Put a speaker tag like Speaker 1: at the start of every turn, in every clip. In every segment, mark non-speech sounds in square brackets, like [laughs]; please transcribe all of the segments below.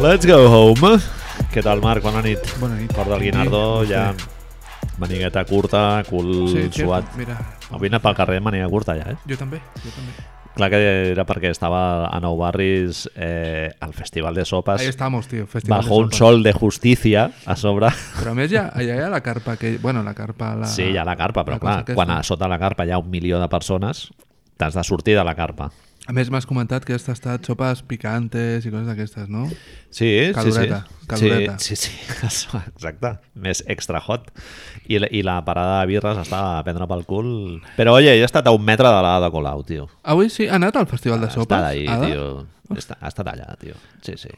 Speaker 1: Let's go home. Què tal, Marc? Bona nit.
Speaker 2: Bona nit.
Speaker 1: Cor del Guinardó, ja manigueta curta, cul
Speaker 2: Sí,
Speaker 1: sí,
Speaker 2: tio,
Speaker 1: suat.
Speaker 2: Mira,
Speaker 1: Avui he anat pel carrer de manera curta, ja, eh?
Speaker 2: jo també, jo també.
Speaker 1: Clar que era perquè estava a Nou Barris eh, al Festival de Sopes,
Speaker 2: Ahí estamos, tío, festival
Speaker 1: bajo
Speaker 2: de Ah,
Speaker 1: un
Speaker 2: sopa.
Speaker 1: sol de justícia a sobre.
Speaker 2: Però a més ja, allà hi ha la carpa, que, bueno, la carpa... La,
Speaker 1: Sí, hi ha la carpa, però
Speaker 2: la
Speaker 1: clar,
Speaker 2: cosa aquesta.
Speaker 1: quan a sota la carpa hi ha un milió de persones, t'has de sortir de la carpa.
Speaker 2: A més, m'has comentat que has tastat sopes picantes i coses d'aquestes, no?
Speaker 1: Sí,
Speaker 2: Caloreta,
Speaker 1: sí, sí.
Speaker 2: caloreta.
Speaker 1: Sí, sí, [laughs] sí, exacte. Més extra hot. I, la- I la parada de birres està a prendre pel cul. Però, oye, he estat a un metre de l'Ada Colau, tio.
Speaker 2: Avui sí, ha anat al festival de sopes? Ah,
Speaker 1: Està d'ahir,
Speaker 2: Ada?
Speaker 1: tio. Està, ha estat allà, tio. Sí, sí.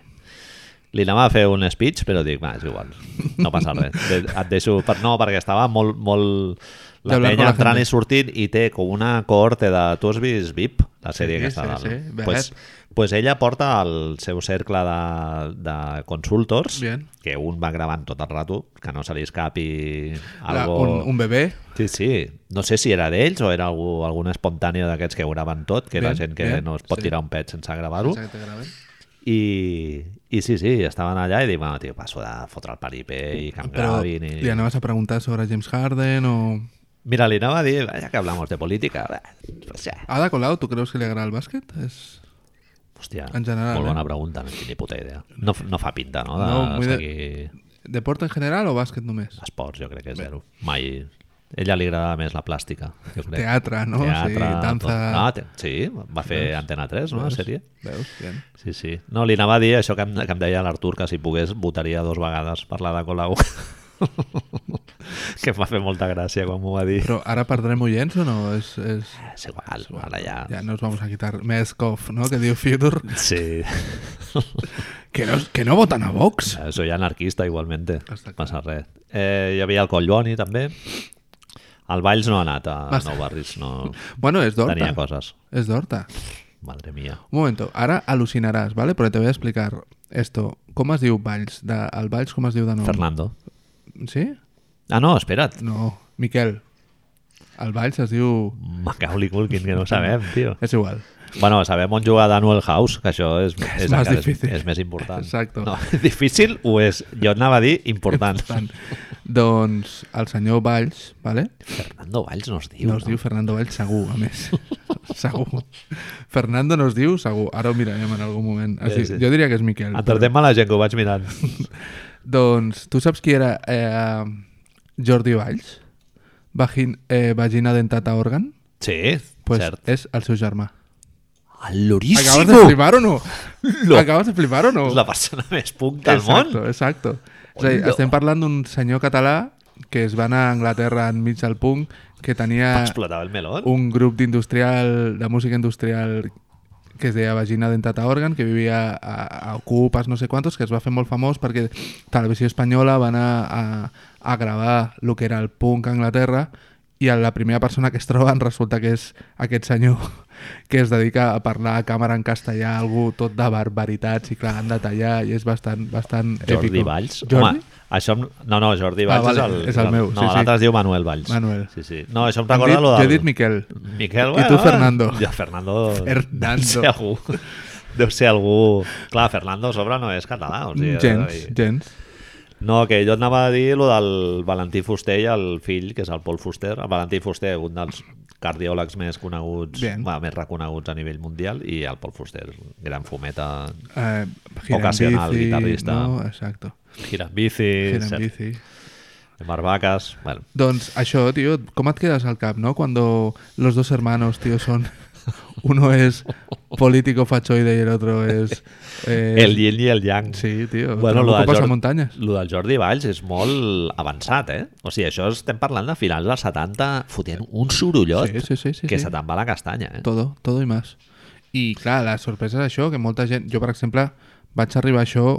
Speaker 1: Li anava a fer un speech, però dic, va, és igual, no
Speaker 2: [laughs]
Speaker 1: passa res. De, et deixo... Per, no, perquè estava molt... molt la
Speaker 2: De hablar con
Speaker 1: penya
Speaker 2: la
Speaker 1: entrant
Speaker 2: gente.
Speaker 1: i sortint i té com una cohorte de... Tu has vist VIP? La sèrie
Speaker 2: Sí,
Speaker 1: que està
Speaker 2: sí,
Speaker 1: dalt.
Speaker 2: sí, veig.
Speaker 1: pues, pues ella porta el seu cercle de, de consultors,
Speaker 2: Bien.
Speaker 1: que un va gravant tot el rato, que no se li escapi
Speaker 2: La,
Speaker 1: algo...
Speaker 2: un, un bebè?
Speaker 1: Sí, sí. No sé si era d'ells o era algú, algun espontani d'aquests que ho graven tot, que era
Speaker 2: Bien,
Speaker 1: gent que
Speaker 2: bien,
Speaker 1: no es pot
Speaker 2: sí.
Speaker 1: tirar un pet sense gravar-ho.
Speaker 2: Sense que te graven.
Speaker 1: I, I sí, sí, estaven allà i dic, bueno, tio, passo de fotre el paripé i que em
Speaker 2: Però
Speaker 1: gravin.
Speaker 2: li
Speaker 1: I...
Speaker 2: anaves a preguntar sobre James Harden o...
Speaker 1: Mira, li anava a dir, ja que hablamos de política, eh, pues ja.
Speaker 2: Ada Colau, tu creus que li agrada el bàsquet? És...
Speaker 1: Hòstia,
Speaker 2: En general,
Speaker 1: molt
Speaker 2: eh?
Speaker 1: bona pregunta, no tinc ni puta idea. No, f- no fa pinta, no? De
Speaker 2: No,
Speaker 1: no,
Speaker 2: vull dir-
Speaker 1: seguir
Speaker 2: Deport en general o bàsquet només?
Speaker 1: esports, jo crec que és zero. Mai. Ella li agradava més la plàstica, jo crec.
Speaker 2: Teatre, no? sí, danza...
Speaker 1: tot. Ah, te... sí, va fer Antena 3, no?, la sèrie.
Speaker 2: Veus? Bien.
Speaker 1: Sí, sí. No, li anava a dir això que em, que em deia l'Artur, que si pogués votaria dos vegades per la de Colau. [laughs] que em va fer molta gràcia quan m'ho va dir.
Speaker 2: Però ara perdrem oients o no? És, és...
Speaker 1: És igual, ara ja...
Speaker 2: Ja nos vamos a quitar Meskov, ¿no? Que dio Fiodor.
Speaker 1: Sí,
Speaker 2: Que no, que no votan a Vox.
Speaker 1: Ja, soy anarquista igualmente.
Speaker 2: Està clar.
Speaker 1: Passa res. Eh, hi havia el Collboni, també. El Valls no ha anat a
Speaker 2: Basta.
Speaker 1: Nou Barris, no...
Speaker 2: Bueno, es Dorta.
Speaker 1: Tenia coses.
Speaker 2: Es Dorta.
Speaker 1: Madre mia.
Speaker 2: Un momento, ahora alucinarás, ¿vale? Pero te voy a explicar esto. ¿Cómo has diu Valls? De, el Valls com es diu de nom?
Speaker 1: Fernando.
Speaker 2: Sí?
Speaker 1: Ah, no, espera't.
Speaker 2: No, Miquel. El Valls es diu...
Speaker 1: Macaulay Culkin, que no ho sabem, tio.
Speaker 2: És igual.
Speaker 1: Bueno, sabem on jugar Daniel House, que això és, és,
Speaker 2: més
Speaker 1: encara és,
Speaker 2: difícil.
Speaker 1: és més important.
Speaker 2: Exacto.
Speaker 1: No, [laughs] difícil ho és. Jo anava a dir important.
Speaker 2: Tant. doncs el senyor Valls, ¿vale?
Speaker 1: Fernando Valls no es diu,
Speaker 2: No us diu Fernando Valls segur, a més. [laughs] segur. Fernando no us diu segur. Ara ho mirarem en algun moment. Així,
Speaker 1: Sí, Ah, sí.
Speaker 2: Jo diria que és Miquel. però-
Speaker 1: Entretem a la gent que ho vaig
Speaker 2: [laughs]
Speaker 1: mirant.
Speaker 2: Doncs tu saps qui era eh, Jordi Valls? Vagin, eh, vagina dentata organ?
Speaker 1: Sí,
Speaker 2: Pues
Speaker 1: pues, cert.
Speaker 2: és el seu germà. Acabes de
Speaker 1: Alorísimo!
Speaker 2: flipar
Speaker 1: [laughs]
Speaker 2: o no?
Speaker 1: Lo-
Speaker 2: Acabes de flipar o no?
Speaker 1: És la persona més punk del
Speaker 2: exacto,
Speaker 1: món.
Speaker 2: Exacto. És a dir,
Speaker 1: Hola.
Speaker 2: estem parlant d'un senyor català que es va anar a Anglaterra enmig del punt, que
Speaker 1: Va
Speaker 2: tenia
Speaker 1: explotar el melón.
Speaker 2: Ah, un grup d'industrial, de música industrial que es deia Vagina Dentata Organ, que vivia a, a Ocupes, no sé quantos, que es va fer molt famós perquè Televisió Espanyola va anar a, a gravar el que era el punk a Anglaterra i a la primera persona que es troben resulta que és aquest senyor [laughs] que es dedica a parlar a càmera en castellà, algú tot de barbaritats i clar, han de tallar i és bastant, bastant
Speaker 1: Jordi
Speaker 2: èpico.
Speaker 1: Valls.
Speaker 2: Jordi?
Speaker 1: Home, això em... No, no, Jordi
Speaker 2: Ah,
Speaker 1: Valls
Speaker 2: vale,
Speaker 1: és, el,
Speaker 2: és el meu,
Speaker 1: No,
Speaker 2: sí, sí.
Speaker 1: l'altre es diu Manuel Valls.
Speaker 2: Manuel.
Speaker 1: Sí, sí. No, això em
Speaker 2: Hem
Speaker 1: recorda
Speaker 2: dit-
Speaker 1: lo
Speaker 2: Jo
Speaker 1: del...
Speaker 2: he dit Miquel.
Speaker 1: Miquel,
Speaker 2: I tu, Fernando.
Speaker 1: Ja, Fernando...
Speaker 2: Fernando.
Speaker 1: Deu ser algú... Deu ser algú... Clar, Fernando a sobre no és català. O sigui,
Speaker 2: gens, gens.
Speaker 1: No, que jo et anava a dir lo del Valentí Fuster i el fill, que és el Pol Fuster. El Valentí Fuster, un dels cardiòlegs més coneguts,
Speaker 2: Bien.
Speaker 1: va, més reconeguts a nivell mundial, i el Pol Fuster, gran fumeta,
Speaker 2: Eh, girant
Speaker 1: Ocasional,
Speaker 2: bici,
Speaker 1: guitarrista.
Speaker 2: No? Exacto.
Speaker 1: girant bici,
Speaker 2: Girant
Speaker 1: cert,
Speaker 2: bici.
Speaker 1: barbaques... Bueno,
Speaker 2: Doncs això, tío, com et quedes al cap, no? Cuando los dos hermanos, tío, son... [laughs] Uno es político fachoide y el otro es... eh,
Speaker 1: [laughs] el yin i el yang.
Speaker 2: Sí, tío. Bueno, lo
Speaker 1: del
Speaker 2: pasa
Speaker 1: Jor-
Speaker 2: montañas.
Speaker 1: lo del Jordi Valls és molt avançat, eh? O sigui, això estem parlant de finals dels 70, fotent un sorollot
Speaker 2: Sí, sí, sí, sí,
Speaker 1: que
Speaker 2: sí.
Speaker 1: se te'n va la castanya, eh?
Speaker 2: Todo, todo i més. I, clar, la sorpresa és això, que molta gent... Jo, per exemple, vaig arribar a això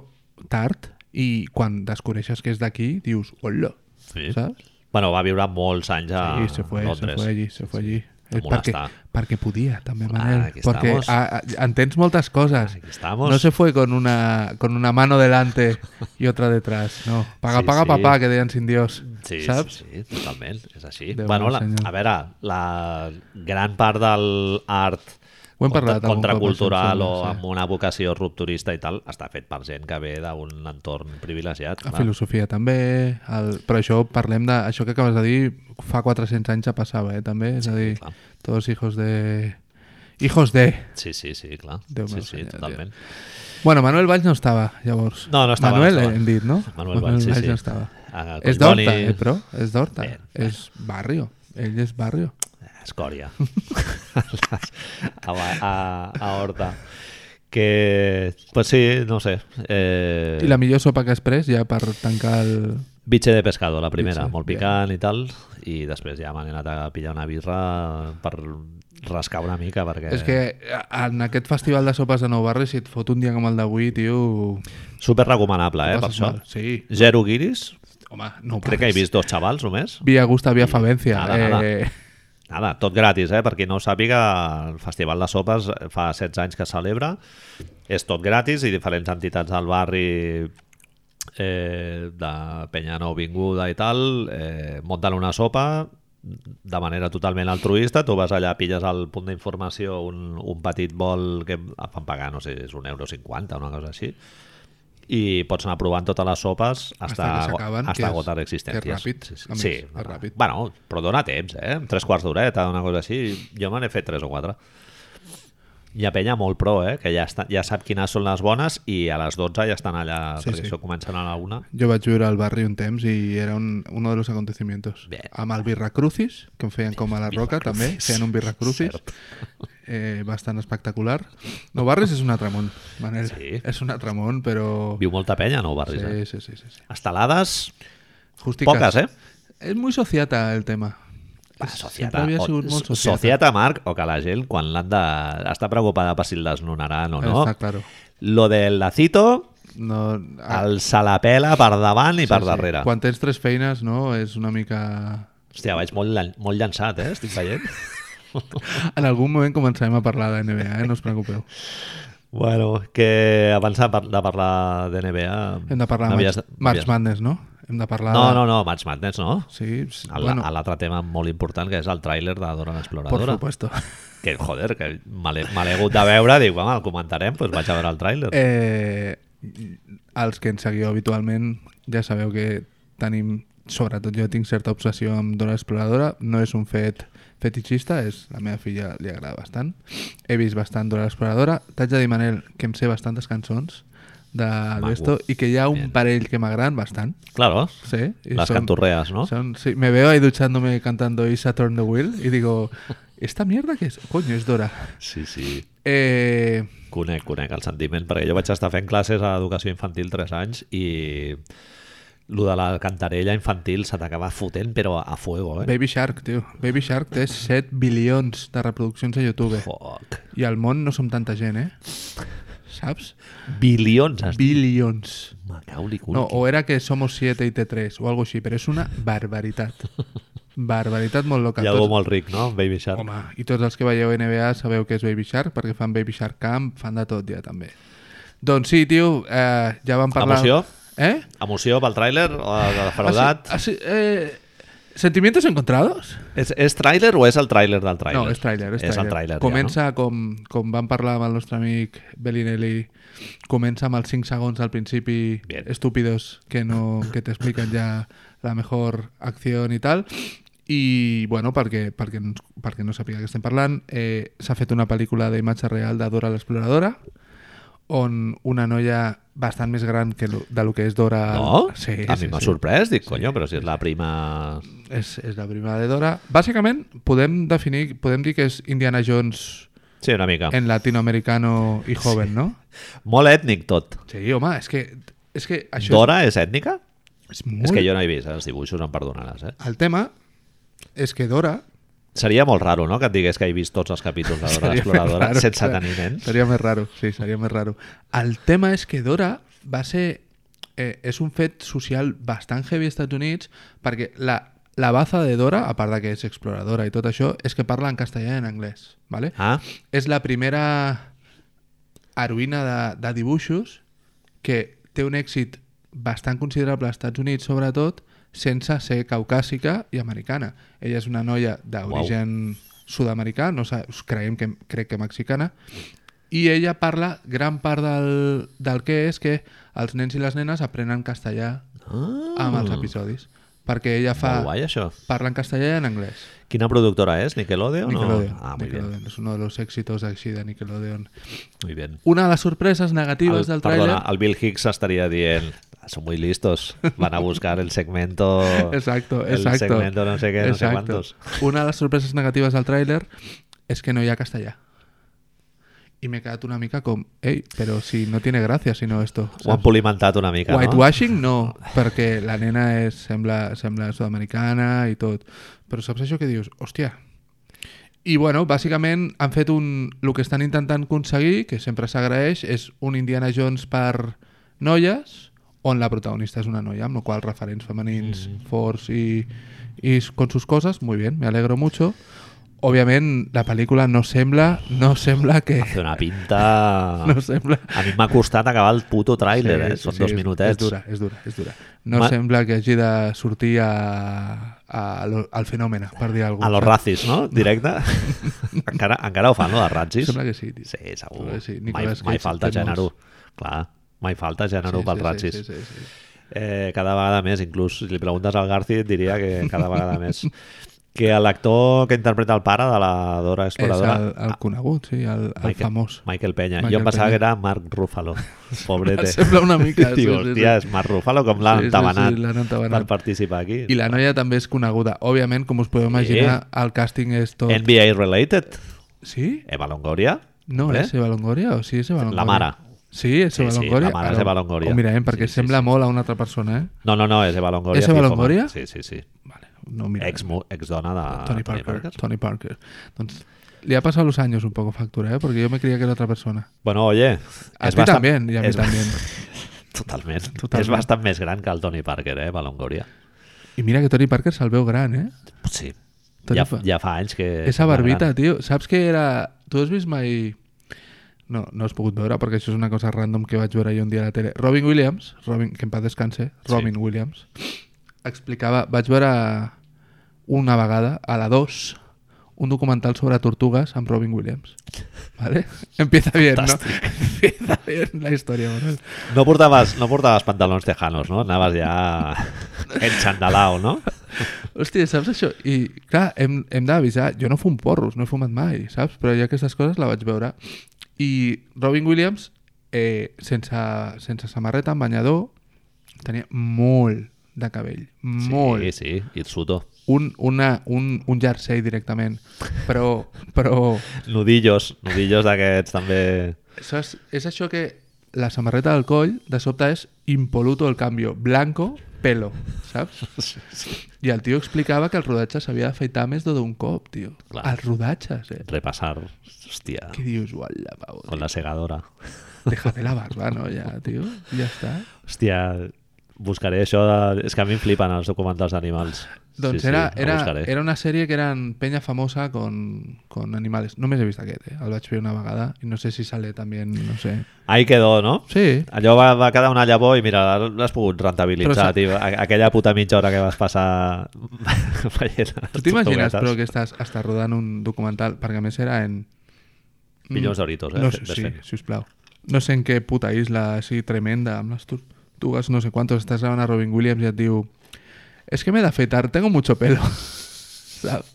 Speaker 2: tard i quan descobreixes que és d'aquí, dius, hola,
Speaker 1: Sí.
Speaker 2: saps?
Speaker 1: Bueno, va viure molts anys a
Speaker 2: Sí, se fue, se
Speaker 1: Ah, Londres.
Speaker 2: fue allí, se fue allí.
Speaker 1: A
Speaker 2: Eh, perquè,
Speaker 1: molestar.
Speaker 2: perquè podia, també, Manel.
Speaker 1: Ah, aquí
Speaker 2: perquè
Speaker 1: estamos.
Speaker 2: a, a, entens moltes coses.
Speaker 1: Aquí estamos.
Speaker 2: No se fue con una, con una mano delante y otra detrás. No. Paga,
Speaker 1: Sí,
Speaker 2: paga,
Speaker 1: sí.
Speaker 2: papá, que deien sin Dios.
Speaker 1: Sí,
Speaker 2: saps?
Speaker 1: sí, sí, totalment, és així.
Speaker 2: Déu
Speaker 1: bueno,
Speaker 2: meu
Speaker 1: la,
Speaker 2: senyor.
Speaker 1: a veure, la gran part del art
Speaker 2: Ho hem parlat algun cop,
Speaker 1: contracultural
Speaker 2: això, em
Speaker 1: o
Speaker 2: sembla, sí.
Speaker 1: amb una vocació rupturista i tal, està fet per gent que ve d'un entorn privilegiat.
Speaker 2: La
Speaker 1: clar.
Speaker 2: filosofia també, el... però això parlem de... Això que acabes de dir fa 400 anys ja passava, eh, també. És a dir,
Speaker 1: clar.
Speaker 2: tots hijos de... Hijos de...
Speaker 1: Sí, sí, sí, clar.
Speaker 2: Déu
Speaker 1: sí,
Speaker 2: meu
Speaker 1: sí,
Speaker 2: senyor, tio.
Speaker 1: totalment.
Speaker 2: Bueno, Manuel Valls no estava, llavors.
Speaker 1: No, no estava,
Speaker 2: Manuel,
Speaker 1: no estava.
Speaker 2: hem dit, no?
Speaker 1: Manuel Valls, sí, sí.
Speaker 2: no estava.
Speaker 1: Ah,
Speaker 2: és
Speaker 1: Collboni.
Speaker 2: d'Horta, eh, però? És d'Horta.
Speaker 1: Bé,
Speaker 2: És barrio. Ell és barrio.
Speaker 1: Escòria. [laughs] a, a, a Horta. Que, pues sí, no sé. Eh,
Speaker 2: I la millor sopa que has pres, ja per tancar el...
Speaker 1: Bitxe de pescado, la primera,
Speaker 2: Bitxe,
Speaker 1: molt
Speaker 2: bé.
Speaker 1: picant i tal, i després ja m'han anat a pillar una birra per rascar una mica, perquè
Speaker 2: És que a- en aquest festival de sopes de Nou Barri, si et fot un dia com el d'avui, tio...
Speaker 1: super recomanable, eh,
Speaker 2: ho
Speaker 1: per
Speaker 2: passes
Speaker 1: això.
Speaker 2: mal. Sí.
Speaker 1: Zero guiris,
Speaker 2: Home, no
Speaker 1: crec que he vist dos xavals només.
Speaker 2: Via Gusta, via Favència.
Speaker 1: Nada,
Speaker 2: eh,
Speaker 1: nada. Nada, tot gratis, eh? Per qui no ho sàpiga, el Festival de Sopes fa 16 anys que celebra, és tot gratis i diferents entitats del barri eh, de penya nouvinguda i tal, eh, munten una sopa de manera totalment altruista, tu vas allà, pilles al punt d'informació un, un petit bol que et fan pagar, no sé, és un euro cinquanta, una cosa així, i pots anar provant totes les sopes hasta,
Speaker 2: Hasta que s'acaben, que
Speaker 1: hasta
Speaker 2: és-
Speaker 1: agotar
Speaker 2: que és
Speaker 1: existències.
Speaker 2: ràpid,
Speaker 1: Sí, sí,
Speaker 2: a més,
Speaker 1: sí,
Speaker 2: és
Speaker 1: no, no.
Speaker 2: ràpid.
Speaker 1: Bueno, però dona temps, eh? Tres quarts d'horeta, una cosa així. Jo me n'he fet tres o quatre. Hi ha penya molt pro, eh? Que ja, està, ja sap quines són les bones i a les 12 ja estan allà, sí,
Speaker 2: Sí,
Speaker 1: perquè
Speaker 2: sí.
Speaker 1: sí. això comencen a la una.
Speaker 2: Jo vaig viure al barri un temps i era un, uno de los acontecimientos.
Speaker 1: Bé.
Speaker 2: Amb el Birra Crucis, que em feien com a la roca també, feien un Birra Crucis,
Speaker 1: Cert.
Speaker 2: eh, bastant espectacular. No Barris és un altre món, Manel.
Speaker 1: Sí.
Speaker 2: És un altre món, però...
Speaker 1: Viu molta penya, no, barris, sí. eh?
Speaker 2: Sí, sí, sí, sí, sí.
Speaker 1: Estelades,
Speaker 2: Justicas.
Speaker 1: poques, eh?
Speaker 2: És muy sociata el tema.
Speaker 1: Va,
Speaker 2: És-
Speaker 1: societa,
Speaker 2: Sempre havia
Speaker 1: o,
Speaker 2: sigut molt sociata.
Speaker 1: societa, Marc, o que la gent, quan l'han de... Està preocupada per si el desnonaran o no.
Speaker 2: Està claro.
Speaker 1: Lo del lacito,
Speaker 2: No, ah,
Speaker 1: el se la pela per davant i
Speaker 2: sí,
Speaker 1: per
Speaker 2: sí.
Speaker 1: darrere.
Speaker 2: Quan tens tres feines, no? És una mica...
Speaker 1: Hòstia, vaig molt, llan- molt llançat, eh? Estic
Speaker 2: [laughs]
Speaker 1: veient.
Speaker 2: En algun moment començarem a parlar de NBA, eh? no us preocupeu.
Speaker 1: bueno, que abans de, par de parlar de NBA...
Speaker 2: Hem de parlar de
Speaker 1: m'havies-
Speaker 2: March, March
Speaker 1: m'havies-
Speaker 2: Madness, no? Hem de parlar...
Speaker 1: No,
Speaker 2: de-
Speaker 1: no, no, March Madness, no?
Speaker 2: Sí, s-
Speaker 1: El-
Speaker 2: bueno,
Speaker 1: L'altre tema molt important, que és el tràiler de Dora
Speaker 2: por
Speaker 1: l'Exploradora.
Speaker 2: supuesto.
Speaker 1: Que, joder, que me l'he me l'he hagut de veure, dic, home, el comentarem, doncs vaig a veure el tràiler.
Speaker 2: Eh, els que ens seguiu habitualment ja sabeu que tenim, sobretot jo tinc certa obsessió amb Dora Exploradora, no és un fet fetichista, és la meva filla li agrada bastant. He vist bastant Dora Exploradora. T'haig de dir, Manel, que em sé bastantes cançons de l'Esto i que hi ha un
Speaker 1: Bien.
Speaker 2: parell que m'agraden bastant.
Speaker 1: Claro,
Speaker 2: Sí, y
Speaker 1: las
Speaker 2: son-
Speaker 1: canturreas, ¿no?
Speaker 2: Son- sí, me veo ahí duchándome cantando Isa Turn the Wheel y digo, ¿esta mierda qué es? Coño, es Dora.
Speaker 1: Sí, sí.
Speaker 2: Eh,
Speaker 1: Conec, conec el sentiment, perquè jo vaig estar fent classes a educació infantil 3 anys i lo de la cantarella infantil se t'acaba fotent, però a fuego, eh?
Speaker 2: Baby Shark, tío. Baby Shark té 7 bilions de reproduccions a YouTube.
Speaker 1: Fuck.
Speaker 2: I al món no som tanta gent, eh? Saps?
Speaker 1: Bilions, has dit.
Speaker 2: Bilions.
Speaker 1: Macaulay Culkin.
Speaker 2: No, o era que somos 7 i té 3 o algo així, però és una
Speaker 1: [laughs]
Speaker 2: barbaritat. Barbaritat molt loca.
Speaker 1: Hi ha algú
Speaker 2: Tots-
Speaker 1: molt ric, no? Amb Baby Shark.
Speaker 2: Home, i tots els que veieu NBA sabeu que és Baby Shark, perquè fan Baby Shark Camp, fan de tot ja també. Doncs sí, tio, eh, ja vam parlar...
Speaker 1: Emoció?
Speaker 2: Eh?
Speaker 1: Emoció pel tràiler o de fraudat?
Speaker 2: Ah, sí, ah, sí, eh, ¿Sentimientos encontrados?
Speaker 1: És, és tràiler o és el tràiler del tràiler?
Speaker 2: No, és tràiler. És,
Speaker 1: És el tràiler,
Speaker 2: Comença, com, com vam parlar amb el nostre amic Bellinelli, comença amb els 5 segons al principi
Speaker 1: Bien.
Speaker 2: estúpidos que, no, que t'expliquen ja la millor acció i tal. I, bueno, perquè, perquè, no ens- perquè no sàpiga que estem parlant, eh, s'ha fet una pel·lícula d'imatge real de Dora l'exploradora, on una noia bastant més gran que lo, de lo que és Dora...
Speaker 1: No? no?
Speaker 2: Sí,
Speaker 1: a
Speaker 2: sí,
Speaker 1: mi m'ha
Speaker 2: sí.
Speaker 1: sorprès, dic, conyo, però si és la prima...
Speaker 2: És, és la prima de Dora. Bàsicament, podem definir, podem dir que és Indiana Jones
Speaker 1: Sí, una mica. En...
Speaker 2: en latinoamericano y joven, ¿no?
Speaker 1: Molt ètnic tot.
Speaker 2: Sí, home, és que, és que això
Speaker 1: Dora és ètnica?
Speaker 2: és, és molt...
Speaker 1: És que jo no he vist, eh? els dibuixos em perdonaràs, eh?
Speaker 2: El tema és que Dora...
Speaker 1: Seria molt raro, no?, que et digués que he vist tots els capítols de Dora
Speaker 2: Seria més
Speaker 1: l'Exploradora
Speaker 2: raro,
Speaker 1: sense
Speaker 2: clar.
Speaker 1: tenir nens.
Speaker 2: Seria més raro, sí, seria més raro. El tema és que Dora va ser... Eh, és un fet social bastant heavy als Estats Units perquè la, la baza de Dora, a part de que és exploradora i tot això, és que parla en castellà i en anglès, ¿vale?
Speaker 1: Ah,
Speaker 2: és la primera heroïna de, de dibuixos que té un èxit bastant considerable als Estats Units, sobretot, sense ser caucàsica i americana. Ella és una noia d'origen sud-americà, no sa- creiem que, crec que mexicana, i ella parla gran part del, del que és que els nens i les nenes aprenen castellà
Speaker 1: Ah,
Speaker 2: amb els episodis. Perquè ella fa...
Speaker 1: Molt guai, això.
Speaker 2: Parla en castellà i en anglès.
Speaker 1: Quina productora és? Nickelodeon? o-
Speaker 2: Nickelodeon.
Speaker 1: Ah, muy bien.
Speaker 2: Nickelodeon. És un dels èxitos així de Nickelodeon.
Speaker 1: Muy bien.
Speaker 2: Una de les sorpreses negatives
Speaker 1: El-
Speaker 2: del tràiler...
Speaker 1: Perdona, el Bill Hicks estaría bien. Son muy listos. Van a buscar el segmento.
Speaker 2: [laughs] Exacto,
Speaker 1: el
Speaker 2: exacto.
Speaker 1: segmento no sé qué, no sé
Speaker 2: exacto.
Speaker 1: cuántos.
Speaker 2: Una de les sorpreses negatives del tràiler és que no hi ha castellà. I m'he quedat una mica com, ei, però si no tiene gràcia, si no esto.
Speaker 1: Ho han
Speaker 2: saps?
Speaker 1: polimentat una mica, no?
Speaker 2: Whitewashing no, perquè la nena és, sembla, sembla sud-americana i tot. Però saps això que dius? Hòstia. I bueno, bàsicament han fet un... El que estan intentant aconseguir, que sempre s'agraeix, és un Indiana Jones per noies, on la protagonista és una noia, amb la qual cosa referents femenins mm. forts i, i con sus cosas, muy bien, me alegro mucho. Òbviament, la pel·lícula no sembla, no sembla que...
Speaker 1: Hace una pinta...
Speaker 2: [laughs] No sembla...
Speaker 1: A mi m'ha costat acabar el puto tràiler, eh? Són dos
Speaker 2: és-
Speaker 1: minutets.
Speaker 2: És dura, és dura, és dura. No
Speaker 1: Ma-
Speaker 2: sembla que hagi de sortir a, a lo, al fenomen, per dir alguna
Speaker 1: A los racis, no?
Speaker 2: [laughs]
Speaker 1: Directe. encara, encara ho fan, no? Els racis?
Speaker 2: Sembla que sí, tio.
Speaker 1: Sí, segur.
Speaker 2: Sembla que sí.
Speaker 1: Mai,
Speaker 2: Nicolas
Speaker 1: mai
Speaker 2: Cage
Speaker 1: falta
Speaker 2: té
Speaker 1: gènere.
Speaker 2: molts.
Speaker 1: Clar, mai falta gènere pels racis.
Speaker 2: Sí, sí, sí, sí.
Speaker 1: Eh, cada vegada més, inclús si li preguntes al Garci et diria que cada vegada més que l'actor que interpreta el pare de la Dora
Speaker 2: És
Speaker 1: Exploradora
Speaker 2: el, el conegut, sí, el, el
Speaker 1: Ah. Michael-
Speaker 2: famós.
Speaker 1: Michael Peña,
Speaker 2: Michael
Speaker 1: jo em pensava
Speaker 2: Peña. Em
Speaker 1: que era Marc
Speaker 2: [laughs]
Speaker 1: Ruffalo pobrete,
Speaker 2: Sembla una
Speaker 1: [laughs]
Speaker 2: mica, sí,
Speaker 1: Digo,
Speaker 2: sí, sí.
Speaker 1: hòstia, és Marc Ruffalo com l'han
Speaker 2: Sí, sí, sí,
Speaker 1: tabanat
Speaker 2: l'han entabanat.
Speaker 1: per participar aquí
Speaker 2: I la noia també és coneguda. Òbviament, com us podeu imaginar, el càsting és tot...
Speaker 1: NBA related
Speaker 2: Sí?
Speaker 1: Eva Longoria
Speaker 2: No,
Speaker 1: hombre.
Speaker 2: és Eva Longoria? O sí, és Eva Longoria?
Speaker 1: La mare.
Speaker 2: Sí, és
Speaker 1: Sí, sí,
Speaker 2: Eva
Speaker 1: la
Speaker 2: Longoria.
Speaker 1: mare és
Speaker 2: Ara
Speaker 1: Eva Longoria.
Speaker 2: Ho mirarem, perquè
Speaker 1: Sí, sí,
Speaker 2: sembla molt a una altra persona, eh?
Speaker 1: no, no, no, és Eva Longoria
Speaker 2: És Eva
Speaker 1: fijo,
Speaker 2: Longoria?
Speaker 1: sí, sí, sí
Speaker 2: Vale, no ho mirarem.
Speaker 1: ex, ex dona de
Speaker 2: Tony Parker. Tony Parker. Entonces, le ha pasado los años un poco factura, ¿eh? Porque yo me creía que era otra persona.
Speaker 1: Bueno, oye,
Speaker 2: A
Speaker 1: és
Speaker 2: ti
Speaker 1: bastant-
Speaker 2: también, y a mí
Speaker 1: és-
Speaker 2: también.
Speaker 1: Totalment.
Speaker 2: Totalment.
Speaker 1: És bastant més gran que el Tony Parker, eh, Balongoria.
Speaker 2: Y mira que Tony Parker se'l veu gran, ¿eh?
Speaker 1: Sí.
Speaker 2: Tony
Speaker 1: Ja,
Speaker 2: Fa-
Speaker 1: ja fa anys que...
Speaker 2: Esa
Speaker 1: que
Speaker 2: barbita,
Speaker 1: gran.
Speaker 2: tío. ¿Sabes qué era...? ¿Tú has visto mai... No, no has pogut veure perquè això és una cosa random que vaig veure jo un dia a la tele. Robin Williams, Robin, que en paz descanse, Robin Williams, explicava... Vaig veure una vegada, a la 2, un documental sobre tortugues amb Robin Williams. ¿Vale? Empieza bien, ¿no? [laughs] Empieza bien la història, Manuel.
Speaker 1: No portaves, no portaves pantalons tejanos, no? Anaves
Speaker 2: [laughs]
Speaker 1: ja enxandalao, no?
Speaker 2: Hòstia, saps això? I, clar, hem, hem d'avisar. Jo no fum porros, no he fumat mai, saps? Però jo aquestes coses la vaig veure. I Robin Williams, eh, sense, sense samarreta, en banyador, tenia molt de cabell. Molt.
Speaker 1: Sí, sí, Irsuto.
Speaker 2: Un, una, un, un jersei directament. Però, però
Speaker 1: Nudillos, nudillos d'aquests també...
Speaker 2: saps? és això que la samarreta del coll, de sobte, és impoluto el canvi. Blanco, pelo, saps? I el tio explicava que el rodatge s'havia d'afeitar més d'un cop, tio.
Speaker 1: Clar.
Speaker 2: Els rodatges, eh?
Speaker 1: Repassar, hòstia,
Speaker 2: Què dius? Uala, Pau.
Speaker 1: con la segadora.
Speaker 2: Déjate la barba, no? Ja, tio. Ja està.
Speaker 1: Hòstia, buscaré això de... És que a mi em flipen els documentals d'animals.
Speaker 2: Doncs
Speaker 1: sí,
Speaker 2: era,
Speaker 1: sí, ho
Speaker 2: era,
Speaker 1: buscaré.
Speaker 2: era una sèrie que eren penya famosa con, con animales. Només he vist aquest, eh? El vaig fer una vegada i no sé si sale també, no sé.
Speaker 1: Ahí quedó, no?
Speaker 2: Sí,
Speaker 1: Allò va, va quedar una llavor i mira, l'has pogut
Speaker 2: Però
Speaker 1: rentabilitzar,
Speaker 2: sa-
Speaker 1: tio. A- Aquella puta mitja hora que vas passar [laughs] veient
Speaker 2: Tu t'imagines, però, que estàs, estàs rodant un documental, perquè a més era en...
Speaker 1: Milions d'horitos, eh?
Speaker 2: No,
Speaker 1: Ves
Speaker 2: sí,
Speaker 1: fent.
Speaker 2: sisplau. No sé en què puta isla així tremenda, amb les tortugues, no sé quantos, estàs gravant a Robin Williams i et diu és es que m'he d'afeitar, tengo mucho pelo. [laughs] ¿Sabes?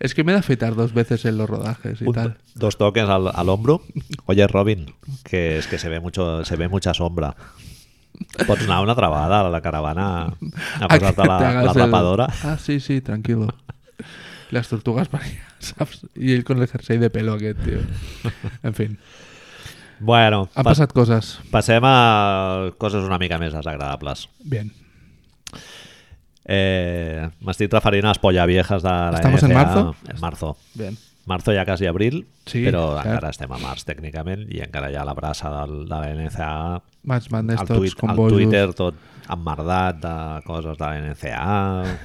Speaker 2: Es que m'he d'afeitar dos veces en los rodajes y
Speaker 1: Un-
Speaker 2: tal.
Speaker 1: dos toques al, al hombro. Oye, Robin, que es que se ve mucho, se ve mucha sombra. Pots anar una trabada a la caravana a
Speaker 2: Ah, que
Speaker 1: posar-te pues la,
Speaker 2: te hagas
Speaker 1: la
Speaker 2: el-
Speaker 1: rapadora.
Speaker 2: Ah, sí, sí, tranquilo. Las tortugas para allá, [laughs] ¿sabes? Y él con el jersey de pelo aquest, tío. En fin,
Speaker 1: Bueno,
Speaker 2: han
Speaker 1: pas,
Speaker 2: passat coses.
Speaker 1: passem a coses una mica més desagradables.
Speaker 2: Bien.
Speaker 1: Eh, M'estic referint a les polla viejas de la
Speaker 2: Estamos en
Speaker 1: NBA.
Speaker 2: marzo?
Speaker 1: En marzo.
Speaker 2: Bien.
Speaker 1: marzo ja quasi abril,
Speaker 2: Sí,
Speaker 1: però
Speaker 2: cert.
Speaker 1: encara estem a març tècnicament i encara hi ha la brassa del, de la NCAA,
Speaker 2: Maig Madness
Speaker 1: el,
Speaker 2: tots
Speaker 1: tuit,
Speaker 2: com
Speaker 1: el
Speaker 2: bojos.
Speaker 1: Twitter tot emmerdat de coses de la NCAA,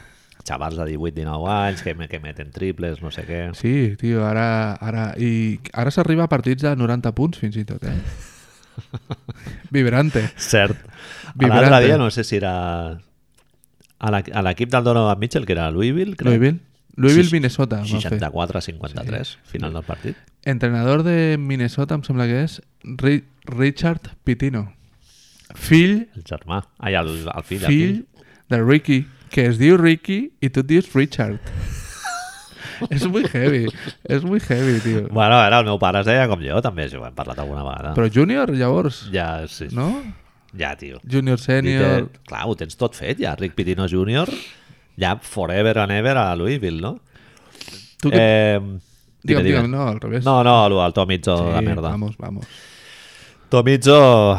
Speaker 1: xavals de 18-19 anys que, me- que meten triples, no sé què.
Speaker 2: Sí, tio, ara, ara, i ara s'arriba a partits de 90 punts fins i tot,
Speaker 1: [laughs]
Speaker 2: eh? Vibrante.
Speaker 1: Cert.
Speaker 2: Vibrante.
Speaker 1: L'altre dia no sé si era... a la- A l'equip del Donovan Mitchell, que era Louisville, crec.
Speaker 2: Louisville? Louisville, Minnesota. van fer.
Speaker 1: 64-53, final del partit.
Speaker 2: Entrenador de Minnesota, em sembla que és Ri- Richard Pitino. Fill,
Speaker 1: El germà. Ai, el, el fill. el
Speaker 2: fill de Ricky, que es diu Ricky i tu et dius
Speaker 1: [laughs]
Speaker 2: Richard. és muy heavy, és muy heavy, tio.
Speaker 1: Bueno, a veure, el meu pare es deia com jo, també, si ho hem parlat alguna vegada.
Speaker 2: Però júnior, llavors,
Speaker 1: Ja, sí.
Speaker 2: no?
Speaker 1: Ja, tio.
Speaker 2: Júnior,
Speaker 1: Peter,
Speaker 2: sènior...
Speaker 1: clar, ho tens tot fet, ja. Rick Pitino Jr., ja forever and ever a Louisville, no?
Speaker 2: Tu que... Eh,
Speaker 1: Eh, digue'm,
Speaker 2: digue'm, digue'm, no, al revés.
Speaker 1: No, no, el, el Tomizzo, sí, la merda.
Speaker 2: Vamos, vamos.
Speaker 1: Tomizzo...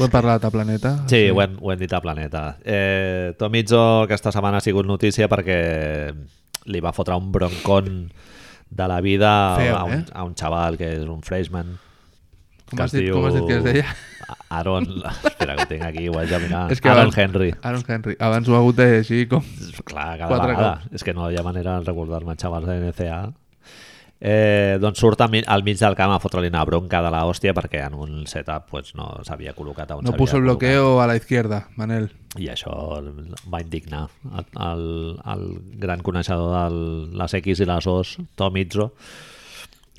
Speaker 2: Ho hem parlat a Planeta.
Speaker 1: Sí, ho hem, ho hem dit a Planeta. Eh, Tomizzo aquesta setmana ha sigut notícia perquè li va fotre un broncon de la vida
Speaker 2: Feo,
Speaker 1: a, un,
Speaker 2: eh?
Speaker 1: a un xaval que és un freshman.
Speaker 2: Com has, dit, com has dit que es deia? [laughs]
Speaker 1: Aaron... Espera, que ho tinc aquí, ho haig de mirar.
Speaker 2: És
Speaker 1: És
Speaker 2: que
Speaker 1: que Aaron
Speaker 2: abans-
Speaker 1: Henry.
Speaker 2: Aaron Henry. Abans ho ha hagut de llegir com...
Speaker 1: Clar, cada
Speaker 2: Quatre
Speaker 1: vegada. És que no hi ha manera de recordar-me xavals de NCA. Eh, doncs surt al mi- al mig del camp a fotre-li una bronca de la hòstia perquè en un setup pues, no s'havia col·locat on
Speaker 2: No
Speaker 1: s'havia
Speaker 2: puso el
Speaker 1: col·locat.
Speaker 2: bloqueo a la izquierda, Manel.
Speaker 1: I això el- va indignar el, el, el gran coneixedor de les X i les O's, Tom Izzo,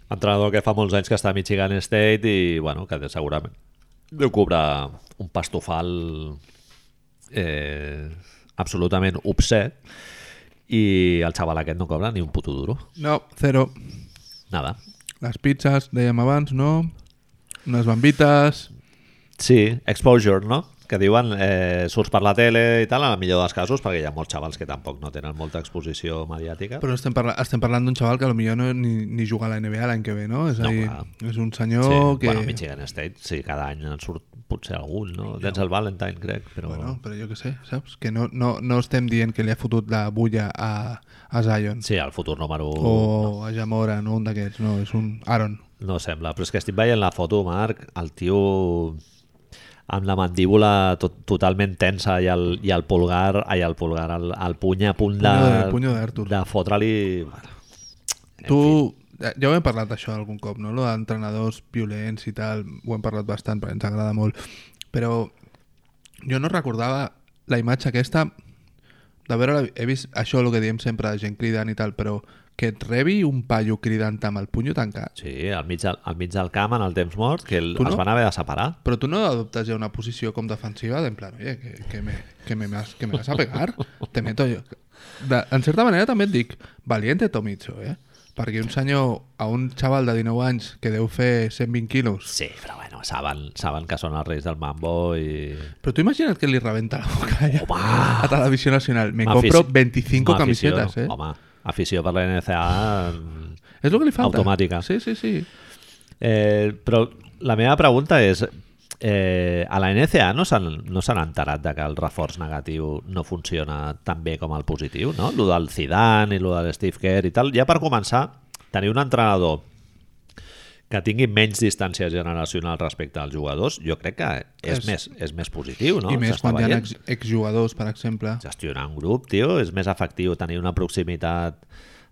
Speaker 1: entrenador que fa molts anys que està a Michigan State i bueno, que de- segurament deu cobrar un pastofal eh, absolutament obsè i el xaval aquest no cobra ni un puto duro.
Speaker 2: No, cero.
Speaker 1: Nada.
Speaker 2: Les pizzas, dèiem abans, no? Unes bambites...
Speaker 1: Sí, exposure, no? Que diuen, eh, surts per la tele i tal, en el millor dels casos, perquè hi ha molts xavals que tampoc no tenen molta exposició mediàtica.
Speaker 2: Però estem, parla estem parlant d'un xaval que potser no ni, ni juga a la NBA l'any que ve, no? És, a
Speaker 1: No,
Speaker 2: dir,
Speaker 1: clar.
Speaker 2: és un senyor
Speaker 1: Sí,
Speaker 2: que...
Speaker 1: bueno, Michigan State, sí, cada any en surt potser algun, no? Tens el Valentine, crec, però...
Speaker 2: Bueno, però jo què sé, saps? Que no, no, no estem dient que li ha fotut la bulla a, a Zion
Speaker 1: Sí, el futur número 1 oh.
Speaker 2: o a Jamora, no un d'aquests, no, és un Aaron.
Speaker 1: no sembla, però és que estic veient la foto, Marc, el tio amb la mandíbula tot, totalment tensa i el, i el pulgar, ai, el pulgar, el, el puny a punt de,
Speaker 2: Punyo de- punyo d'Arthur.
Speaker 1: de fotre-li... Bueno,
Speaker 2: Tu, eh, ja ho hem parlat això algun cop, no? Lo d'entrenadors violents i tal, ho hem parlat bastant perquè ens agrada molt, però jo no recordava la imatge aquesta de veure, he vist això el que diem sempre de gent cridant i tal, però que et rebi un paio cridant amb el punyo tancat,
Speaker 1: sí, al mig, del- al mig del camp, en el temps mort, que el,
Speaker 2: Tu no?
Speaker 1: es van haver de separar.
Speaker 2: però tu no adoptes ja una posició com defensiva d'en plan, oye, que, que, me, que, me vas, que me vas a pegar, te meto jo. De, en certa manera també et dic, valiente Tomicho, eh? Perquè un senyor, a un xaval de 19 anys que deu fer 120 quilos,
Speaker 1: Sí, però bueno, saben, saben que són els reis del mambo i...
Speaker 2: Però tú imaginas que le reventa la boca ya
Speaker 1: Home.
Speaker 2: a Televisión Nacional. Me
Speaker 1: M'afici-
Speaker 2: compro 25
Speaker 1: m'aficiono.
Speaker 2: camisetas, ¿eh?
Speaker 1: Home, afició per la NCA...
Speaker 2: Es lo que le falta.
Speaker 1: Automática.
Speaker 2: Sí, sí, sí.
Speaker 1: Eh, però la meva pregunta és... Eh, a la NCA no s'han no s'han enterat de que el reforç negatiu no funciona tan bé com el positiu, no? Lo del Zidane i lo de Steve Kerr i tal. Ja per començar, tenir un entrenador que tingui menys distància generacional respecte als jugadors, jo crec que és,
Speaker 2: És-
Speaker 1: més, és més positiu, no?
Speaker 2: y me
Speaker 1: S'està
Speaker 2: quan hi ha
Speaker 1: veient.
Speaker 2: ex- exjugadors, per exemple.
Speaker 1: gestionar un grup, tio, és més efectiu tenir una proximitat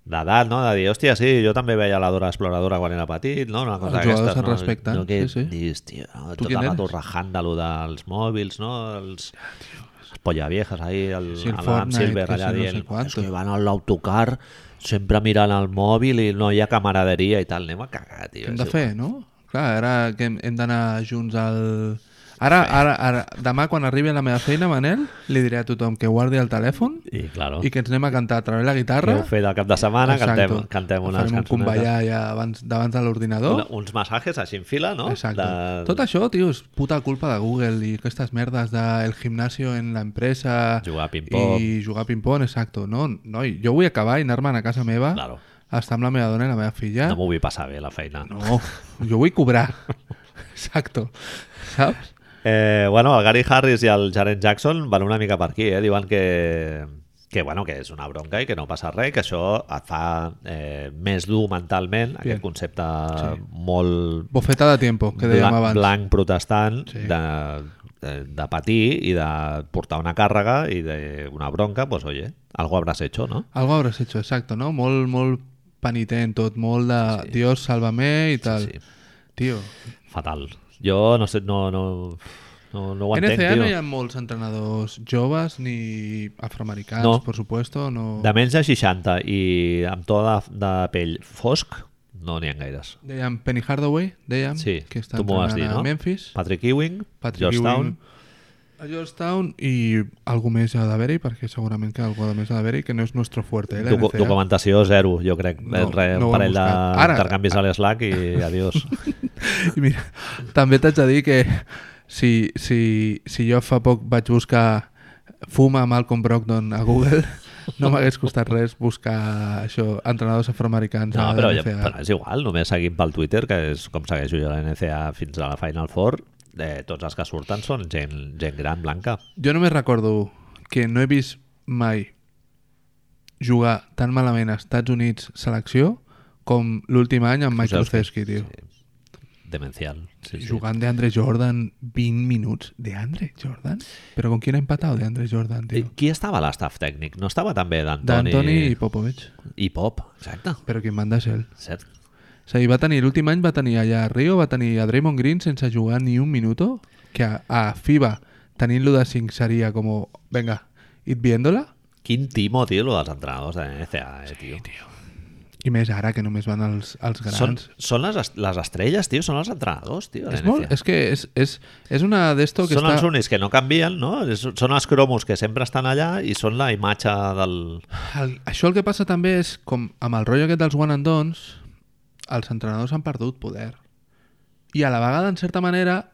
Speaker 1: d'edat, no? De dir, hòstia, sí, jo també veia la Dora Exploradora quan era petit, no? Una cosa
Speaker 2: Els jugadors
Speaker 1: d'aquestes,
Speaker 2: es respecten,
Speaker 1: no? no que
Speaker 2: sí, sí.
Speaker 1: Dius, tio, Tota no?
Speaker 2: Tu
Speaker 1: tot
Speaker 2: quin
Speaker 1: el rato
Speaker 2: eres?
Speaker 1: rajant de lo dels mòbils, no? Els, les polla viejas ahí, el,
Speaker 2: Sí, el
Speaker 1: a l'Adam
Speaker 2: Fortnite,
Speaker 1: Silver
Speaker 2: que
Speaker 1: allà
Speaker 2: sí, no sé
Speaker 1: dient,
Speaker 2: quantos.
Speaker 1: és que van a l'autocar sempre mirant el mòbil i no hi ha camaraderia i tal, anem a cagar, tio.
Speaker 2: Què hem
Speaker 1: és igual.
Speaker 2: de fer, no? Clar, ara que hem, hem d'anar junts al... Ara, ara, ara, demà quan arribi a la meva feina, Manel, li diré a tothom que guardi el telèfon
Speaker 1: I, claro,
Speaker 2: i que ens anem a cantar a través de la
Speaker 1: què
Speaker 2: guitarra.
Speaker 1: heu fet el cap de setmana?
Speaker 2: Exacto.
Speaker 1: Cantem, cantem unes
Speaker 2: Farem un
Speaker 1: cançonetes.
Speaker 2: convallar ja abans, davant de l'ordinador.
Speaker 1: Una, uns massatges així en fila, no?
Speaker 2: Exacte.
Speaker 1: De-
Speaker 2: Tot això, tio, és puta culpa de Google i aquestes merdes del gimnasio en l'empresa...
Speaker 1: Jugar a ping-pong.
Speaker 2: I jugar a ping-pong, exacto. No, noi, jo vull acabar i anar-me'n a casa meva
Speaker 1: Claro.
Speaker 2: a estar amb la meva dona i la meva filla.
Speaker 1: No m'ho vull passar bé, la feina. Eh? No.
Speaker 2: no jo vull cobrar. Exacto. Saps?
Speaker 1: Eh, bueno, el Gary Harris i el Jaren Jackson van una mica per aquí, eh? Diuen que, que, bueno, que és una bronca i que no passa res, que això et fa eh, més dur mentalment, Bien. aquest concepte sí. molt
Speaker 2: Bofeta de tiempo, que dèiem
Speaker 1: blanc,
Speaker 2: abans.
Speaker 1: blanc protestant
Speaker 2: Sí.
Speaker 1: sí. de, de, de patir i de portar una càrrega i de una bronca, doncs, pues, oye, algo habrás hecho, no?
Speaker 2: Algo hauràs hecho, exacto, no? Molt, molt penitent tot, molt de Dios, sálvame i tal.
Speaker 1: sí.
Speaker 2: Tio,
Speaker 1: Fatal. Jo no sé, no... no... No, no ho
Speaker 2: En
Speaker 1: entenc,
Speaker 2: NCA no hi
Speaker 1: tio.
Speaker 2: ha molts entrenadors joves ni afroamericans,
Speaker 1: No.
Speaker 2: por supuesto. No...
Speaker 1: De menys de 60 i amb to de, de pell fosc, no n'hi ha gaires.
Speaker 2: Dèiem Penny Hardaway, dèiem,
Speaker 1: Sí,
Speaker 2: Mm, que està
Speaker 1: tu m'ho vas
Speaker 2: entrenant
Speaker 1: dir,
Speaker 2: a
Speaker 1: no?
Speaker 2: Memphis.
Speaker 1: Patrick Ewing,
Speaker 2: Patrick
Speaker 1: Georgetown...
Speaker 2: Ewing. A Georgetown i algú més hi ha d'haver-hi, perquè segurament que algú més hi ha d'haver-hi, que no és nostre fuerte, eh, la
Speaker 1: Docu
Speaker 2: NCAA.
Speaker 1: documentació zero, jo crec.
Speaker 2: No,
Speaker 1: No, Re,
Speaker 2: no ho
Speaker 1: un
Speaker 2: hem
Speaker 1: parell
Speaker 2: buscat. Ara-
Speaker 1: d'intercanvis a l'Slack i adiós.
Speaker 2: [laughs] I mira, també t'haig de dir que si, si, si jo fa poc vaig buscar fuma Malcolm Brogdon a Google, [laughs] no m'hagués costat res buscar això, entrenadors afroamericans
Speaker 1: No,
Speaker 2: a
Speaker 1: però, ja,
Speaker 2: la NCAA.
Speaker 1: però és igual, només seguim pel Twitter, que és com segueixo jo la NCA fins a la Final Four, eh, tots els que surten són gent, gent gran, blanca.
Speaker 2: Jo només recordo que no he vist mai jugar tan malament a Estats Units selecció com l'últim any amb Mike Krzyzewski, tio.
Speaker 1: Demencial. Sí, sí.
Speaker 2: Jugant de Andre Jordan 20 minuts. De Andre Jordan? Però con qui ha empatat de Andre Jordan,
Speaker 1: I
Speaker 2: tio?
Speaker 1: Qui estava a l'estaf tècnic? No estava també d'Antoni...
Speaker 2: D'Antoni i Popovic.
Speaker 1: I Pop, exacte.
Speaker 2: Però qui manda és ell.
Speaker 1: Cert.
Speaker 2: O sigui, va tenir l'últim any va tenir allà a Rio, va tenir a Draymond Green sense jugar ni un minuto, que a, a FIBA tenint-lo de 5 seria com, venga, id viéndola,
Speaker 1: Quin timo, tio, lo dels entrenadors de NCA, eh, tio.
Speaker 2: i més ara que només van els, els grans.
Speaker 1: són, són les, est- les estrelles, tio, són els entrenadors, tio, de
Speaker 2: És, molt,
Speaker 1: NCAA.
Speaker 2: és que és, és, és una d'esto que
Speaker 1: E. Són
Speaker 2: està...
Speaker 1: els únics que no canvien, no? És- Són els cromos que sempre estan allà i són la imatge del...
Speaker 2: El, això el que passa també és, com amb el rotllo aquest dels one and dons, els entrenadors han perdut poder. I a la vegada, en certa manera,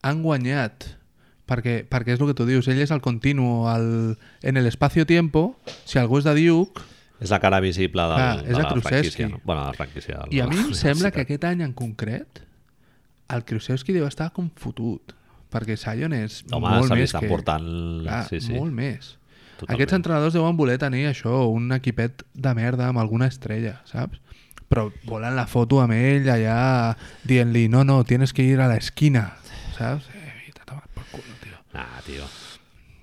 Speaker 2: han guanyat. Perquè, perquè és el que tu dius, ell és el continu, el, en el espacio-tiempo, si algú és de Duke,
Speaker 1: És la cara visible del,
Speaker 2: Clar,
Speaker 1: de
Speaker 2: és a
Speaker 1: la
Speaker 2: Krzyzewski.
Speaker 1: franquícia. No? Bueno, de la franquícia. de
Speaker 2: I a
Speaker 1: la
Speaker 2: mi
Speaker 1: [laughs]
Speaker 2: em sembla
Speaker 1: universitat.
Speaker 2: que aquest any en concret el Krusevski deu estar com fotut perquè Sion és
Speaker 1: Home,
Speaker 2: molt
Speaker 1: se li
Speaker 2: més
Speaker 1: està
Speaker 2: que...
Speaker 1: portant...
Speaker 2: Clar,
Speaker 1: sí, sí.
Speaker 2: molt més.
Speaker 1: Totalment.
Speaker 2: Aquests entrenadors deuen voler tenir això, un equipet de merda amb alguna estrella, saps? Però volen la foto amb ell allà dient-li, no, no, tienes que ir a la esquina, saps? Eh, vete a tomar por culo, tio.
Speaker 1: Nah, Ah, tio.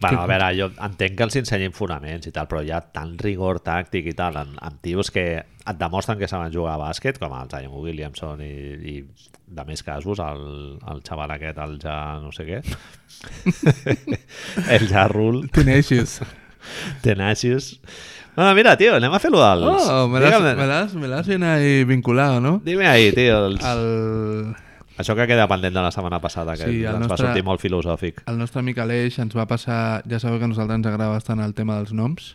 Speaker 1: Bueno, a veure, jo entenc que els ensenyin fonaments i tal, però hi ha tant rigor tàctic i tal, amb, amb tios que et demostren que saben jugar a bàsquet, com el Zion Williamson i, i de més casos, el, el xaval aquest, el ja no sé
Speaker 2: [laughs]
Speaker 1: què, el ja Rule, [laughs]
Speaker 2: Tenacious.
Speaker 1: Tenacious. Ah, mira, tio, anem a fer-lo dels...
Speaker 2: Oh, me
Speaker 1: Digue'm-
Speaker 2: l'has- me l'has me l'has bien ahí vinculado, no?
Speaker 1: Dime ahí, tio. Els... El...
Speaker 2: El...
Speaker 1: Això que queda pendent de la setmana passada, que sí,
Speaker 2: Sí, el
Speaker 1: ens nostre... va
Speaker 2: nostre-
Speaker 1: sortir molt filosòfic.
Speaker 2: El nostre amic Aleix ens va passar... Ja sabeu que a nosaltres ens agrada bastant el tema dels noms.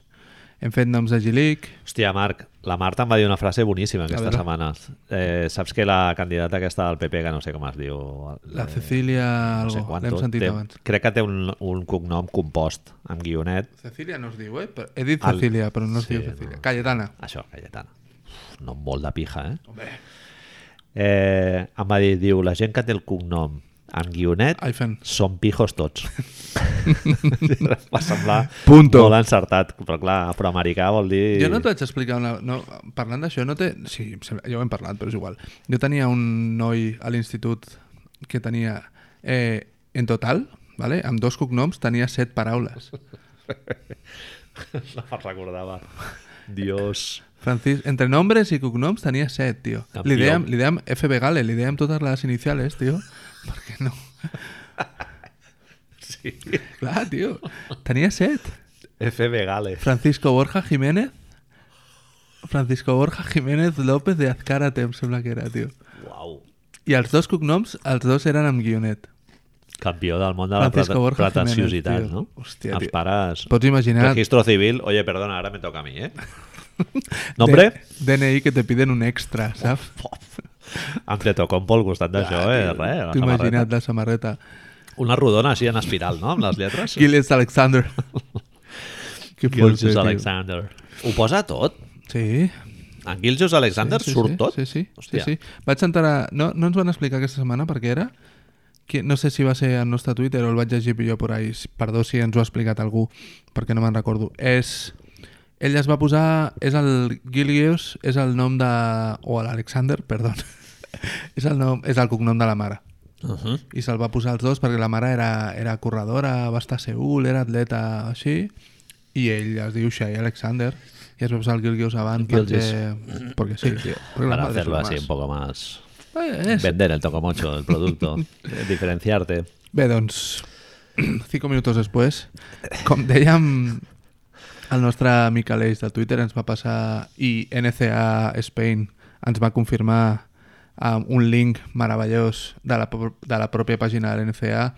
Speaker 2: Hem fet noms de Gilic.
Speaker 1: Hòstia, Marc, la Marta em va dir una frase boníssima aquesta
Speaker 2: veure.
Speaker 1: setmana. Eh, saps que la candidata aquesta del PP, que no sé com es diu...
Speaker 2: La
Speaker 1: eh,
Speaker 2: Cecília...
Speaker 1: no sé
Speaker 2: algo,
Speaker 1: quanto,
Speaker 2: L'hem sentit
Speaker 1: té,
Speaker 2: abans.
Speaker 1: Crec que té un, un cognom compost, amb guionet.
Speaker 2: Cecília no es diu, eh? Però he dit
Speaker 1: El-
Speaker 2: Cecília, però no es
Speaker 1: Sí,
Speaker 2: diu Cecília.
Speaker 1: no.
Speaker 2: Cayetana.
Speaker 1: Això, Cayetana. Uf, Nom molt de pija, eh?
Speaker 2: Hombre.
Speaker 1: eh? Em va dir, diu, la gent que té el cognom amb guionet
Speaker 2: Aifen.
Speaker 1: són pijos
Speaker 2: [laughs]
Speaker 1: tots. va semblar
Speaker 2: Punto.
Speaker 1: molt encertat, però clar, afroamericà vol dir...
Speaker 2: Jo no t'haig d'explicar una... No, parlant d'això, no té... Sí, em sembla- ja ho hem parlat, però és igual. Jo tenia un noi a l'institut que tenia... Eh, en total, vale? amb dos cognoms, tenia set paraules.
Speaker 1: [laughs] No me'n recordava. Dios.
Speaker 2: Francis, entre nombres y cognoms tenía set, tío.
Speaker 1: Campió.
Speaker 2: Lideam, lideam FB Gale, lideam todas las iniciales, [laughs] tío. ¿Por qué no?
Speaker 1: Sí.
Speaker 2: Claro, tío. Tenía set.
Speaker 1: FB Gales.
Speaker 2: Francisco Borja Jiménez. Francisco Borja Jiménez López de Azcárate, em sembla que era, tío.
Speaker 1: Uau.
Speaker 2: I els dos cognoms, els dos eren amb guionet.
Speaker 1: Campió del món de la
Speaker 2: Francisco
Speaker 1: plata,
Speaker 2: Borja
Speaker 1: pretenciositat,
Speaker 2: Jiménez, tio.
Speaker 1: no?
Speaker 2: Hòstia,
Speaker 1: Els
Speaker 2: tio.
Speaker 1: pares...
Speaker 2: Pots imaginar...
Speaker 1: Registro civil. Oye, perdona, ara me toca a mi,
Speaker 2: [laughs]
Speaker 1: eh? Nombre? Oh,
Speaker 2: D- DNI que te piden un extra, saps?
Speaker 1: Pof. Antetokounmpo al costat d'això, eh? Res, la
Speaker 2: T'ho imagina't
Speaker 1: samarreta.
Speaker 2: la samarreta.
Speaker 1: Una rodona així en espiral, no? Amb les lletres.
Speaker 2: Gilles Alexander.
Speaker 1: [laughs]
Speaker 2: que
Speaker 1: Gilgius
Speaker 2: tio.
Speaker 1: Alexander. Ho posa tot?
Speaker 2: Sí,
Speaker 1: En Gilgius Alexander
Speaker 2: sí, sí,
Speaker 1: surt
Speaker 2: sí,
Speaker 1: tot?
Speaker 2: Sí, sí, sí,
Speaker 1: Hòstia.
Speaker 2: sí. Vaig entrar... No, no ens van explicar aquesta setmana perquè era... Que, no sé si va ser al nostre Twitter o el vaig llegir jo per ahí. si- Perdó si ens ho ha explicat algú, perquè no me'n recordo. És... Ell es va posar... És el Gilgius, és el nom de... O l'Alexander, perdó. [laughs] és, el nom, és el cognom de la mare.
Speaker 1: Uh -huh.
Speaker 2: I se'l va posar els dos perquè la mare era, era corredora, va estar a Seul, era atleta, així. I ell es diu Shai Alexander. I es va posar el Gilgius abans
Speaker 1: Gilgeous.
Speaker 2: perquè... Perquè sí, tio. Perquè la
Speaker 1: Para
Speaker 2: madre
Speaker 1: hacerlo
Speaker 2: son
Speaker 1: así
Speaker 2: más.
Speaker 1: un poco más...
Speaker 2: Eh, és- [laughs]
Speaker 1: Vender el tocomocho, el producto, eh, diferenciarte.
Speaker 2: Bé, doncs, [clears throat] cinco minutos després, com dèiem, el nostre amic Aleix de Twitter ens va passar i NCA Spain ens va confirmar um, un link meravellós de la, pro- de la pròpia pàgina de l'NCA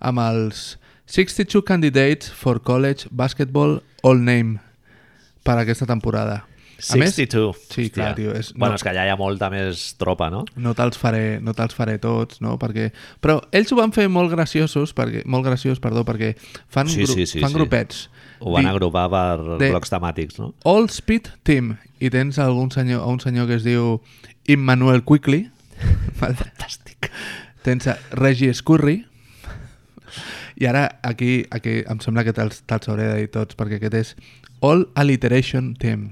Speaker 2: amb els 62 Candidates for College Basketball All Name per aquesta temporada. A més,
Speaker 1: 62.
Speaker 2: Sí, clar, tio, és-
Speaker 1: Bueno,
Speaker 2: no.
Speaker 1: és que allà hi ha molta més tropa, no?
Speaker 2: no te'ls faré, no te'ls faré tots, no? Perquè... Però ells ho van fer molt graciosos, perquè, molt graciós, perdó, perquè fan,
Speaker 1: Sí,
Speaker 2: gru
Speaker 1: sí, sí,
Speaker 2: fan
Speaker 1: sí.
Speaker 2: grupets.
Speaker 1: Ho van
Speaker 2: Di-
Speaker 1: agrupar per
Speaker 2: de-
Speaker 1: blocs temàtics, no?
Speaker 2: All Speed Team. I tens algun senyor, un senyor que es diu Immanuel
Speaker 1: [laughs]
Speaker 2: Quickly. Fantàstic. Tens a Reggie Scurry. I ara aquí, aquí em sembla que te'ls te hauré de dir tots, perquè aquest és All Alliteration Team.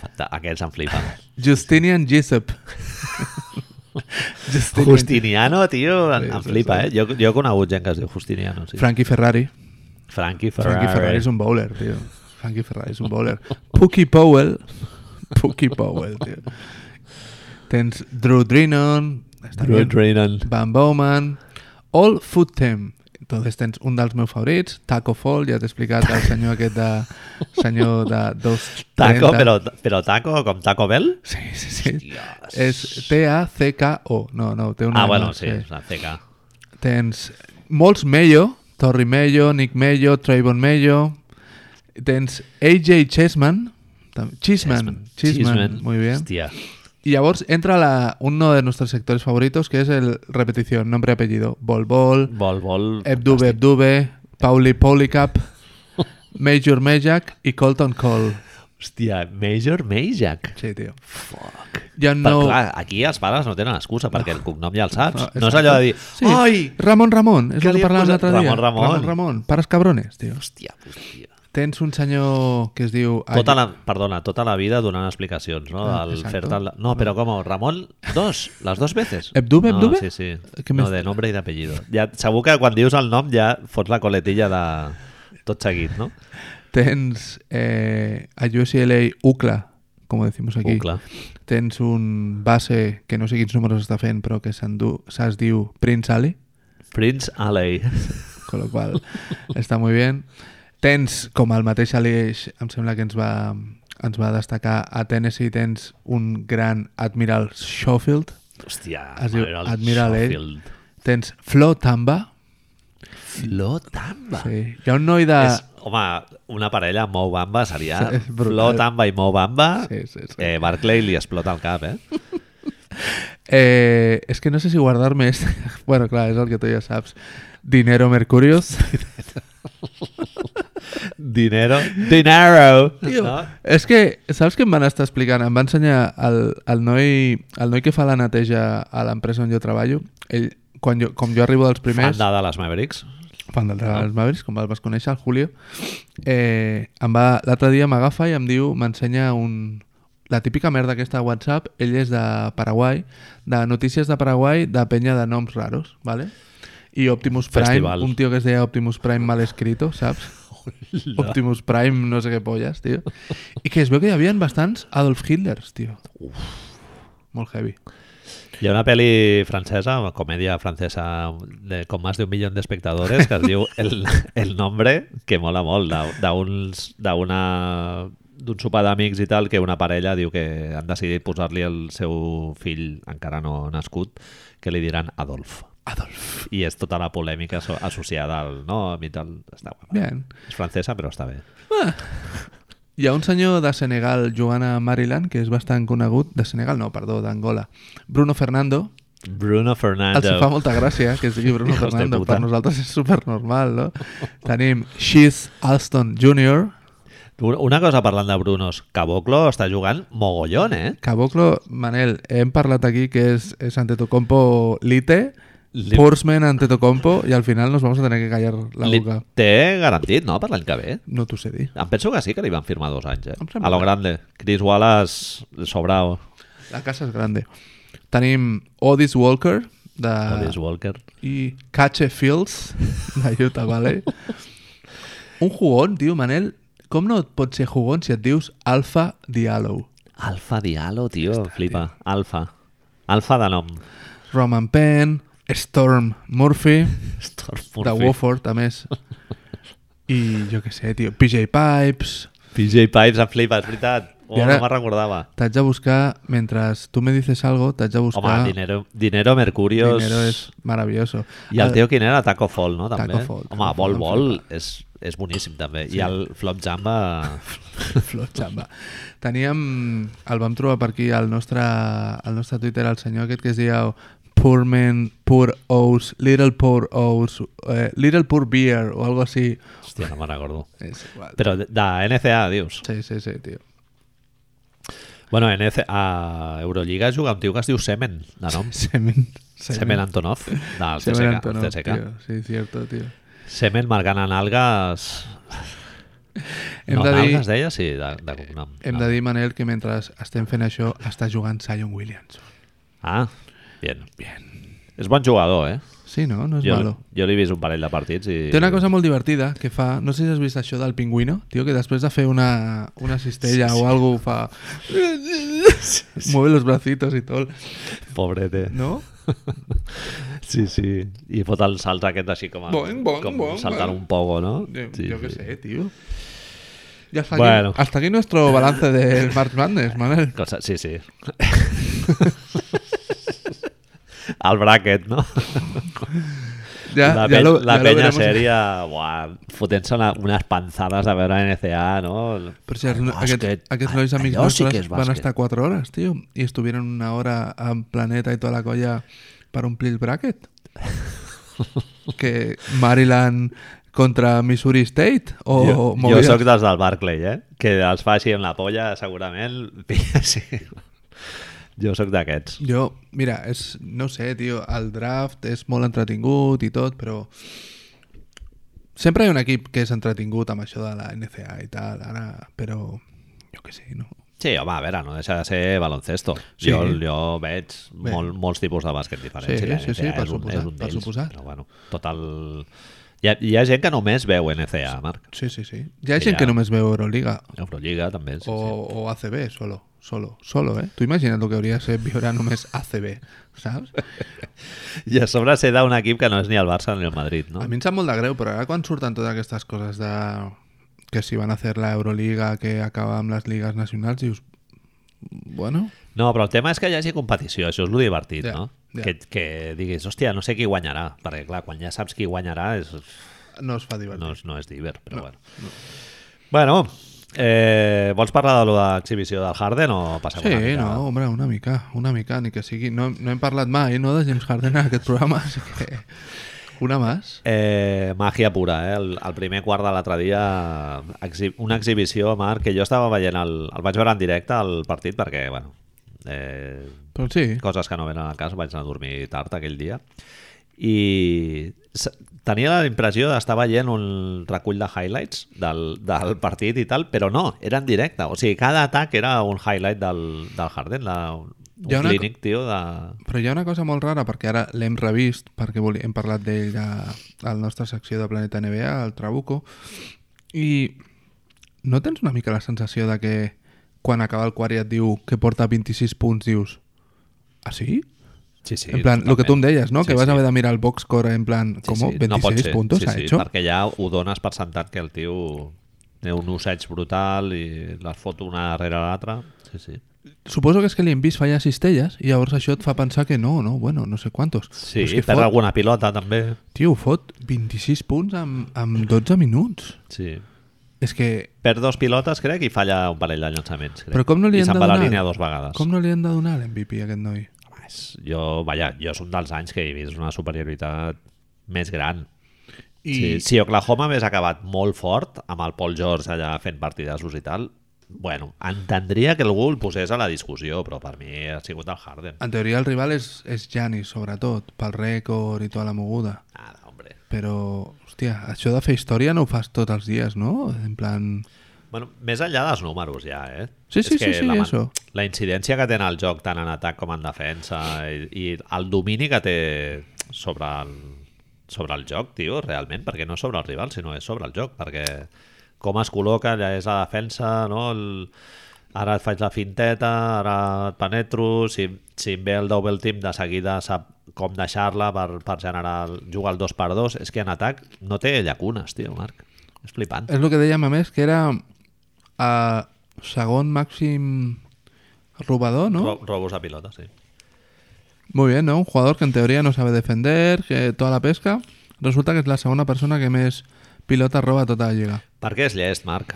Speaker 1: Fanta- Aquests em
Speaker 2: [laughs]
Speaker 1: flipen. [laughs]
Speaker 2: Justinian Jessup. Justinian-
Speaker 1: Justiniano, tio, em,
Speaker 2: Sí,
Speaker 1: em
Speaker 2: sí,
Speaker 1: flipa,
Speaker 2: sí.
Speaker 1: eh? Jo, jo he conegut gent que es diu Justiniano, sí.
Speaker 2: Frankie Ferrari.
Speaker 1: Frankie Ferrari.
Speaker 2: Frankie Ferrari és un bowler, tio. Frankie Ferrari és un bowler.
Speaker 1: [laughs]
Speaker 2: Pookie Powell. [laughs] Pookie Powell, tio. Tens Drew Drinon. està
Speaker 1: Drew
Speaker 2: bien.
Speaker 1: Drinan.
Speaker 2: Van Bowman. All Food Team. Entonces tens un dels meus favorits, Taco Fall, ja t'he explicat el senyor aquest de... senyor de dos...
Speaker 1: Taco, però, però taco, com Taco Bell?
Speaker 2: Sí, sí, sí.
Speaker 1: Hòsties.
Speaker 2: És T-A-C-K-O. No, no, té un
Speaker 1: Ah,
Speaker 2: nom,
Speaker 1: bueno,
Speaker 2: no,
Speaker 1: sí, és la CK.
Speaker 2: Tens molts Mello, Torri Mello, Nick Mello, Trayvon Mello. Tens AJ Chessman. tam- Chisman. Chisman. Muy bien.
Speaker 1: Hòstia.
Speaker 2: Y llavors entra la, uno de nuestros sectores favoritos, que es el repetición, nombre y apellido. Bol Bol,
Speaker 1: Vol, vol...
Speaker 2: Ebdube Ebdube, Pauli Polycap, Major Majak y Colton Cole.
Speaker 1: Hòstia, Major Majak.
Speaker 2: Sí, tío.
Speaker 1: Fuck.
Speaker 2: Ja
Speaker 1: No.
Speaker 2: no...
Speaker 1: Clar, aquí els pares no tenen excusa perquè el cognom ja el saps.
Speaker 2: No,
Speaker 1: No, no és allò de dir...
Speaker 2: Sí,
Speaker 1: Ai!
Speaker 2: Ramon Ramon, és
Speaker 1: Què
Speaker 2: el
Speaker 1: li
Speaker 2: que
Speaker 1: hem
Speaker 2: parlàvem
Speaker 1: posat?
Speaker 2: l'altre dia.
Speaker 1: Ramon Ramon.
Speaker 2: Ramon Ramon, pares cabrones, tio.
Speaker 1: Hòstia, hòstia.
Speaker 2: Tens un senyor que es diu...
Speaker 1: Tota la, perdona, tota la vida donant explicacions, no?
Speaker 2: Ah,
Speaker 1: Al
Speaker 2: exacto.
Speaker 1: fer-te el- no, però com, Ramon, dos, les dos veces.
Speaker 2: Ebdube,
Speaker 1: no,
Speaker 2: Ebdube?
Speaker 1: Sí, sí.
Speaker 2: Què
Speaker 1: no,
Speaker 2: més?
Speaker 1: de nombre i d'apellido. Ja, segur que quan dius el nom ja fots la coletilla de tot seguit, no?
Speaker 2: Tens eh, a UCLA UCLA, como decimos aquí.
Speaker 1: Ucla.
Speaker 2: Tens un base que no sé quins números està fent, però que s'endú- se'ns diu Prince Ali,
Speaker 1: Prince Alley.
Speaker 2: con lo
Speaker 1: [laughs]
Speaker 2: qual està molt bé. Tens, com el mateix Aleix, em sembla que ens va, ens va destacar, a Tennessee tens un gran Admiral Schofield,
Speaker 1: Hòstia,
Speaker 2: Es diu
Speaker 1: Admiral,
Speaker 2: Admiral Alley.
Speaker 1: Schofield.
Speaker 2: tens Flo Tamba,
Speaker 1: Flo Tamba.
Speaker 2: sí. hi ha un noi de...
Speaker 1: És, home, una parella amb Mo Bamba seria
Speaker 2: Sí, és brutal.
Speaker 1: Flo Tamba i Mo Bamba.
Speaker 2: Sí, sí, sí.
Speaker 1: Eh, Barclay li explota el
Speaker 2: [laughs]
Speaker 1: cap, eh?
Speaker 2: Eh, es que no sé si guardarme este. [laughs] Bueno, claro, es el que tú ya sabes. Dinero Mercurios.
Speaker 1: Dinero. Dinero.
Speaker 2: Tio,
Speaker 1: No?
Speaker 2: És que, saps què em van estar explicant? Em va ensenyar el, el, noi, el noi que fa la neteja a l'empresa on jo treballo. Ell, quan jo, com jo arribo dels primers...
Speaker 1: Fan de Dallas Mavericks.
Speaker 2: fan del dels Mavericks, com el vas conèixer, el Julio, eh, em va- l'altre dia m'agafa i em diu, m'ensenya un... La típica merda aquesta de WhatsApp, ell és de Paraguai, de notícies de Paraguai, de penya de noms raros, ¿vale? I Optimus Prime,
Speaker 1: Festival.
Speaker 2: un tio que es deia Optimus Prime mal escrito, saps? Optimus Prime, no sé què polles, tio. I que es veu que hi havia bastants Adolf Hitlers, tio. Uf. Molt heavy.
Speaker 1: Hi ha una pel·li francesa, una comèdia francesa de, com més d'un milió d'espectadores que es diu El, el Nombre, que mola molt, de- d'uns- d'una d'un sopar d'amics i tal, que una parella diu que han decidit posar-li el seu fill, encara no nascut, que li diran Adolf. Adolf. I és tota la polèmica asso- associada al nom i tal. Està guapa.
Speaker 2: Bien.
Speaker 1: És francesa, però està bé.
Speaker 2: Hi ha un senyor de Senegal jugant a Maryland que és bastant conegut, de Senegal no, perdó, d'Angola, Bruno Fernando,
Speaker 1: Bruno Fernando.
Speaker 2: els fa molta gràcia que es digui Bruno
Speaker 1: [laughs] Hijos de
Speaker 2: Fernando,
Speaker 1: puta.
Speaker 2: per nosaltres és supernormal, no? Tenim Sheath Alston Jr.,
Speaker 1: Una cosa parlant de Brunos, Caboclo està jugant mogollón, eh?
Speaker 2: Caboclo, Manel, hem parlat aquí que és, és Antetokounmpo Lite,
Speaker 1: Li-
Speaker 2: Portsman Antetokounmpo, i al final nos vamos a tener que callar la
Speaker 1: Li
Speaker 2: boca.
Speaker 1: té garantit, no?, per l'any que ve.
Speaker 2: No t'ho sé dir.
Speaker 1: Em penso que sí que li van firmar dos anys, eh?
Speaker 2: Em sembla
Speaker 1: A lo
Speaker 2: que-
Speaker 1: grande. Chris Wallace, sobrao.
Speaker 2: La casa és grande. Tenim Odis Walker, de...
Speaker 1: Alice Walker.
Speaker 2: i Cache Fields [laughs] de Utah Valley. Un jugón, tio, Manel. Com no et pot ser jugón si et dius Alfa Diallo? [laughs]
Speaker 1: Alfa Diallo, tio, flipa. Alfa. Alfa de nom.
Speaker 2: Roman Penn, Storm Murphy,
Speaker 1: Storm
Speaker 2: de
Speaker 1: Murphy.
Speaker 2: Wofford, a més. I jo què sé, tio, PJ Pipes...
Speaker 1: PJ Pipes em flipa, és veritat. Oh,
Speaker 2: I ara-
Speaker 1: no me'n recordava.
Speaker 2: T'haig de buscar, mentre tu me dices algo, t'haig de buscar...
Speaker 1: Home, dinero, dinero Mercurios...
Speaker 2: Dinero és maravilloso.
Speaker 1: I el tio quin era? Taco Fall, no? També?
Speaker 2: Taco Fall,
Speaker 1: Home,
Speaker 2: Taco
Speaker 1: Vol
Speaker 2: Fall,
Speaker 1: Vol és, és boníssim, també. I el Flop Jamba...
Speaker 2: [laughs] Flor Chamba. Teníem... El vam trobar per aquí al nostre, al nostre Twitter, el senyor aquest que es deia Poor Man, Poor Oats, Little Poor Oats, eh, Little Poor Beer o algo així.
Speaker 1: Hòstia, no me'n recordo.
Speaker 2: És igual.
Speaker 1: Però de, de NCA, dius?
Speaker 2: Sí, sí, sí, tio.
Speaker 1: Bueno, NCA, a Euroliga juga un tio que es diu Semen, de nom.
Speaker 2: Semen.
Speaker 1: Semen Antonov, del
Speaker 2: Semen
Speaker 1: CSK.
Speaker 2: Antonov,
Speaker 1: del CSK.
Speaker 2: tio. Sí, cierto, tio.
Speaker 1: Semen marcant en algues...
Speaker 2: Hem
Speaker 1: no,
Speaker 2: de
Speaker 1: en
Speaker 2: dir-
Speaker 1: algues deia? Sí, de, de cognom. Ah.
Speaker 2: Hem de dir, Manel, que mentre estem fent això està jugant Zion Williams.
Speaker 1: Ah, bien. bien. És bon jugador, eh?
Speaker 2: Sí, no? No és
Speaker 1: Jo,
Speaker 2: malo.
Speaker 1: jo l'he vist un parell de partits i...
Speaker 2: Té una cosa molt divertida que fa... No sé si has vist això del pingüino, tio, que després de fer una, una cistella sí, sí. o
Speaker 1: [laughs]
Speaker 2: alguna cosa fa... Mueve los bracitos i tot.
Speaker 1: Pobrete.
Speaker 2: No?
Speaker 1: Sí, sí. I fot el salt aquest així com, a,
Speaker 2: Bon, bon,
Speaker 1: com
Speaker 2: bon,
Speaker 1: saltant
Speaker 2: bon.
Speaker 1: un poco, no?
Speaker 2: Jo,
Speaker 1: Sí,
Speaker 2: jo què
Speaker 1: sí.
Speaker 2: Eh, sé, tio. I hasta,
Speaker 1: Bueno.
Speaker 2: aquí, hasta aquí nuestro balance del March Madness, Manel.
Speaker 1: Cosa, sí, [laughs] sí. el bracket, no?
Speaker 2: Ja,
Speaker 1: la
Speaker 2: ja
Speaker 1: pe-
Speaker 2: lo,
Speaker 1: la
Speaker 2: ja lo
Speaker 1: penya
Speaker 2: veremos.
Speaker 1: seria... Buah, fotent-se una, unes panzades a veure NCA, no?
Speaker 2: Per cert, no,
Speaker 1: Bàsquet.
Speaker 2: aquests, aquests nois amics
Speaker 1: Allò sí que
Speaker 2: nostres
Speaker 1: és
Speaker 2: van
Speaker 1: bàsquet.
Speaker 2: estar 4 hores, tio, i estuvieron una hora en planeta i tota la colla per omplir el
Speaker 1: [laughs]
Speaker 2: bracket. que Maryland contra Missouri State o
Speaker 1: jo, jo
Speaker 2: movides.
Speaker 1: sóc dels del Barclay, eh? Que els fa així amb la polla, segurament. [laughs] sí. Jo sóc d'aquests.
Speaker 2: Jo, mira, és, no sé, tio, el draft és molt entretingut i tot, però sempre hi ha un equip que és entretingut amb això de la NCA i tal, ara, però jo què sé, no?
Speaker 1: Sí, home, a veure, no deixa de ser baloncesto. Sí.
Speaker 2: Sí.
Speaker 1: Jo, jo veig
Speaker 2: Bé.
Speaker 1: mol, molts tipus de bàsquet diferents.
Speaker 2: Sí,
Speaker 1: i la
Speaker 2: sí, sí,
Speaker 1: NCA
Speaker 2: per
Speaker 1: és un-
Speaker 2: suposat,
Speaker 1: és un
Speaker 2: per
Speaker 1: d'ells.
Speaker 2: suposat.
Speaker 1: Però, bueno, tot el... Hi ha, hi ha gent que només veu NCA, Marc.
Speaker 2: Sí, sí, sí. Hi ha
Speaker 1: Sí, ja.
Speaker 2: gent que només veu Euroliga,
Speaker 1: Euroliga també, sí, sí.
Speaker 2: O, o ACB, solo, solo, solo, ¿eh? Tú imaginas lo que habría ser viure només ACB, ¿sabes?
Speaker 1: I a sobre ser d'un equip que no és ni el Barça ni el Madrid, no?
Speaker 2: A mi em sap molt de greu, però ara quan surten totes aquestes coses de... que si van a hacer la Euroliga, que acaba amb les lligues nacionals, dius... Bueno,
Speaker 1: No, però el tema és que hi hagi competició, això és el divertit,
Speaker 2: Ja,
Speaker 1: no?
Speaker 2: ja.
Speaker 1: Que, que diguis, hòstia, no sé qui guanyarà, perquè clar, quan ja saps qui guanyarà és,
Speaker 2: no es fa divertit.
Speaker 1: no, és- no és divert, però bueno. Bueno, eh, vols parlar de lo de l'exhibició del Harden o passem una
Speaker 2: Sí,
Speaker 1: mica?
Speaker 2: no, home, una mica, una mica, ni que sigui... No, no hem parlat mai, no, de James Harden en aquest programa, [laughs] així que... Una més.
Speaker 1: Eh, màgia pura, eh? El, el primer quart de l'altre dia, exhi una exhibició, Marc, que jo estava veient, el, el vaig veure en directe al partit perquè, bueno, eh,
Speaker 2: Però sí,
Speaker 1: coses que no venen al cas, vaig anar a dormir tard aquell dia i s- tenia la impressió d'estar veient un recull de highlights del, del partit i tal, però no, era en directe, o sigui, cada atac era un highlight del, del Harden, la, un
Speaker 2: Hi ha una co-
Speaker 1: clínic, tio, de...
Speaker 2: Però hi ha una cosa molt rara, perquè ara l'hem revist, perquè voli- hem parlat d'ell a, a la nostra secció de Planeta NBA, al Trabuco, i no tens una mica la sensació de que quan acaba el quart i et diu que porta 26 punts, dius, ah sí?
Speaker 1: Sí, sí,
Speaker 2: en plan, el que tu em deies, no?
Speaker 1: Sí,
Speaker 2: que vas
Speaker 1: sí.
Speaker 2: haver de mirar el box score en plan,
Speaker 1: Sí,
Speaker 2: com?
Speaker 1: sí, no pot
Speaker 2: 26
Speaker 1: ser.
Speaker 2: puntos
Speaker 1: sí,
Speaker 2: ha
Speaker 1: sí,
Speaker 2: hecho?
Speaker 1: Perquè ja ho dones per sentat que el tio té un osseig brutal i les fot una darrere l'altra. Sí, sí.
Speaker 2: Suposo que és que li hem vist fallar cistelles i llavors això et fa pensar que no, no, bueno, no sé quantos.
Speaker 1: Sí,
Speaker 2: Però és que
Speaker 1: perd
Speaker 2: fot,
Speaker 1: alguna pilota també.
Speaker 2: Tio, fot 26 punts amb, amb 12 minuts.
Speaker 1: Sí.
Speaker 2: És que
Speaker 1: Perd dos pilotes, crec, i falla un parell de llançaments. Crec.
Speaker 2: Però com no li
Speaker 1: I
Speaker 2: han
Speaker 1: se'n
Speaker 2: de
Speaker 1: va a la
Speaker 2: donar?
Speaker 1: línia dos vegades.
Speaker 2: Com no li han de donar l'MVP a aquest noi?
Speaker 1: Home, és- Jo, vaja, jo és un dels anys que he vist una superioritat més gran. I... Sí, si Oklahoma hagués acabat molt fort amb el Paul George allà fent partidassos i tal, bueno, entendria que algú el posés a la discussió, però per mi ha sigut el Harden.
Speaker 2: En teoria el rival és, és Giannis, sobretot, pel rècord i tota la moguda.
Speaker 1: Nada, hombre.
Speaker 2: Però, hòstia, això de fer història no ho fas tots els dies, no? En plan...
Speaker 1: Bueno, més enllà dels números ja, eh?
Speaker 2: Sí, sí,
Speaker 1: És que
Speaker 2: sí, sí,
Speaker 1: la, man-
Speaker 2: eso.
Speaker 1: la incidència que té en el joc tant en atac com en defensa i, i el domini que té sobre el, sobre el joc, tio, realment, perquè no és sobre el rival, sinó és sobre el joc, perquè com es col·loca, ja és la defensa, no? El, ara et faig la finteta, ara et penetro, si, si em ve el double team de seguida sap com deixar-la per, per generar, jugar al 2x2, és que en atac no té llacunes, tio, Marc. És flipant.
Speaker 2: És el que dèiem a més, que era eh, segon màxim robador, no?
Speaker 1: Ro robos a pilota, sí.
Speaker 2: Muy bien, ¿no? Un jugador que en teoría no sabe defender, que toda la pesca. Resulta que es la segunda persona que més pilota roba tota la lliga.
Speaker 1: Perquè és llest, Marc.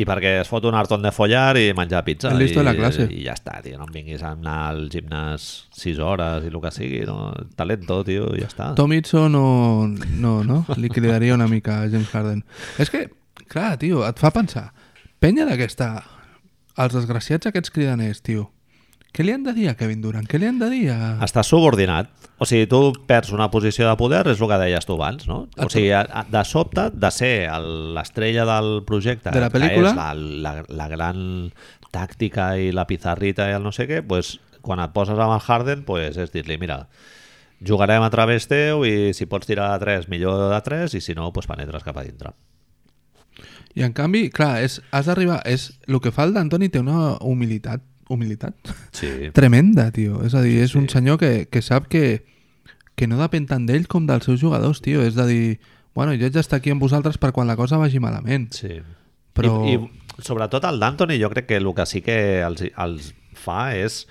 Speaker 1: I perquè es fot un harton de follar i menjar pizza.
Speaker 2: El
Speaker 1: i,
Speaker 2: listo de la classe.
Speaker 1: I ja està, tio. No em vinguis a anar al gimnàs 6 hores i el que sigui. No? Talento, tio, i ja està.
Speaker 2: Tom Itzo no, no, no? Li cridaria una mica a James Harden. És que, clar, tio, et fa pensar. Penya d'aquesta... Els desgraciats aquests cridaners, tio. Què li han de dir a Kevin Durant? Què li han de dir a...
Speaker 1: Estàs subordinat. O sigui, tu perds una posició de poder, és el que deies tu abans, no? O sigui, a- a- de sobte, de ser el- l'estrella del projecte,
Speaker 2: De la
Speaker 1: que
Speaker 2: pel·lícula?
Speaker 1: és la, la, la gran tàctica i la pizarrita i el no sé què, pues, quan et poses amb el Harden, pues, és dir-li, mira, jugarem a través teu i si pots tirar de 3, millor de 3, i si no, pues, penetres cap a dintre.
Speaker 2: I en canvi, clar, és, has d'arribar... És... El que fa el d'Antoni té una humilitat. Humilitat?
Speaker 1: Sí.
Speaker 2: Tremenda, tio. És a dir, és un senyor que, que sap que, que no depèn tant d'ell com dels seus jugadors, tio. És a dir, bueno, jo haig d'estar aquí amb vosaltres per quan la cosa vagi malament.
Speaker 1: Sí.
Speaker 2: Però-
Speaker 1: I, i sobretot el d'Anthony jo crec que el que sí que els, els fa és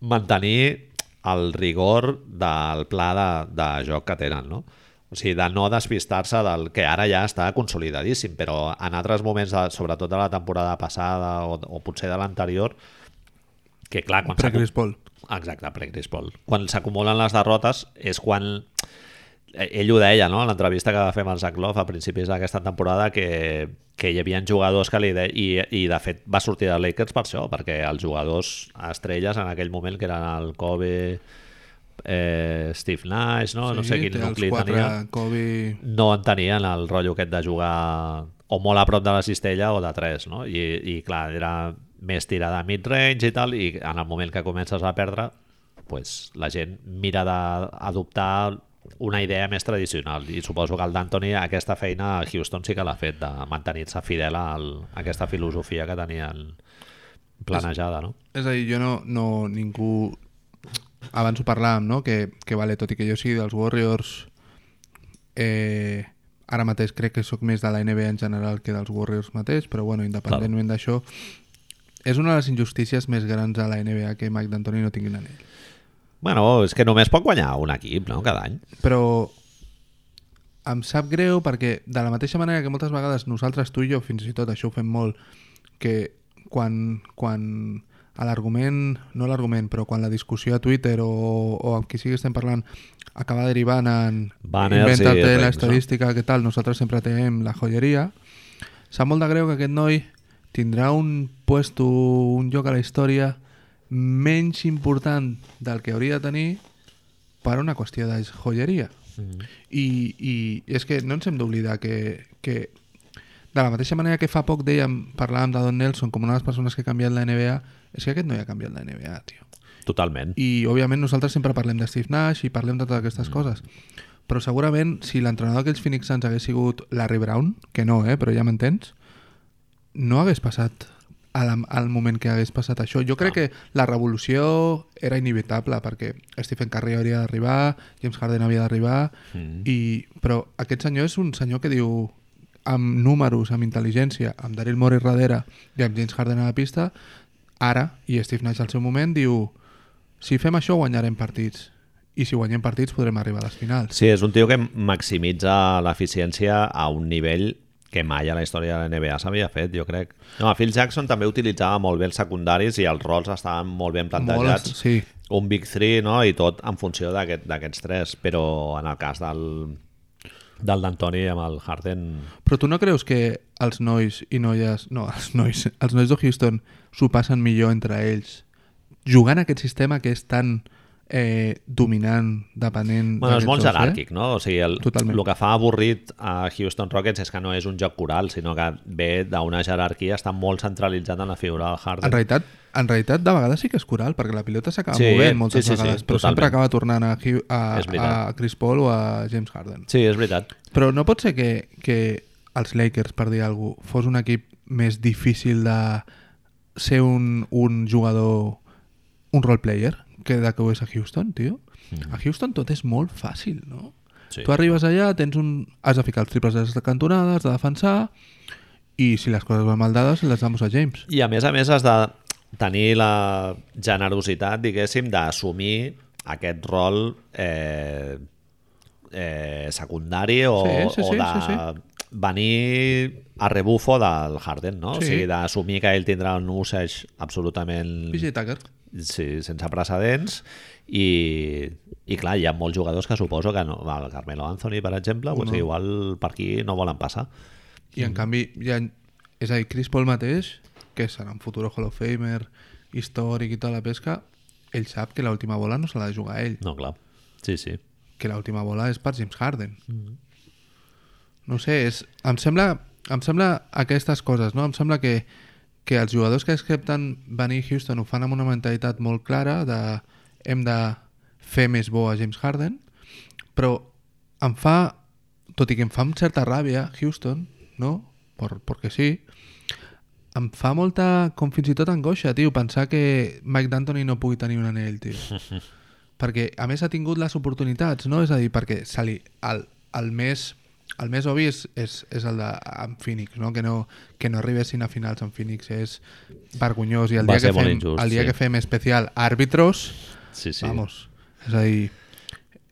Speaker 1: mantenir el rigor del pla de, de joc que tenen, no? O sigui, de no despistar-se del que ara ja està consolidadíssim, però en altres moments, de, sobretot de la temporada passada o, o potser de l'anterior, que clar, quan
Speaker 2: Per
Speaker 1: s'ha
Speaker 2: Chris Paul.
Speaker 1: Exacte, pre-Chris Paul. Quan s'acumulen les derrotes és quan... eh, Ell ho deia, no?, a l'entrevista que va fer amb el Zach Love a principis d'aquesta temporada, que, que hi havia jugadors que li... De... I, I, de fet, va sortir de Lakers per això, perquè els jugadors estrelles en aquell moment, que eren el Kobe, eh, Steve Nash, no, no sé
Speaker 2: Sí,
Speaker 1: quin
Speaker 2: té els
Speaker 1: nucli
Speaker 2: quatre,
Speaker 1: tenia
Speaker 2: Kobe...
Speaker 1: no entenien el rotllo aquest de jugar o molt a prop de la cistella o de 3, no? I, i clar, era més tirada a mid-range i tal, i en el moment que comences a perdre, pues, la gent mira d'adoptar una idea més tradicional i suposo que el d'Anthony aquesta feina a Houston sí que l'ha fet de mantenir-se fidel al- a aquesta filosofia que tenien planejada, no?
Speaker 2: És a dir, jo no, no ningú... Abans ho parlàvem, no? Que, que vale, tot i que jo sigui dels Warriors... Eh, ara mateix crec que sóc més de la NBA en general que dels Warriors mateix, però bueno, independentment d'això... És una de les injustícies més grans a la NBA que Mike D'Antoni no tingui un anell.
Speaker 1: Bueno, és que només pot guanyar un equip, no?, cada any.
Speaker 2: però em sap greu perquè de la mateixa manera que moltes vegades nosaltres, tu i jo, fins i tot això ho fem molt, que quan, quan a l'argument, no l'argument, però quan la discussió a Twitter o, o amb qui sigui estem parlant acaba derivant en
Speaker 1: Banners i
Speaker 2: inventar-te
Speaker 1: rings, no?
Speaker 2: la estadística, què tal, nosaltres sempre tenim la joieria, sap molt de greu que aquest noi tindrà un puesto, un lloc a la història menys important del que hauria de tenir per una qüestió de joieria. I, I és que no ens hem d'oblidar que, que de la mateixa manera que fa poc dèiem, parlàvem de Don Nelson com una de les persones que ha canviat la NBA, és que aquest no hi ha canviat la NBA, tio.
Speaker 1: Totalment.
Speaker 2: I, òbviament, nosaltres sempre parlem de Steve Nash i parlem de totes aquestes coses. Però segurament, si l'entrenador d'aquells Phoenix Suns hagués sigut Larry Brown, que no, eh, però ja m'entens, no hagués passat a la- al moment que hagués passat això. Jo crec que la revolució era inevitable perquè Stephen Curry hauria d'arribar, James Harden havia d'arribar, mm. i, però aquest senyor és un senyor que diu amb números, amb intel·ligència, amb Daryl Morey darrere i amb James Harden a la pista, ara, i Steve Nash al seu moment, diu si fem això guanyarem partits i si guanyem partits podrem arribar a les finals.
Speaker 1: Sí, és un tio que maximitza l'eficiència a un nivell que mai a la història de la NBA s'havia fet, jo crec. No, Phil Jackson també utilitzava molt bé els secundaris i els rols estaven molt ben plantejats.
Speaker 2: Molt, sí.
Speaker 1: Un Big Three, no?, i tot en funció d'aquest- d'aquests tres, però en el cas del del d'Antoni amb el Harden...
Speaker 2: Però tu no creus que els nois i noies, no, els nois, els nois de Houston s'ho passen millor entre ells jugant a aquest sistema que és tan eh, dominant, dependent...
Speaker 1: Bueno, és
Speaker 2: d'aquests
Speaker 1: molt
Speaker 2: dos, eh?
Speaker 1: jeràrquic, no? O sigui, el,
Speaker 2: Totalment.
Speaker 1: el que fa avorrit a Houston Rockets és que no és un joc coral, sinó que ve d'una jerarquia, està molt centralitzat en la figura del Harden.
Speaker 2: En realitat, en realitat, de vegades sí que és coral, perquè la pilota s'acaba
Speaker 1: Sí,
Speaker 2: movent moltes
Speaker 1: sí, sí, sí,
Speaker 2: vegades, però sempre
Speaker 1: totalment.
Speaker 2: acaba tornant a, Hugh-
Speaker 1: És
Speaker 2: a,
Speaker 1: veritat.
Speaker 2: a Chris Paul o a James Harden.
Speaker 1: Sí, és veritat.
Speaker 2: Però no pot ser que, que els Lakers, per dir alguna cosa, fos un equip més difícil de ser un, un jugador, un role player, que de que ho és a Houston, tio? A Houston tot és molt fàcil, no?
Speaker 1: Mm. Sí.
Speaker 2: Tu arribes allà, tens un... has de ficar els triples a les cantonades, has de defensar, i si les coses van mal dades, les damos a James.
Speaker 1: I a més a més has de tenir la generositat, diguéssim, d'assumir aquest rol eh, eh, secundari o,
Speaker 2: Sí, sí,
Speaker 1: o
Speaker 2: sí,
Speaker 1: de
Speaker 2: sí,
Speaker 1: venir a rebufo del Harden, no? O
Speaker 2: Sí.
Speaker 1: sigui, d'assumir que ell tindrà un usage absolutament
Speaker 2: PJ Tucker.
Speaker 1: sí, sense precedents i, i clar, hi ha molts jugadors que suposo que no, el Carmelo Anthony, per exemple, pues, igual per aquí no volen passar.
Speaker 2: I en canvi, ja, és a dir, Chris Paul mateix, que serà un futur Hall of Famer, històric i tota la pesca, ell sap que l'última bola no se l'ha de jugar ell,
Speaker 1: No, clar. Sí, sí.
Speaker 2: que l'última bola és per James Harden. No sé, és, em, sembla, em sembla aquestes coses, no? Em sembla que, que els jugadors que accepten venir a Houston ho fan amb una mentalitat molt clara de hem de fer més bo a James Harden, però em fa, tot i que em fa amb certa ràbia Houston, no? Por, perquè sí, em fa molta, com fins i tot angoixa, tio, pensar que Mike D'Antoni no pugui tenir un
Speaker 1: [laughs]
Speaker 2: anell, tio. perquè, a més, ha tingut les oportunitats, no? És a dir, perquè se li, el, el més el més obvi és, és, és el de amb Phoenix, no? Que, no, que no arribessin a finals amb Phoenix és vergonyós i el
Speaker 1: Va
Speaker 2: dia, que
Speaker 1: ser molt
Speaker 2: fem,
Speaker 1: injust,
Speaker 2: el dia
Speaker 1: sí.
Speaker 2: que fem especial àrbitros
Speaker 1: sí, sí.
Speaker 2: sí. vamos, és a dir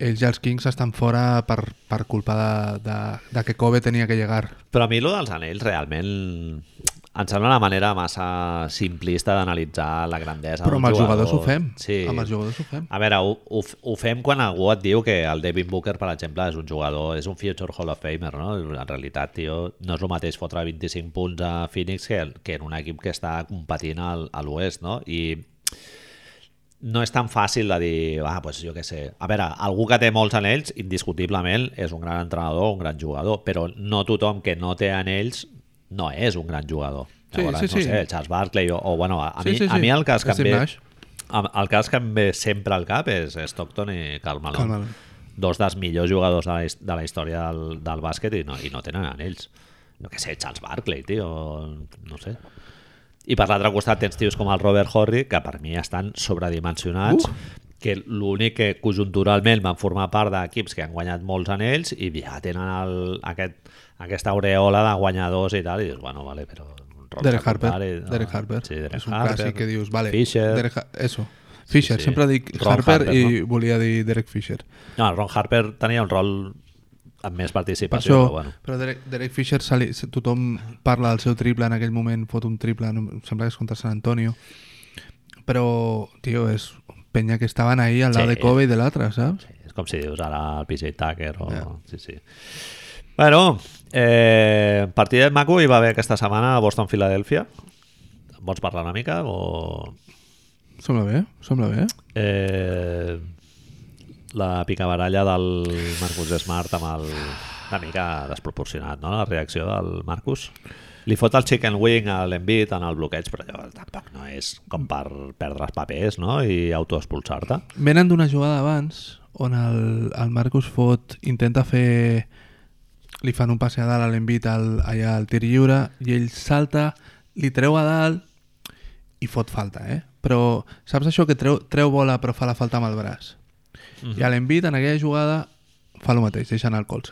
Speaker 2: ells i els Kings estan fora per, per culpa de, de, de que Kobe tenia que llegar
Speaker 1: Però a mi allò dels anells realment em sembla una manera massa simplista d'analitzar la grandesa
Speaker 2: però amb
Speaker 1: d'un
Speaker 2: els
Speaker 1: jugador.
Speaker 2: jugadors ho fem
Speaker 1: Sí.
Speaker 2: amb els jugadors ho fem
Speaker 1: A veure, ho, ho, f- ho fem quan algú et diu que el Devin Booker, per exemple, és un jugador, és un future Hall of Famer, no? En realitat, tio, no és el mateix fotre 25 punts a Phoenix que, que en un equip que està competint al, a l'oest, no? I no és tan fàcil de dir, ah, doncs jo què sé. A veure, algú que té molts anells, indiscutiblement, és un gran entrenador, un gran jugador, però no tothom que no té anells no és un gran jugador.
Speaker 2: Sí,
Speaker 1: Llavors,
Speaker 2: sí,
Speaker 1: no
Speaker 2: sí.
Speaker 1: sé, Charles Barkley o, o bueno, a, a,
Speaker 2: Sí,
Speaker 1: mi,
Speaker 2: sí,
Speaker 1: a
Speaker 2: sí.
Speaker 1: mi el cas que em
Speaker 2: Steve
Speaker 1: ve...
Speaker 2: Nash.
Speaker 1: Em- El cas que em ve sempre al cap és Stockton i Karl Malone.
Speaker 2: Karl Malone.
Speaker 1: Dos dels millors jugadors de la, his- de la història del, del bàsquet i no, i no tenen anells. No que sé, Charles Barkley, tio, no sé. I per l'altre costat tens tios com el Robert Horry, que per mi estan sobredimensionats, uh. que l'únic que conjunturalment van formar part d'equips que han guanyat molts anells i ja tenen el, aquest, aquesta aureola de guanyadors i tal, i dius, bueno, vale, però... Ron
Speaker 2: Derek Harper,
Speaker 1: Secundari, no.
Speaker 2: Derek Harper
Speaker 1: Sí, Derek
Speaker 2: és un
Speaker 1: Harper.
Speaker 2: clàssic que dius vale,
Speaker 1: Fisher.
Speaker 2: Derek Ha- eso, Fisher,
Speaker 1: sí.
Speaker 2: sempre dic
Speaker 1: Ron
Speaker 2: Harper,
Speaker 1: Harper,
Speaker 2: i volia dir Derek Fisher
Speaker 1: No, el Ron Harper tenia un rol amb més
Speaker 2: per
Speaker 1: participació,
Speaker 2: això,
Speaker 1: però bueno.
Speaker 2: però Derek, Derek Fisher se li, se- tothom parla del seu triple en aquell moment, fot un triple no, em sembla que és contra San Antonio però, tio, és penya que estaven ahí al lado
Speaker 1: Sí.
Speaker 2: de Kobe i de l'altre, saps?
Speaker 1: Sí, és com si dius ara el PJ Tucker o...
Speaker 2: Ja.
Speaker 1: Sí, sí. Bueno, eh, partidet maco hi va haver aquesta setmana a Boston-Filadèlfia. En Vols parlar una mica o...
Speaker 2: Sembla bé, sembla bé.
Speaker 1: Eh, la picabaralla del Marcus Smart amb el... una mica desproporcionat, no?, la reacció del Marcus. Li fot el chicken wing a l'envit en el bloqueig, però allò tampoc no és com per perdre els papers, no?, i autoexpulsar-te.
Speaker 2: Venen d'una jugada abans on el, el Marcus fot, intenta fer... Li fan un passe a dalt a l'envit al, allà al tir lliure i ell salta, li treu a dalt i fot falta, eh? Però saps això que treu, treu bola però fa la falta amb el braç? I a l'envit en aquella jugada fa el mateix, deixa anar el colze.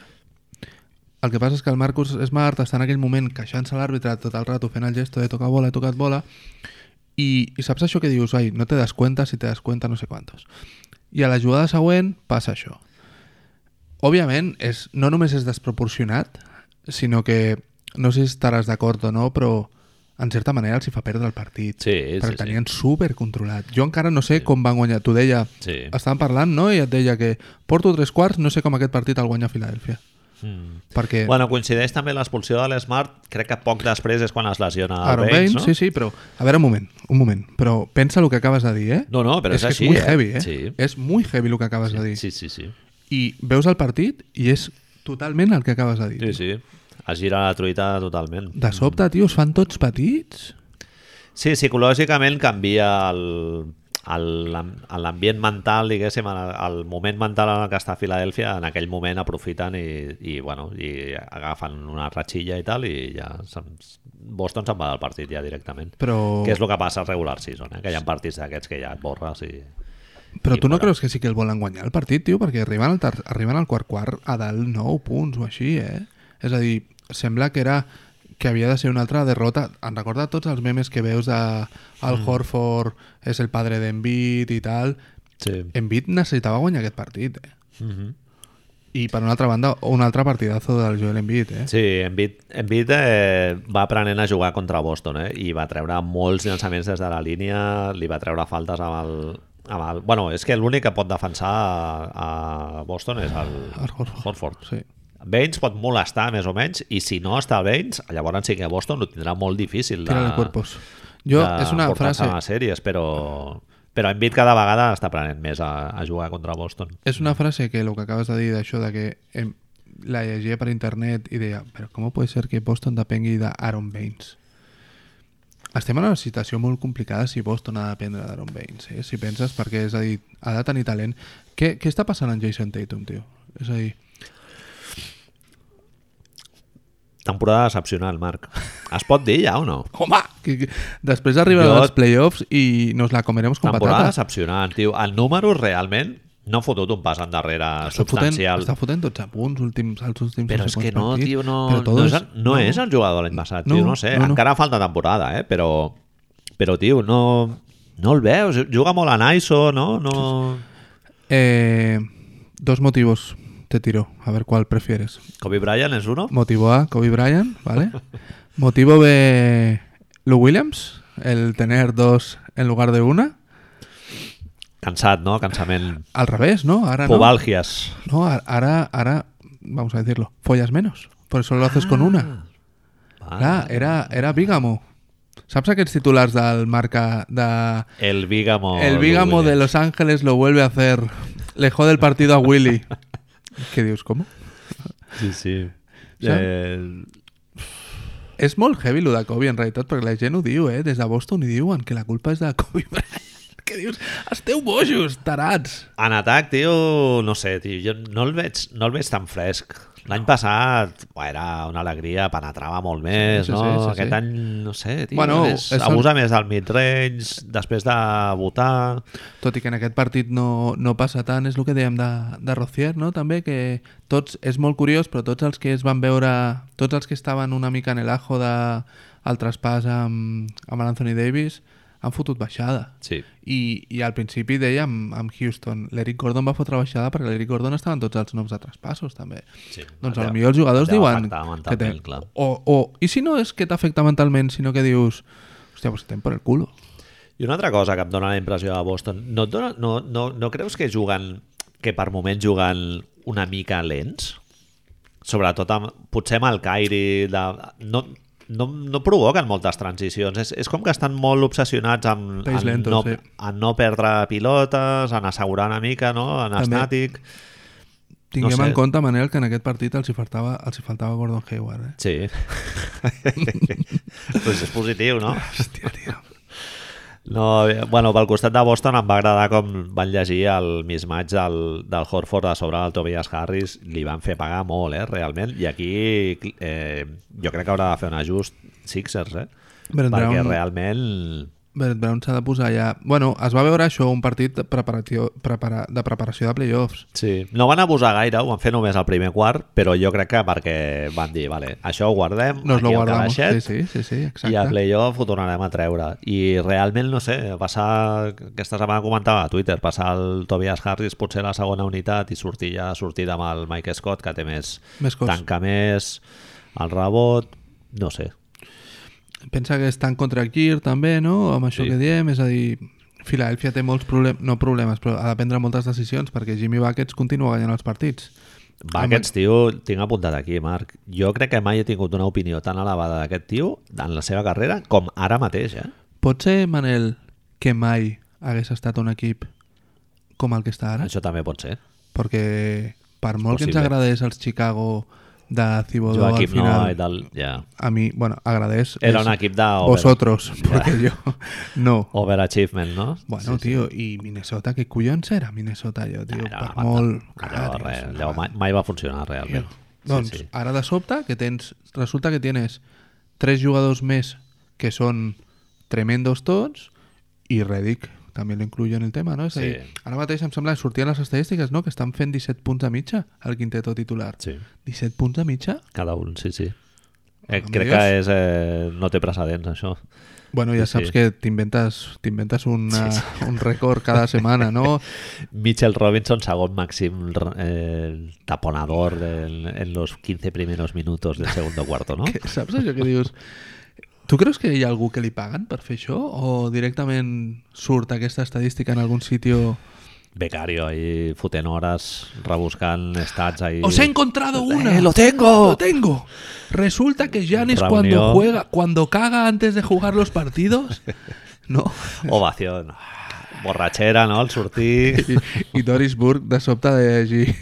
Speaker 2: El que passa és que el Marcus Smart està en aquell moment queixant-se a l'àrbitre tot el rato fent el gesto de tocar bola, he tocat bola, I, I saps això que dius, ai, no te das cuenta, si te das cuenta no sé quantos. I a la jugada següent passa això. Òbviament, és, no només és desproporcionat, sinó que, no sé si estaràs d'acord o no, però en certa manera els hi fa perdre el partit.
Speaker 1: Sí,
Speaker 2: perquè
Speaker 1: sí, sí.
Speaker 2: el tenien supercontrolat. Jo encara no sé com van guanyar. T'ho deia,
Speaker 1: Sí.
Speaker 2: estàvem parlant, no? I et deia que porto tres quarts, no sé com aquest partit el guanya Filadèlfia.
Speaker 1: Mm.
Speaker 2: Perquè...
Speaker 1: Bueno, coincideix també l'expulsió de l'Smart, crec que poc després és quan es lesiona
Speaker 2: Aaron Baines,
Speaker 1: no?
Speaker 2: sí, sí, però... A veure, un moment, un moment. Però pensa el que acabes de dir, eh?
Speaker 1: No, no, però és,
Speaker 2: que
Speaker 1: així.
Speaker 2: és molt
Speaker 1: eh?
Speaker 2: heavy, eh?
Speaker 1: Sí.
Speaker 2: És molt heavy el que acabes de dir.
Speaker 1: Sí, sí, sí.
Speaker 2: I veus el partit i és totalment el que acabes de dir.
Speaker 1: Sí, sí. Es gira la truita totalment.
Speaker 2: De sobte, tio, es fan tots petits.
Speaker 1: Sí, psicològicament canvia el el- en l'ambient mental, diguéssim, el, el moment mental en el que està Filadèlfia, en aquell moment aprofiten i, i, bueno, i agafen una ratxilla i tal, i ja se'n- Boston se'n va del partit ja directament.
Speaker 2: Però...
Speaker 1: Que és el que passa al regular season, eh? que hi ha partits d'aquests que ja et borres i...
Speaker 2: Però
Speaker 1: I
Speaker 2: tu no
Speaker 1: mola.
Speaker 2: creus que sí que el volen guanyar el partit, tio? Perquè arriben al, tar- arriben al quart quart a dalt 9 punts o així, eh? És a dir, sembla que era que havia de ser una altra derrota. Em recorda tots els memes que veus de el Horford és el padre d'Envit i tal.
Speaker 1: Sí.
Speaker 2: Envit necessitava guanyar aquest partit, eh?
Speaker 1: Mhm.
Speaker 2: I per una altra banda, un altre partidazo del Joel Embiid, eh?
Speaker 1: Sí, Embiid, Embiid eh, va aprenent a jugar contra Boston eh, i va treure molts llançaments des de la línia, li va treure faltes amb el... Amb el bueno, és que l'únic que pot defensar a, a Boston és el,
Speaker 2: El Horford.
Speaker 1: Horford.
Speaker 2: Sí.
Speaker 1: Baines pot molestar més o menys i si no està Baines, llavors sí que Boston ho tindrà molt difícil de,
Speaker 2: Tira de cuerpos. Jo,
Speaker 1: de
Speaker 2: és una
Speaker 1: portar-se
Speaker 2: frase...
Speaker 1: a les sèries, però, però Embiid cada vegada està aprenent més a, a jugar contra Boston.
Speaker 2: És una frase que el que acabes de dir d'això, de que em, la llegia per internet i deia, però com pot ser que Boston depengui d'Aaron Baines? Estem en una situació molt complicada si Boston ha de dependre d'Aaron Baines, eh? si penses, perquè és a dir, ha de tenir talent. Què, què està passant amb Jason Tatum, tio? És a dir,
Speaker 1: Temporada decepcional, Marc. Es pot dir ja o no?
Speaker 2: home! Que, que, després arriben
Speaker 1: Jo-
Speaker 2: els playoffs i nos la comeremos con
Speaker 1: Temporada
Speaker 2: patates.
Speaker 1: decepcionant, tio. El número realment no ha fotut un pas endarrere
Speaker 2: Està fotent,
Speaker 1: substancial.
Speaker 2: està fotent 12 punts últims, els últims
Speaker 1: però és
Speaker 2: sé
Speaker 1: que
Speaker 2: quants
Speaker 1: no,
Speaker 2: partits,
Speaker 1: tio, no,
Speaker 2: però
Speaker 1: no,
Speaker 2: todo
Speaker 1: és, el- no, és el jugador de l'any passat, tio,
Speaker 2: No,
Speaker 1: no, sé,
Speaker 2: no, no.
Speaker 1: encara falta temporada, eh, però, però tio, no, no el veus, juga molt en ISO, no? no...
Speaker 2: Eh, dos motivos te tiro, a ver cuál prefieres.
Speaker 1: Kobe Bryant és uno?
Speaker 2: Motivo A, Kobe Bryant, ¿vale? Motivo B, Lou Williams, el tener dos en lugar de una.
Speaker 1: Cansat, no? Cansament.
Speaker 2: Al revés, ¿no? Ahora no.
Speaker 1: Pobalgias.
Speaker 2: No, a- ahora, ahora, vamos a decirlo, follas menos. Por eso lo haces con una.
Speaker 1: Va.
Speaker 2: Clar, era, era bígamo. ¿Sabes aquests titulars del marca de...
Speaker 1: El bígamo.
Speaker 2: El bígamo de Los Ángeles lo vuelve a hacer. Le jode el partido a Willy. ¿Qué dios, cómo?
Speaker 1: Sí, sí.
Speaker 2: Saps?
Speaker 1: Eh,
Speaker 2: És molt heavy lo de Kobe, en realitat, perquè la gent ho diu, eh? Des de Boston hi diuen que la culpa és de Kobe Bryant. [laughs] que dius? Esteu bojos, tarats!
Speaker 1: En atac, tio, no sé, tio, jo no el veig, no el veig tan fresc. L'any passat buah, era una alegria, penetrava molt més,
Speaker 2: sí,
Speaker 1: no?
Speaker 2: sí, sí,
Speaker 1: Aquest
Speaker 2: sí.
Speaker 1: any, no sé, tio,
Speaker 2: Bueno,
Speaker 1: és,
Speaker 2: és el-
Speaker 1: abusa més del mid-range, després de votar...
Speaker 2: Tot i que en aquest partit no, no passa tant, és el que dèiem de, de Rocier, no? També que tots, és molt curiós, però tots els que es van veure, tots els que estaven una mica en el ajo de, el traspàs amb, amb l'Anthony Davis, han fotut baixada.
Speaker 1: Sí.
Speaker 2: I, i al principi deia amb, amb Houston, l'Eric Gordon va fotre baixada perquè l'Eric Gordon estaven tots els noms de traspassos també.
Speaker 1: Sí.
Speaker 2: Doncs
Speaker 1: Et deu-
Speaker 2: potser els jugadors
Speaker 1: et deu
Speaker 2: diuen...
Speaker 1: afectar
Speaker 2: que
Speaker 1: mentalment, clar.
Speaker 2: o, o, I si no és que t'afecta mentalment, sinó que dius... Hòstia, pues estem per el culo.
Speaker 1: I una altra cosa que em dóna la impressió de Boston, no, et dona, no, no, no creus que juguen, que per moment juguen una mica lents? Sobretot amb, potser amb el Kairi, de, no, no, no provoquen moltes transicions. És, és com que estan molt obsessionats en,
Speaker 2: Pace
Speaker 1: en,
Speaker 2: lento,
Speaker 1: no,
Speaker 2: sí.
Speaker 1: en no perdre pilotes, en assegurar una mica, no? en
Speaker 2: També.
Speaker 1: estàtic.
Speaker 2: Tinguem
Speaker 1: sé.
Speaker 2: en compte, Manel, que en aquest partit els hi faltava, els hi faltava Gordon Hayward, eh?
Speaker 1: Sí. pues és positiu, no?
Speaker 2: Hòstia, tio.
Speaker 1: No, eh, bueno, pel costat de Boston em va agradar com van llegir el mismatch del, del Horford a sobre del Tobias Harris. Li van fer pagar molt, eh, realment. I aquí eh, jo crec que haurà de fer un ajust Sixers, eh?
Speaker 2: Brett
Speaker 1: Perquè
Speaker 2: Brown-
Speaker 1: realment...
Speaker 2: Brett Brown s'ha de posar ja... Bueno, es va veure això, un partit de preparació, prepara, de preparació de playoffs.
Speaker 1: Sí. No van abusar gaire, ho van fer només al primer quart, però jo crec que perquè van dir, vale, això ho guardem,
Speaker 2: Nos
Speaker 1: aquí
Speaker 2: lo
Speaker 1: al
Speaker 2: guardamos. Sí,
Speaker 1: calaixet,
Speaker 2: sí, sí, sí, exacte.
Speaker 1: I a playoff ho tornarem a treure. I realment, no sé, passar... Aquesta setmana comentava a Twitter, passar el Tobias Harris potser a la segona unitat i sortir ja sortir amb el Mike Scott, que té més...
Speaker 2: Més cos.
Speaker 1: Tanca més, el rebot... No sé.
Speaker 2: Pensa que estan contra Gear també, no? Amb
Speaker 1: Sí.
Speaker 2: això sí. que diem, és a dir, Filadelfia té molts problemes, no problemes, però ha de prendre moltes decisions perquè Jimmy Buckets continua guanyant els partits.
Speaker 1: Va,
Speaker 2: Home.
Speaker 1: aquest tio, tinc apuntat aquí, Marc. Jo crec que mai he tingut una opinió tan elevada d'aquest tio en la seva carrera com ara mateix, eh?
Speaker 2: Pot ser, Manel, que mai hagués estat un equip com el que està ara?
Speaker 1: Això també pot ser.
Speaker 2: Perquè per molt que ens
Speaker 1: possible.
Speaker 2: agradés els Chicago de Cibodó al
Speaker 1: Joaquim Noah
Speaker 2: final,
Speaker 1: eh, i tal, ja.
Speaker 2: a mi, bueno, agradés...
Speaker 1: Era
Speaker 2: és
Speaker 1: un equip de over,
Speaker 2: Vosotros, perquè jo... No.
Speaker 1: [laughs] overachievement, no?
Speaker 2: Bueno, tio, i Minnesota, que collons era Minnesota, allò, tio?
Speaker 1: Era una
Speaker 2: per
Speaker 1: banda.
Speaker 2: molt...
Speaker 1: Allò,
Speaker 2: Clar,
Speaker 1: res,
Speaker 2: tio,
Speaker 1: allò mai, mai va funcionar realment.
Speaker 2: Doncs sí, sí. ara de sobte que tens, resulta que tienes tres jugadors més que són tremendos tots i Redick també l'incluyo en el tema, no? És a
Speaker 1: Sí.
Speaker 2: dir, ara mateix em sembla que sortien les estadístiques, no?, que estan fent 17 punts de mitja al quinteto titular.
Speaker 1: Sí.
Speaker 2: 17 punts de mitja?
Speaker 1: Cada un, sí, sí. Eh,
Speaker 2: Amb
Speaker 1: crec
Speaker 2: Dios.
Speaker 1: que és, eh, no té precedents, això.
Speaker 2: Bueno, ja
Speaker 1: Sí,
Speaker 2: saps
Speaker 1: sí.
Speaker 2: que t'inventes t'inventes una,
Speaker 1: Sí,
Speaker 2: un rècord cada setmana,
Speaker 1: [laughs]
Speaker 2: no?
Speaker 1: Mitchell Robinson, segon màxim eh, taponador del- en los 15 primeros minutos del segundo cuarto, ¿no?
Speaker 2: [laughs] Que, saps això que dius? Tu creus que hi ha algú que li paguen per fer això? O directament surt aquesta estadística en algun sitio...
Speaker 1: Becario ahí fotent hores, rebuscant stats ahí.
Speaker 2: ¡Os he encontrado una!
Speaker 1: Eh, lo
Speaker 2: ¡Lo
Speaker 1: tengo!
Speaker 2: tengo! Resulta que Janis
Speaker 1: Reunió.
Speaker 2: cuando juega, cuando caga antes de jugar
Speaker 1: [laughs]
Speaker 2: los partidos, no.
Speaker 1: Ovación. Borratxera, no?, al
Speaker 2: [laughs]
Speaker 1: sortir.
Speaker 2: I, i Doris Burg de sobte de llegir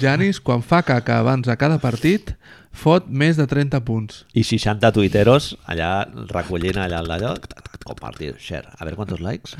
Speaker 2: Janis, quan fa caca abans de cada partit, fot més de 30 punts.
Speaker 1: I 60 tuiteros allà recollint allà el d'allò. Tac, tac, tac, Compartir, share. A veure quantos
Speaker 2: [laughs]
Speaker 1: likes.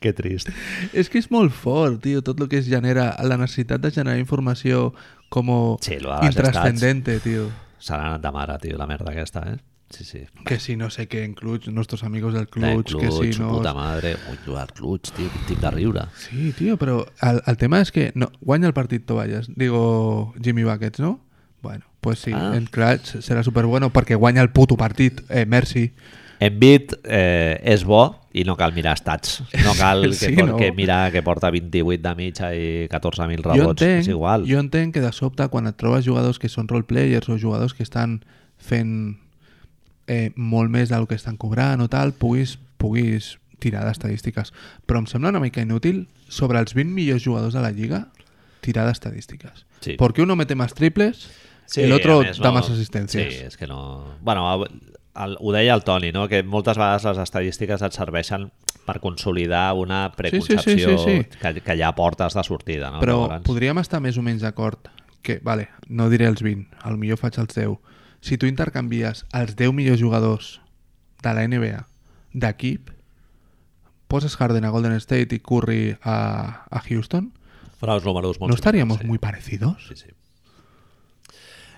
Speaker 1: que trist.
Speaker 2: És que és molt fort, tio, tot el que es genera, la necessitat de generar informació com
Speaker 1: Sí, lo de les
Speaker 2: intrascendente, tio.
Speaker 1: Se n'ha anat de mare, tio, la merda aquesta, eh? Sí, sí.
Speaker 2: Que si no sé què en Clutch, nuestros amigos del
Speaker 1: Eh,
Speaker 2: Clutch, que
Speaker 1: Clutch,
Speaker 2: si no...
Speaker 1: puta madre. Ui, tu, el Clutch, tio, quin tip de riure.
Speaker 2: Sí, tio, però el, el tema és que no, guanya el partit Tovalles, digo Jimmy Buckets, no? Bueno, pues sí,
Speaker 1: Ah.
Speaker 2: en Clutch serà superbueno perquè guanya el puto partit, eh, merci.
Speaker 1: Embiid eh, és bo i no cal mirar estats. No cal que,
Speaker 2: [laughs] Sí,
Speaker 1: sí, no?
Speaker 2: no?
Speaker 1: que mirar que porta 28 de mitja i 14.000
Speaker 2: Jo
Speaker 1: rebots.
Speaker 2: entenc,
Speaker 1: és igual.
Speaker 2: jo entenc que de sobte quan et trobes jugadors que són roleplayers o jugadors que estan fent eh, molt més del que estan cobrant o tal, puguis, puguis tirar d'estadístiques. Però em sembla una mica inútil sobre els 20 millors jugadors de la Lliga tirar d'estadístiques.
Speaker 1: Sí.
Speaker 2: Porque uno mete más triples,
Speaker 1: Sí,
Speaker 2: el
Speaker 1: a
Speaker 2: otro
Speaker 1: més,
Speaker 2: da
Speaker 1: no-
Speaker 2: más asistencias.
Speaker 1: Sí, és que no... Bueno, el, ho deia el Toni, no? que moltes vegades les estadístiques et serveixen per consolidar una preconcepció
Speaker 2: sí, sí.
Speaker 1: Que, que ja portes de sortida. No?
Speaker 2: Però
Speaker 1: Ah, Llavors,
Speaker 2: podríem estar més o menys d'acord que, vale, no diré els 20, al millor faig els 10. Si tu intercanvies els 10 millors jugadors de la NBA d'equip, poses Harden a Golden State i Curry a, a Houston,
Speaker 1: Però els números molt
Speaker 2: no estaríamos
Speaker 1: similars,
Speaker 2: muy parecidos?
Speaker 1: Sí, sí, sí.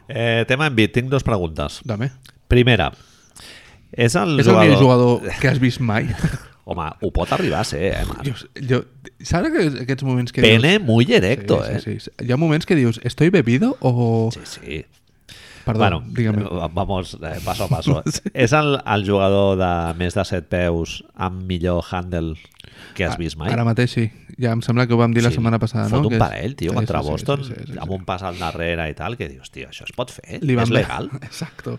Speaker 1: Eh, tema en bit, tinc dues preguntes.
Speaker 2: Dame.
Speaker 1: Primera, és el
Speaker 2: És el
Speaker 1: jugador...
Speaker 2: millor jugador que has vist
Speaker 1: [laughs]
Speaker 2: mai.
Speaker 1: Home, ho pot arribar a ser, eh, Marc?
Speaker 2: jo, jo, saps que aquests moments que dius...
Speaker 1: Pene muy
Speaker 2: Sí,
Speaker 1: directo, eh?
Speaker 2: sí, sí. Hi ha moments que dius, estoy bebido o...
Speaker 1: Sí, sí.
Speaker 2: Perdó,
Speaker 1: bueno,
Speaker 2: digue'm.
Speaker 1: eh, Vamos, eh,
Speaker 2: [laughs]
Speaker 1: paso a paso. És el, el jugador de més de 7 peus amb millor handle que has vist mai?
Speaker 2: Ah, Ara mateix sí. Ja em sembla que ho vam dir la setmana passada,
Speaker 1: fot
Speaker 2: no?
Speaker 1: un
Speaker 2: Que és-
Speaker 1: parell, tio,
Speaker 2: Sí,
Speaker 1: contra
Speaker 2: sí, sí,
Speaker 1: Boston,
Speaker 2: sí, sí, sí, sí.
Speaker 1: amb un pas al darrere i tal, que dius, tio, això es pot fer?
Speaker 2: Li van
Speaker 1: és
Speaker 2: bé.
Speaker 1: legal?
Speaker 2: [laughs] Exacto.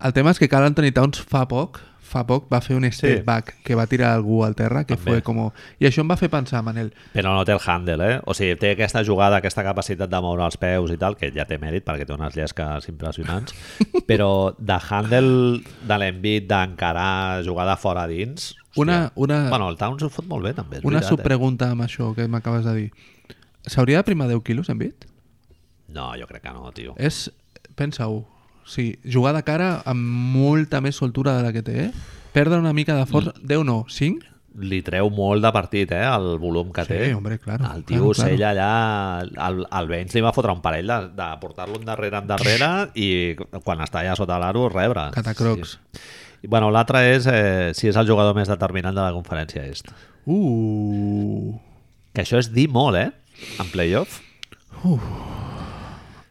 Speaker 2: El tema és que Carl Anthony Towns fa poc, fa poc va fer un step
Speaker 1: Sí.
Speaker 2: back que va tirar algú al terra, que
Speaker 1: També.
Speaker 2: fue como... I això em va fer pensar, Manel,
Speaker 1: Però no té el handle, eh? O sigui, té aquesta jugada, aquesta capacitat de moure els peus i tal, que ja té mèrit perquè té unes llesques
Speaker 2: [laughs]
Speaker 1: impressionants, però de handle de l'envit d'encarar jugada fora dins... hòstia.
Speaker 2: Una- una-
Speaker 1: Bueno, el Towns ho fot molt bé, també. és
Speaker 2: una
Speaker 1: veritat, eh?
Speaker 2: subpregunta amb això que m'acabes de dir. S'hauria de primar 10 quilos, hem vist?
Speaker 1: No, jo crec que no, tio.
Speaker 2: És... Pensa-ho. Sí, jugar de cara amb molta més soltura de la que té, eh? Perdre una mica de força...
Speaker 1: Mm.
Speaker 2: 10 no, 5?
Speaker 1: Li treu molt de partit, eh, el volum que
Speaker 2: Sí,
Speaker 1: té.
Speaker 2: hombre, claro,
Speaker 1: El tio
Speaker 2: claro, claro.
Speaker 1: sella allà... El, el Benz li va fotre un parell de, de portar-lo endarrere, endarrere, i quan està allà sota l'aro, rebre.
Speaker 2: Catacrocs.
Speaker 1: I, Bueno, l'altre és eh, si és el jugador més determinant de la conferència est.
Speaker 2: Uh...
Speaker 1: Que això és dir molt, eh? En playoff.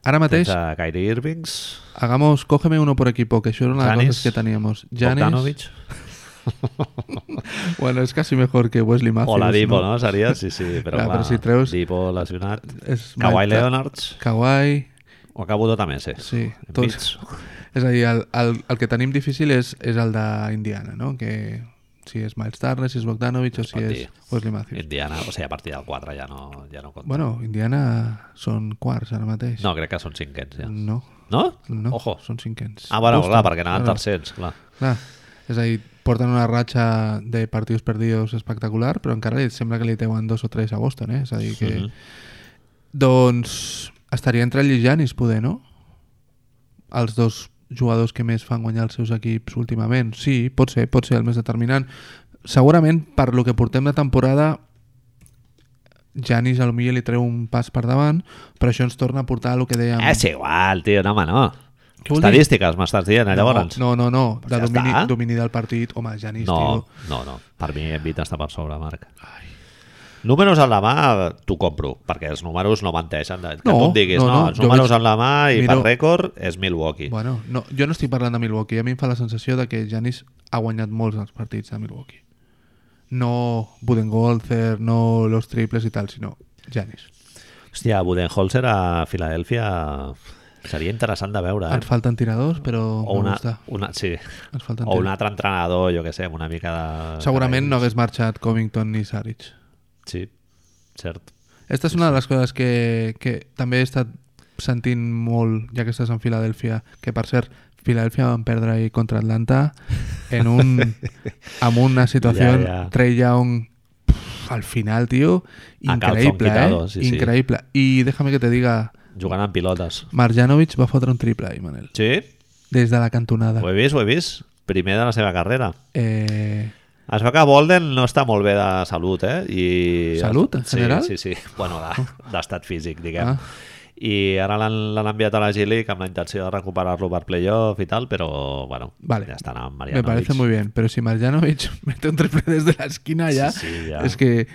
Speaker 2: Ara mateix...
Speaker 1: Tens a Kyrie Irvings,
Speaker 2: Hagamos, cógeme uno por equipo, que eso era una de las
Speaker 1: Giannis,
Speaker 2: cosas que teníamos. Janis.
Speaker 1: Bogdanovic,
Speaker 2: Bueno, es casi mejor que Wesley Matthews.
Speaker 1: o la Dipo,
Speaker 2: Ah, ¿no?
Speaker 1: no? Seria, sí,
Speaker 2: [laughs]
Speaker 1: sí, però,
Speaker 2: Clar,
Speaker 1: clar,
Speaker 2: però si treus-
Speaker 1: Dipo lesionat.
Speaker 2: És
Speaker 1: Kawhi
Speaker 2: Mike-
Speaker 1: Leonard,
Speaker 2: Kawhi,
Speaker 1: ho acabo tot a Messi.
Speaker 2: sí. Tot...
Speaker 1: Tots.
Speaker 2: És a dir, el, el, el que tenim difícil és, és el d'Indiana, no? Que si és Miles Turner, si és Bogdanovic o si
Speaker 1: pot
Speaker 2: és
Speaker 1: dir.
Speaker 2: Wesley Matthews.
Speaker 1: Indiana, Eh, o sigui, a partir del 4 ja no, ja no compta.
Speaker 2: Bueno, Indiana són quarts ara mateix.
Speaker 1: No, crec que són cinquens ja.
Speaker 2: No,
Speaker 1: No?
Speaker 2: no
Speaker 1: Ojo.
Speaker 2: són cinquens.
Speaker 1: Ah, bueno,
Speaker 2: Boston,
Speaker 1: clar, perquè anaven
Speaker 2: claro.
Speaker 1: tercers, clar.
Speaker 2: Clar, és a dir, porten una ratxa de partits perdidos espectacular, però encara li sembla que li deuen dos o tres a Boston, eh? És a dir, que...
Speaker 1: Mhm.
Speaker 2: Doncs estaria entre ell i Giannis, poder, no? Els dos jugadors que més fan guanyar els seus equips últimament. Sí, pot ser, pot ser el més determinant. Segurament, per lo que portem de temporada, Janis
Speaker 1: Ah,
Speaker 2: al
Speaker 1: Eh,
Speaker 2: millor li treu un pas per davant, però això ens torna a portar a lo que dèiem...
Speaker 1: És igual, tio, no, home, no.
Speaker 2: Què vol dir?
Speaker 1: Estadístiques, m'estàs dient, eh, llavors?
Speaker 2: No, no, no, de
Speaker 1: ja
Speaker 2: domini,
Speaker 1: està.
Speaker 2: domini del partit, home, Janis,
Speaker 1: No,
Speaker 2: tio.
Speaker 1: no, no. Per mi Embiid està per sobre, Marc. Números en la mà t'ho compro, perquè els números no menteixen. Que
Speaker 2: No,
Speaker 1: tu em diguis,
Speaker 2: no,
Speaker 1: no,
Speaker 2: no,
Speaker 1: els
Speaker 2: jo
Speaker 1: números
Speaker 2: veig-
Speaker 1: en la mà i
Speaker 2: miro-
Speaker 1: per rècord és Milwaukee.
Speaker 2: Bueno, no, jo no estic parlant de Milwaukee, a mi em fa la sensació de que Janis ha guanyat molts dels partits de Milwaukee. No Budengolzer, no los triples i tal, sinó Janis.
Speaker 1: Hòstia, Budenholzer a Filadèlfia seria interessant de veure.
Speaker 2: Ens
Speaker 1: Eh?
Speaker 2: falten tiradors, però
Speaker 1: O una,
Speaker 2: m'agrada.
Speaker 1: una, sí.
Speaker 2: Ens falten
Speaker 1: o un
Speaker 2: tiradors.
Speaker 1: altre entrenador, jo que sé, amb una mica de...
Speaker 2: Segurament no hagués marxat Covington ni Saric.
Speaker 1: Sí, cert.
Speaker 2: Esta és una de les coses que, que també he estat sentint molt, ja que estàs en Filadèlfia, que per cert, Filadèlfia van perdre ahir contra
Speaker 1: [laughs]
Speaker 2: Atlanta en un, amb una situació
Speaker 1: Ja, ja.
Speaker 2: Trey Young pff, al final, tio,
Speaker 1: A calzón
Speaker 2: increïble,
Speaker 1: quitado,
Speaker 2: eh?
Speaker 1: sí, sí.
Speaker 2: increïble. I déjame que te diga,
Speaker 1: Jugant amb pilotes.
Speaker 2: Marjanovic va fotre un triple ahir, Manel,
Speaker 1: Sí,
Speaker 2: des de la cantonada.
Speaker 1: ho he vist, ho he vist. Primer de la seva carrera.
Speaker 2: Eh,
Speaker 1: Es veu que Bolden no està molt bé de salut, eh? I...
Speaker 2: Salut, en
Speaker 1: sí,
Speaker 2: general? Oh.
Speaker 1: Sí, sí, bueno, de- d'estat físic, diguem.
Speaker 2: Ah.
Speaker 1: Ah. I ara l'han l'han enviat a la G-League amb la intenció de recuperar-lo per playoff i tal, però, bueno,
Speaker 2: Vale.
Speaker 1: ja estan amb Mariano.
Speaker 2: me parece muy bien, pero si Marjanovic [laughs] mete un triple desde la esquina ya,
Speaker 1: Sí, sí, ja.
Speaker 2: es que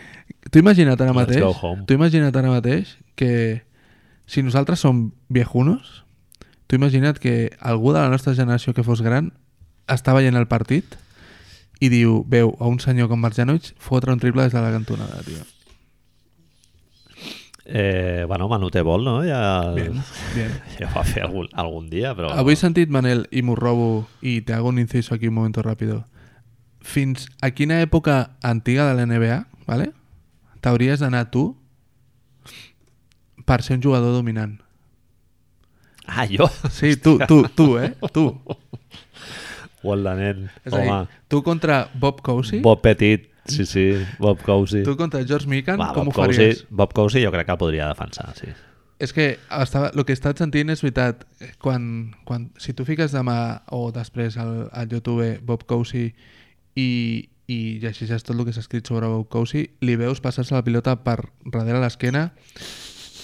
Speaker 2: tú imagina't ara
Speaker 1: Let's
Speaker 2: mateix,
Speaker 1: go home.
Speaker 2: tu imagina't ara mateix que si nosaltres som viejunos, tu imagina't que algú de la nostra generació que fos gran està veient el partit i diu, veu a un senyor com Marjanovic fotre un triple des de la cantonada, tio.
Speaker 1: Eh, bueno, Manute Bol, no? Ja,
Speaker 2: Bien, bien.
Speaker 1: ja ho va fer algun, algun dia, però...
Speaker 2: Avui he sentit, Manel, i m'ho robo, i te hago un inciso aquí un momento rápido. Fins a quina època antiga de la NBA, ¿vale? t'hauries d'anar tu per ser un jugador dominant.
Speaker 1: Ah, jo?
Speaker 2: Sí, tu, tu, tu, eh? Tu.
Speaker 1: O el de nen,
Speaker 2: És a dir,
Speaker 1: home.
Speaker 2: tu contra Bob Cousy,
Speaker 1: Bob Petit, sí, sí, Bob Cousy.
Speaker 2: tu contra George Mikan,
Speaker 1: Va,
Speaker 2: com ho
Speaker 1: Bob,
Speaker 2: faries?
Speaker 1: Cousy, Bob Cousy jo crec que el podria defensar, sí.
Speaker 2: És que estava, el que he estat sentint és veritat. eh, Quan, quan, si tu fiques demà o després al, al YouTube Bob Cousy i, i llegeixes tot el que s'ha escrit sobre Bob Cousy, li veus passar-se la pilota per darrere l'esquena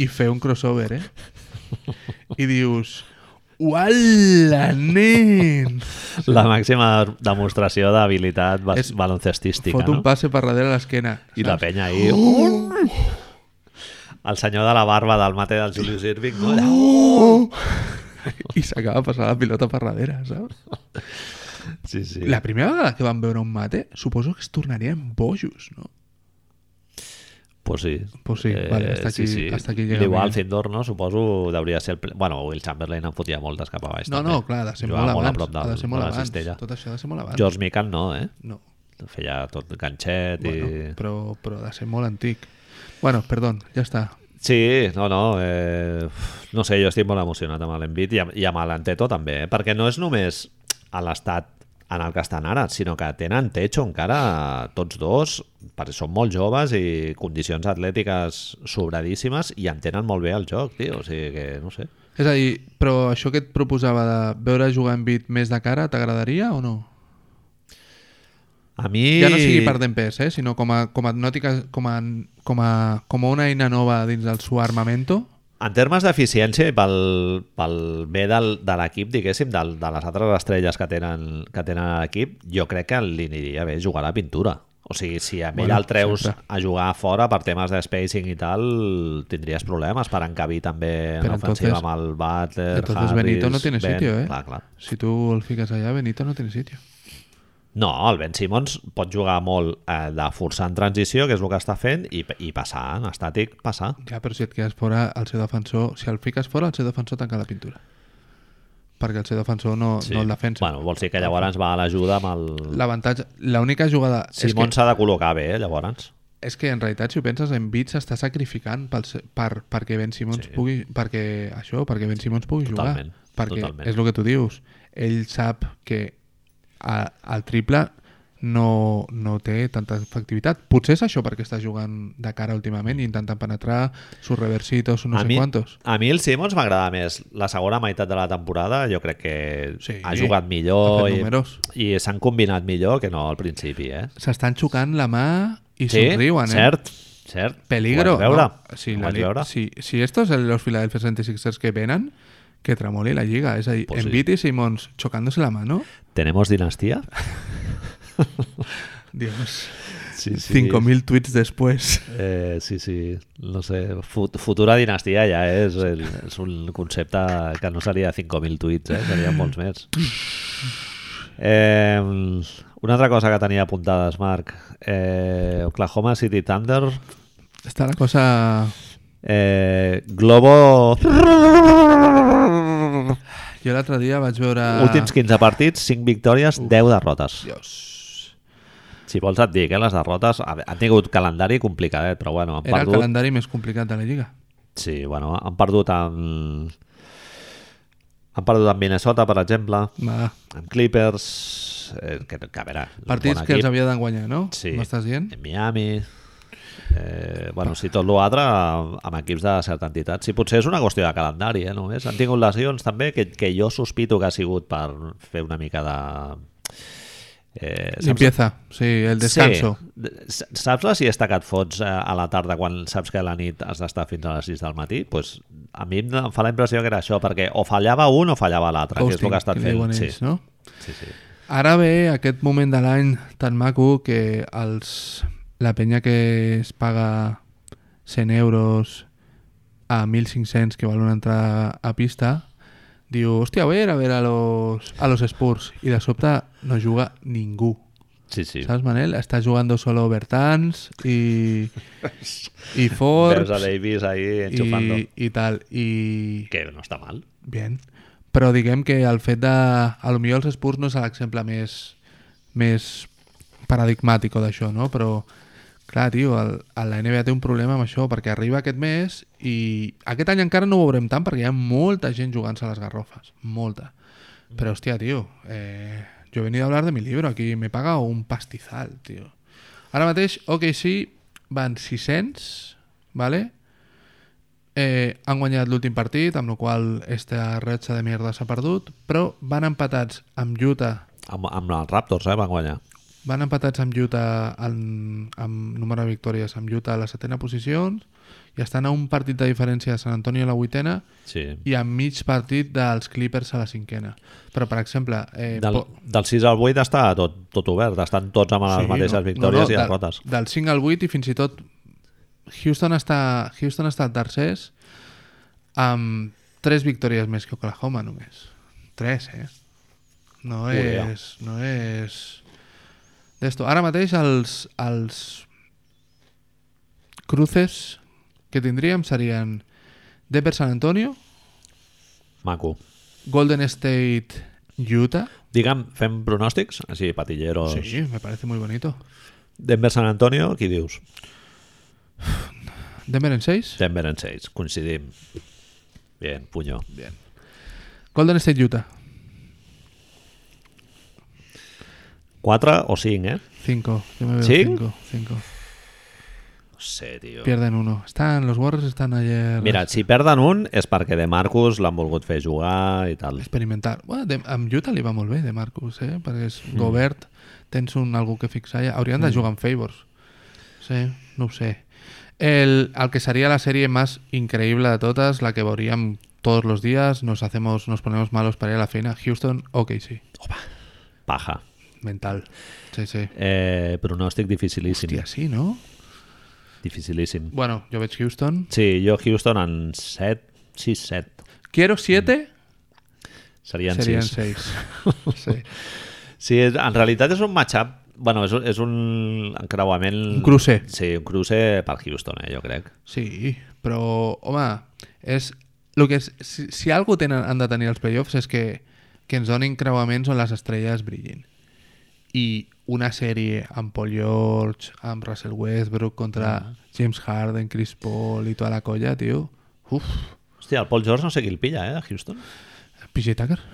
Speaker 2: i fer un crossover, eh? I dius... Uala, nen!
Speaker 1: La màxima demostració d'habilitat bas-
Speaker 2: És-
Speaker 1: baloncestística,
Speaker 2: Fot
Speaker 1: no?
Speaker 2: un passe per darrere l'esquena.
Speaker 1: I la
Speaker 2: saps?
Speaker 1: penya ahí... Oh! El senyor de la barba del mate del Julius Irving, no? Allà, Oh!
Speaker 2: [laughs] I s'acaba passant la pilota per darrere, saps?
Speaker 1: Sí, sí.
Speaker 2: La primera vegada que vam veure un mate, suposo que es tornarien bojos, no?
Speaker 1: Pues sí. Eh,
Speaker 2: Pues sí, vale, hasta aquí- hasta aquí llega
Speaker 1: Igual,
Speaker 2: mi-
Speaker 1: Findor, no? Suposo hauria de ser... El... ple- Bueno, Will Chamberlain en fotia moltes cap a baix,
Speaker 2: No,
Speaker 1: també.
Speaker 2: no, clar, ha de ser
Speaker 1: Jugava
Speaker 2: molt
Speaker 1: molt a
Speaker 2: abans.
Speaker 1: prop del,
Speaker 2: ha de ser molt
Speaker 1: de la
Speaker 2: abans.
Speaker 1: cistella.
Speaker 2: Tot això ha de ser molt abans.
Speaker 1: George Mikan no, eh?
Speaker 2: No,
Speaker 1: Feia tot ganxet
Speaker 2: bueno,
Speaker 1: i...
Speaker 2: però, però ha de ser molt antic. Bueno, perdó, ja està.
Speaker 1: Sí, no, no. Eh, no sé, jo estic molt emocionat amb l'Envit i, amb- i amb l'Anteto també, eh? perquè no és només a l'estat en el que estan ara, sinó que tenen techo encara tots dos, perquè són molt joves i condicions atlètiques sobradíssimes i entenen molt bé el joc, tio, o sigui que no sé.
Speaker 2: És a dir, però això que et proposava de veure jugar en bit més de cara, t'agradaria o no?
Speaker 1: A mi...
Speaker 2: Ja no sigui per d'empès, eh? sinó com a, com a, nòtica, com a, com a, com a una eina nova dins del seu armamento.
Speaker 1: En termes d'eficiència i pel, pel bé del, de l'equip, diguéssim, del, de les altres estrelles que tenen, que tenen a l'equip, jo crec que li aniria bé jugar a la pintura. O sigui, si a ell
Speaker 2: Bueno,
Speaker 1: el treus
Speaker 2: sempre.
Speaker 1: a jugar fora per temes de spacing i tal, tindries problemes per encabir també en
Speaker 2: Però
Speaker 1: l'ofensiva
Speaker 2: entonces-
Speaker 1: amb el Butler,
Speaker 2: Entonces
Speaker 1: Harris...
Speaker 2: Benito no tiene
Speaker 1: ben...
Speaker 2: sitio, eh?
Speaker 1: Clar, clar.
Speaker 2: Si tu el fiques allà, Benito no tiene sitio.
Speaker 1: No, el Ben Simmons pot jugar molt eh, de forçar en transició, que és el que està fent, i, i passar, en estàtic, passar.
Speaker 2: Ja, però si et quedes fora, el seu defensor... Si el fiques fora, el seu defensor tanca la pintura. Perquè el seu defensor no, sí. no el defensa.
Speaker 1: Bueno, vols dir que llavors va a l'ajuda amb el...
Speaker 2: L'avantatge... L'única jugada... és,
Speaker 1: Simon s'ha de col·locar bé, eh, llavors.
Speaker 2: que, és que, en realitat, si ho penses, en Bits s'està sacrificant pel, se- per, perquè Ben Simmons sí. pugui... Perquè això, perquè Ben Simmons pugui
Speaker 1: Totalment,
Speaker 2: jugar. Perquè
Speaker 1: totalment.
Speaker 2: és el que tu dius. Ell sap que a, el triple no, no té tanta efectivitat. Potser és això perquè està jugant de cara últimament i intentant penetrar sus reversitos, no
Speaker 1: a,
Speaker 2: sé
Speaker 1: mi,
Speaker 2: quantos.
Speaker 1: a mi el Simons m'agrada més. La segona meitat de la temporada jo crec que
Speaker 2: Sí,
Speaker 1: ha jugat millor
Speaker 2: ha fet
Speaker 1: i,
Speaker 2: números.
Speaker 1: i s'han combinat millor que no al principi, eh?
Speaker 2: s'estan xocant la mà i sí, somriuen, eh?
Speaker 1: cert, cert.
Speaker 2: Peligro.
Speaker 1: Ho vaig veure.
Speaker 2: No? Sí,
Speaker 1: ho
Speaker 2: la
Speaker 1: vaig
Speaker 2: li...
Speaker 1: veure.
Speaker 2: eh, sí, sí, estos, los Philadelphia 76ers que venen, que tramole la liga. Es ahí,
Speaker 1: Pues sí.
Speaker 2: Embiid y Simmons chocándose la mano.
Speaker 1: ¿Tenemos
Speaker 2: [laughs]
Speaker 1: dinastía?
Speaker 2: Dios.
Speaker 1: Sí, sí.
Speaker 2: 5.000 tweets después.
Speaker 1: Eh, sí, sí, no sé, fu- futura dinastia ja eh? és, el, és un concepte que no seria 5.000 tuits, eh? seria molts més. Eh, una altra cosa que tenia apuntades, Marc, eh, Oklahoma City Thunder,
Speaker 2: Está la cosa.
Speaker 1: eh, Globo...
Speaker 2: Jo l'altre dia vaig veure...
Speaker 1: Últims 15 partits, 5 victòries, 10 derrotes.
Speaker 2: Dios.
Speaker 1: Si vols et dic, eh, les derrotes a- han tingut calendari complicadet, però bueno, han
Speaker 2: Era el
Speaker 1: perdut...
Speaker 2: calendari més complicat de la Lliga.
Speaker 1: Sí, bueno, han perdut amb... Han perdut amb Minnesota, per exemple,
Speaker 2: Va.
Speaker 1: amb Clippers, eh, que, que a veure... és un
Speaker 2: Partits
Speaker 1: bon
Speaker 2: que els
Speaker 1: equip.
Speaker 2: havia d'enguanyar, no?
Speaker 1: Sí. Em
Speaker 2: M'estàs dient?
Speaker 1: En Miami... Eh, bueno, si tot l'altre amb equips de certa entitat. Si potser és una qüestió de calendari, eh, només. Han tingut lesions també, que, que jo sospito que ha sigut per fer una mica de... Eh, saps?
Speaker 2: Limpieza. Sí, el descanso.
Speaker 1: Sí. D- s- Saps la siesta que et fots eh, a la tarda quan saps que a la nit has d'estar fins a les 6 del matí? Pues, a mi em em fa la impressió que era això, perquè o fallava un o fallava l'altre, que és el que ha estat
Speaker 2: li
Speaker 1: fent.
Speaker 2: diuen ells,
Speaker 1: sí.
Speaker 2: no?
Speaker 1: sí, sí.
Speaker 2: Ara ve aquest moment de l'any tan maco que els, la penya que es paga 100 euros a 1.500 que val una entrada a pista diu, hòstia, voy a ir a veure a los, a los Spurs i de sobte no juga ningú.
Speaker 1: sí, sí.
Speaker 2: Saps, Manel? Està jugando solo Bertans i, i
Speaker 1: Veus a
Speaker 2: Forbes
Speaker 1: Davis ahí enxufando.
Speaker 2: i, i tal. I,
Speaker 1: Que no està mal.
Speaker 2: Bien. Però diguem que el fet de... A lo millor els Spurs no és l'exemple més, més paradigmàtic d'això, no? Però, clar, tio, el, el, la NBA té un problema amb això, perquè arriba aquest mes i aquest any encara no ho veurem tant perquè hi ha molta gent jugant-se a les garrofes. Molta. Però, hòstia, tio, eh, jo he venido a hablar de mi libro, aquí me paga un pastizal, tio. Ara mateix, OKC van 600, ¿vale? Eh, han guanyat l'últim partit, amb la qual cosa esta ratxa de merda s'ha perdut, però van empatats amb Utah
Speaker 1: Amb, amb els Raptors, eh, van guanyar.
Speaker 2: van empatats amb Utah en, amb número de victòries amb Utah a la setena posició i estan a un partit de diferència de San Antonio a la vuitena
Speaker 1: Sí.
Speaker 2: i a mig partit dels Clippers a la cinquena. Però, per exemple... Eh,
Speaker 1: Del,
Speaker 2: po-
Speaker 1: del 6 al 8 està tot, tot obert, estan tots amb les
Speaker 2: Sí,
Speaker 1: mateixes
Speaker 2: no,
Speaker 1: victòries
Speaker 2: no, no,
Speaker 1: i
Speaker 2: del-
Speaker 1: derrotes.
Speaker 2: Del 5 al 8 i fins i tot Houston està, Houston està tercers amb 3 victòries més que Oklahoma només. 3, eh? No
Speaker 1: Ui, ja.
Speaker 2: és... No és... D'esto. Ara mateix els, els cruces que tindríem serien Denver San Antonio,
Speaker 1: Maco.
Speaker 2: Golden State Utah.
Speaker 1: Digue'm, fem pronòstics? Així, patilleros. Sí.
Speaker 2: Sí, me parece muy bonito.
Speaker 1: Denver San Antonio, qui dius?
Speaker 2: Denver en 6.
Speaker 1: Denver en 6, coincidim. Bien, puño.
Speaker 2: Bien. Golden State Utah.
Speaker 1: 4 o 5, ¿eh?
Speaker 2: 5. Yo me veo
Speaker 1: ¿Sí?
Speaker 2: 5. 5.
Speaker 1: No sé, tío.
Speaker 2: Pierden uno. Están, los Warriors están ayer.
Speaker 1: Mira, si perden un és perquè de Marcus l'han volgut fer jugar i tal.
Speaker 2: Experimentar. Bueno, de, amb Utah li va molt bé, de Marcus, eh? Perquè és
Speaker 1: Mm.
Speaker 2: Gobert, tens un algú que fixar allà. Haurien de jugar amb favors. Sí, no ho sé. El, el que sería la serie más increíble de todas, la que verían todos los días, nos hacemos, nos ponemos malos para ir a la feina. Houston, ok, sí.
Speaker 1: Paja.
Speaker 2: Mental. Sí, sí.
Speaker 1: Eh, pronòstic dificilíssim.
Speaker 2: Hòstia, sí, no?
Speaker 1: Dificilíssim.
Speaker 2: Bueno, jo veig Houston.
Speaker 1: Sí, jo Houston en 7, 6, 7.
Speaker 2: Quiero 7,
Speaker 1: Mm. Serien,
Speaker 2: serien
Speaker 1: 6. [laughs]
Speaker 2: 6. sí.
Speaker 1: Sí, és- en realitat és un matchup Bueno, és, és un encreuament...
Speaker 2: Un cruce.
Speaker 1: Sí, un cruce per Houston, eh, jo crec.
Speaker 2: Sí, però, home, és... Lo que és si, si algo tenen, han de tenir els playoffs és que, que ens donin creuaments on les estrelles brillin. I una sèrie amb Paul George, amb Russell Westbrook contra
Speaker 1: Ah.
Speaker 2: James Harden, Chris Paul i tota la colla, tio. Uf,
Speaker 1: Hòstia, el Paul George no sé qui el pilla, eh, a Houston.
Speaker 2: PJ Tucker.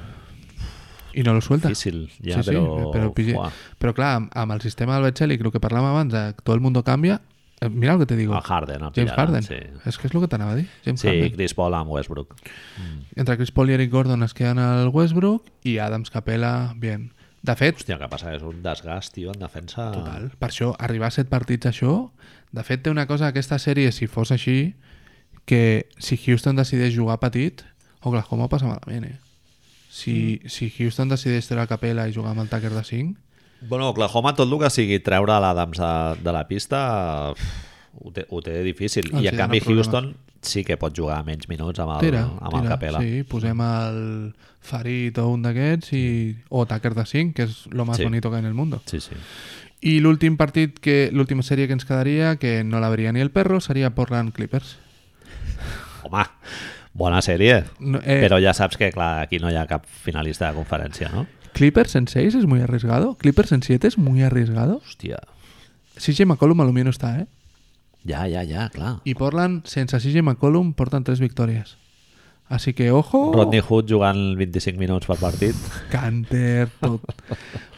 Speaker 2: I no lo suelta.
Speaker 1: Difícil, ja, però...
Speaker 2: pero pille-
Speaker 1: Fuà.
Speaker 2: pero claro, am- am al sistema del Belichick, lo que parlàvem abans, de todo el mundo cambia, eh, mira lo que te digo.
Speaker 1: El Harden, el
Speaker 2: James
Speaker 1: pillarà,
Speaker 2: Harden.
Speaker 1: sí.
Speaker 2: Es que es lo que te dir. James
Speaker 1: Sí,
Speaker 2: Harden.
Speaker 1: Chris Paul amb Westbrook.
Speaker 2: Entre Chris Paul y Eric Gordon es quedan al Westbrook y Adams Capella, bien. De fet,
Speaker 1: Hòstia, el que passa és un desgast, tio, en defensa...
Speaker 2: total, per això, arribar a set partits això, de fet té una cosa, aquesta sèrie, si fos així, que si Houston decideix jugar petit, Oklahoma ho passa malament, eh? Si,
Speaker 1: Mm.
Speaker 2: si Houston decideix treure Capella i jugar amb el Tucker de 5,
Speaker 1: Bueno, Oklahoma, tot el que sigui treure l'Adams de, de la pista uf, ho té, ho té difícil.
Speaker 2: Ah,
Speaker 1: I
Speaker 2: sí,
Speaker 1: en canvi
Speaker 2: tenen problemes.
Speaker 1: Houston sí que pot jugar menys minuts amb el,
Speaker 2: tira,
Speaker 1: amb el Mm.
Speaker 2: tira,
Speaker 1: Capela.
Speaker 2: sí, posem el Farid o un d'aquests i... o Tucker de 5, que és lo más
Speaker 1: Sí.
Speaker 2: bonito que hay en el mundo.
Speaker 1: Sí, sí.
Speaker 2: I l'últim partit, que l'última sèrie que ens quedaria, que no la veria ni el perro, seria Portland Clippers.
Speaker 1: Home, bona sèrie.
Speaker 2: No,
Speaker 1: Eh.
Speaker 2: eh,
Speaker 1: Però ja saps que, clar, aquí no hi ha cap finalista de conferència, no?
Speaker 2: Clippers en 6 es muy arriesgado. Clippers en 7 es muy arriesgado.
Speaker 1: Hòstia.
Speaker 2: CJ McCollum a lo mío no está, ¿eh?
Speaker 1: Ja, ja, ja, clar.
Speaker 2: Y Portland, sense CJ McCollum, portan 3 victorias. Así que, ojo...
Speaker 1: Rodney Hood jugant 25 minuts per partit.
Speaker 2: Canter,
Speaker 1: [laughs]
Speaker 2: tot.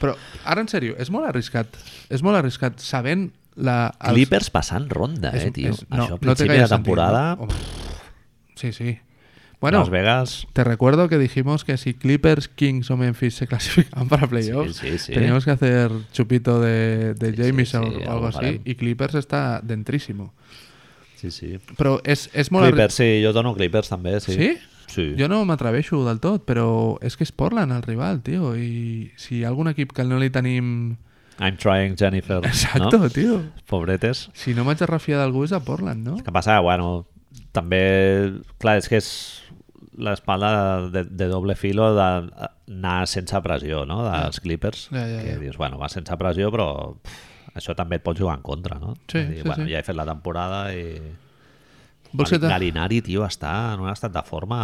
Speaker 2: Però, ara, en sèrio, és molt arriscat. És molt arriscat, sabent la... els-
Speaker 1: Clippers passant ronda, eh, tio. Això a
Speaker 2: té
Speaker 1: principi
Speaker 2: gaire
Speaker 1: de temporada,
Speaker 2: sentit, no? Home. Sí, sí.
Speaker 1: bueno,
Speaker 2: Bueno,
Speaker 1: Las Vegas...
Speaker 2: Te recuerdo que dijimos que si Clippers, Kings o Memphis se [laughs] clasificaban para playoffs,
Speaker 1: Sí, sí, sí.
Speaker 2: teníamos que hacer chupito de, de
Speaker 1: Sí,
Speaker 2: James
Speaker 1: sí,
Speaker 2: o,
Speaker 1: sí,
Speaker 2: o algo
Speaker 1: algo
Speaker 2: así.
Speaker 1: farem.
Speaker 2: Y Clippers está dentrísimo.
Speaker 1: Sí, sí.
Speaker 2: Però és, és molt...
Speaker 1: Clippers, sí, jo dono Clippers també, sí.
Speaker 2: Sí?
Speaker 1: Sí.
Speaker 2: Jo no m'atreveixo del tot, però és que és Portland el rival, tio. I si hi ha algun equip que no li tenim...
Speaker 1: I'm trying, Jennifer.
Speaker 2: Exacto,
Speaker 1: [laughs] No?
Speaker 2: tio.
Speaker 1: Pobretes.
Speaker 2: Si no m'haig de refiar d'algú és a Portland, no?
Speaker 1: El que passa, bueno, també... Clar, és que és l'espalda de, de doble filo d'anar sense pressió, no?, dels Clippers.
Speaker 2: Ja, ja,
Speaker 1: que
Speaker 2: ja.
Speaker 1: dius, bueno, va sense pressió, però pff, això també et pot jugar en contra, no?
Speaker 2: Sí,
Speaker 1: És a dir,
Speaker 2: sí,
Speaker 1: bueno,
Speaker 2: sí.
Speaker 1: Ja he fet la temporada i...
Speaker 2: Vols que te...
Speaker 1: Galinari, tio, està en un estat de forma...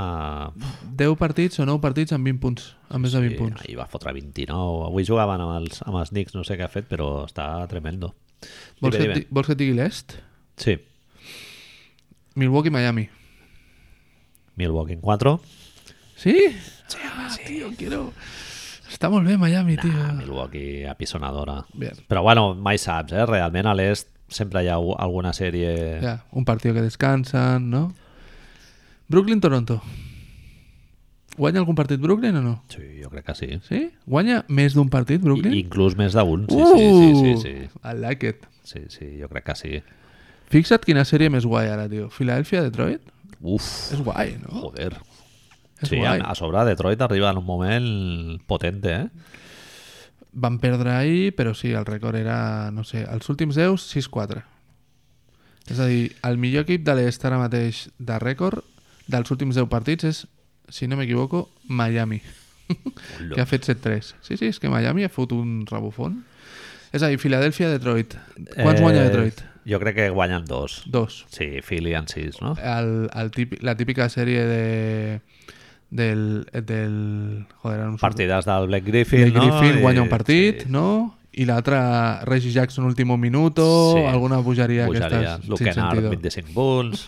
Speaker 2: 10 partits o 9 partits amb 20 punts, amb més de 20 punts.
Speaker 1: Ahir va fotre 29. Avui jugaven amb els, amb els Knicks, no sé què ha fet, però està tremendo.
Speaker 2: Vols que,
Speaker 1: Dime,
Speaker 2: et di-
Speaker 1: dime.
Speaker 2: vols que et digui l'est?
Speaker 1: Sí,
Speaker 2: Milwaukee-Miami.
Speaker 1: Milwaukee en 4.
Speaker 2: ¿Sí? Sí, tío, quiero. Está molt bé Miami, tío.
Speaker 1: Ah, Milwaukee apisonadora.
Speaker 2: Bien.
Speaker 1: Però bueno, mai saps, eh? Realment a l'est sempre hi ha u- alguna sèrie...
Speaker 2: Ya, un partido que descansan, ¿no? Brooklyn-Toronto. Guanya algun partit Brooklyn o no?
Speaker 1: Sí, jo crec que sí.
Speaker 2: Sí? Guanya més d'un partit Brooklyn? Uh,
Speaker 1: I, inclús més d'un, sí, sí, sí, sí, sí,
Speaker 2: I like it.
Speaker 1: sí, sí, jo crec que sí.
Speaker 2: Fixa't quina sèrie més guai ara, tio. Philadelphia-Detroit?
Speaker 1: Uf,
Speaker 2: És guai, no?
Speaker 1: joder.
Speaker 2: És
Speaker 1: Sí,
Speaker 2: guai.
Speaker 1: a, a sobre Detroit arriba en un moment potente, eh?
Speaker 2: Van perdre ahir, però sí, el rècord era, no sé, els últims 10, 6-4. És a dir, el millor equip de l'est ara mateix de rècord dels últims 10 partits és, si no m'equivoco, Miami,
Speaker 1: Olo.
Speaker 2: que ha fet 7-3. Sí, sí, és que Miami ha fotut un rebufón. És a dir, Filadèlfia, Detroit. Quants eh... guanya Detroit?
Speaker 1: Jo crec que guanyen dos.
Speaker 2: Dos.
Speaker 1: Sí, Philly en sis,
Speaker 2: Eh,
Speaker 1: no?
Speaker 2: El, el típic, la típica sèrie de... Del, del... Joder, ara no em surt.
Speaker 1: Partides del Black Griffin,
Speaker 2: Blake
Speaker 1: no?
Speaker 2: Griffin
Speaker 1: I-
Speaker 2: guanya un partit,
Speaker 1: sí.
Speaker 2: no? I l'altre, Reggie Jackson, último minuto,
Speaker 1: Sí.
Speaker 2: alguna bogeria,
Speaker 1: Pujaria.
Speaker 2: aquestes
Speaker 1: Luke
Speaker 2: sin
Speaker 1: Kennard,
Speaker 2: sentido.
Speaker 1: 25 punts.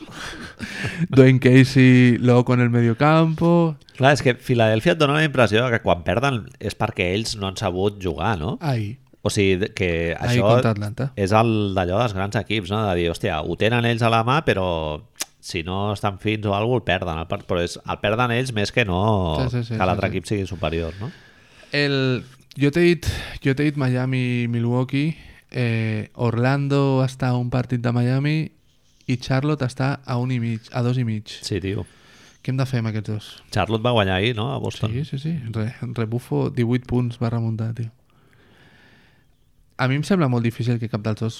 Speaker 2: Dwayne Casey, loco en el mediocampo...
Speaker 1: Clar, és que Filadèlfia et dona la impressió que quan perden és perquè ells no han sabut jugar, no?
Speaker 2: Ahí,
Speaker 1: O sigui, que
Speaker 2: ahí
Speaker 1: això
Speaker 2: contra Atlanta.
Speaker 1: és el d'allò dels grans equips, no? De dir, hòstia, ho tenen ells a la mà, però si no estan fins o alguna cosa, el perden. El per- Però és, el perden ells més que no
Speaker 2: Sí, sí, sí,
Speaker 1: que l'altre
Speaker 2: sí, sí.
Speaker 1: equip sigui superior, no?
Speaker 2: El, jo t'he dit, jo t'he dit Miami, Milwaukee, eh, Orlando està a un partit de Miami i Charlotte està a un i mig, a dos i mig.
Speaker 1: Sí, tio.
Speaker 2: Què hem de fer amb aquests dos?
Speaker 1: Charlotte va guanyar ahir, no? A Boston.
Speaker 2: Sí, sí, sí. Re, rebufo 18 punts va remuntar, tio. A mi em sembla molt difícil que cap dels dos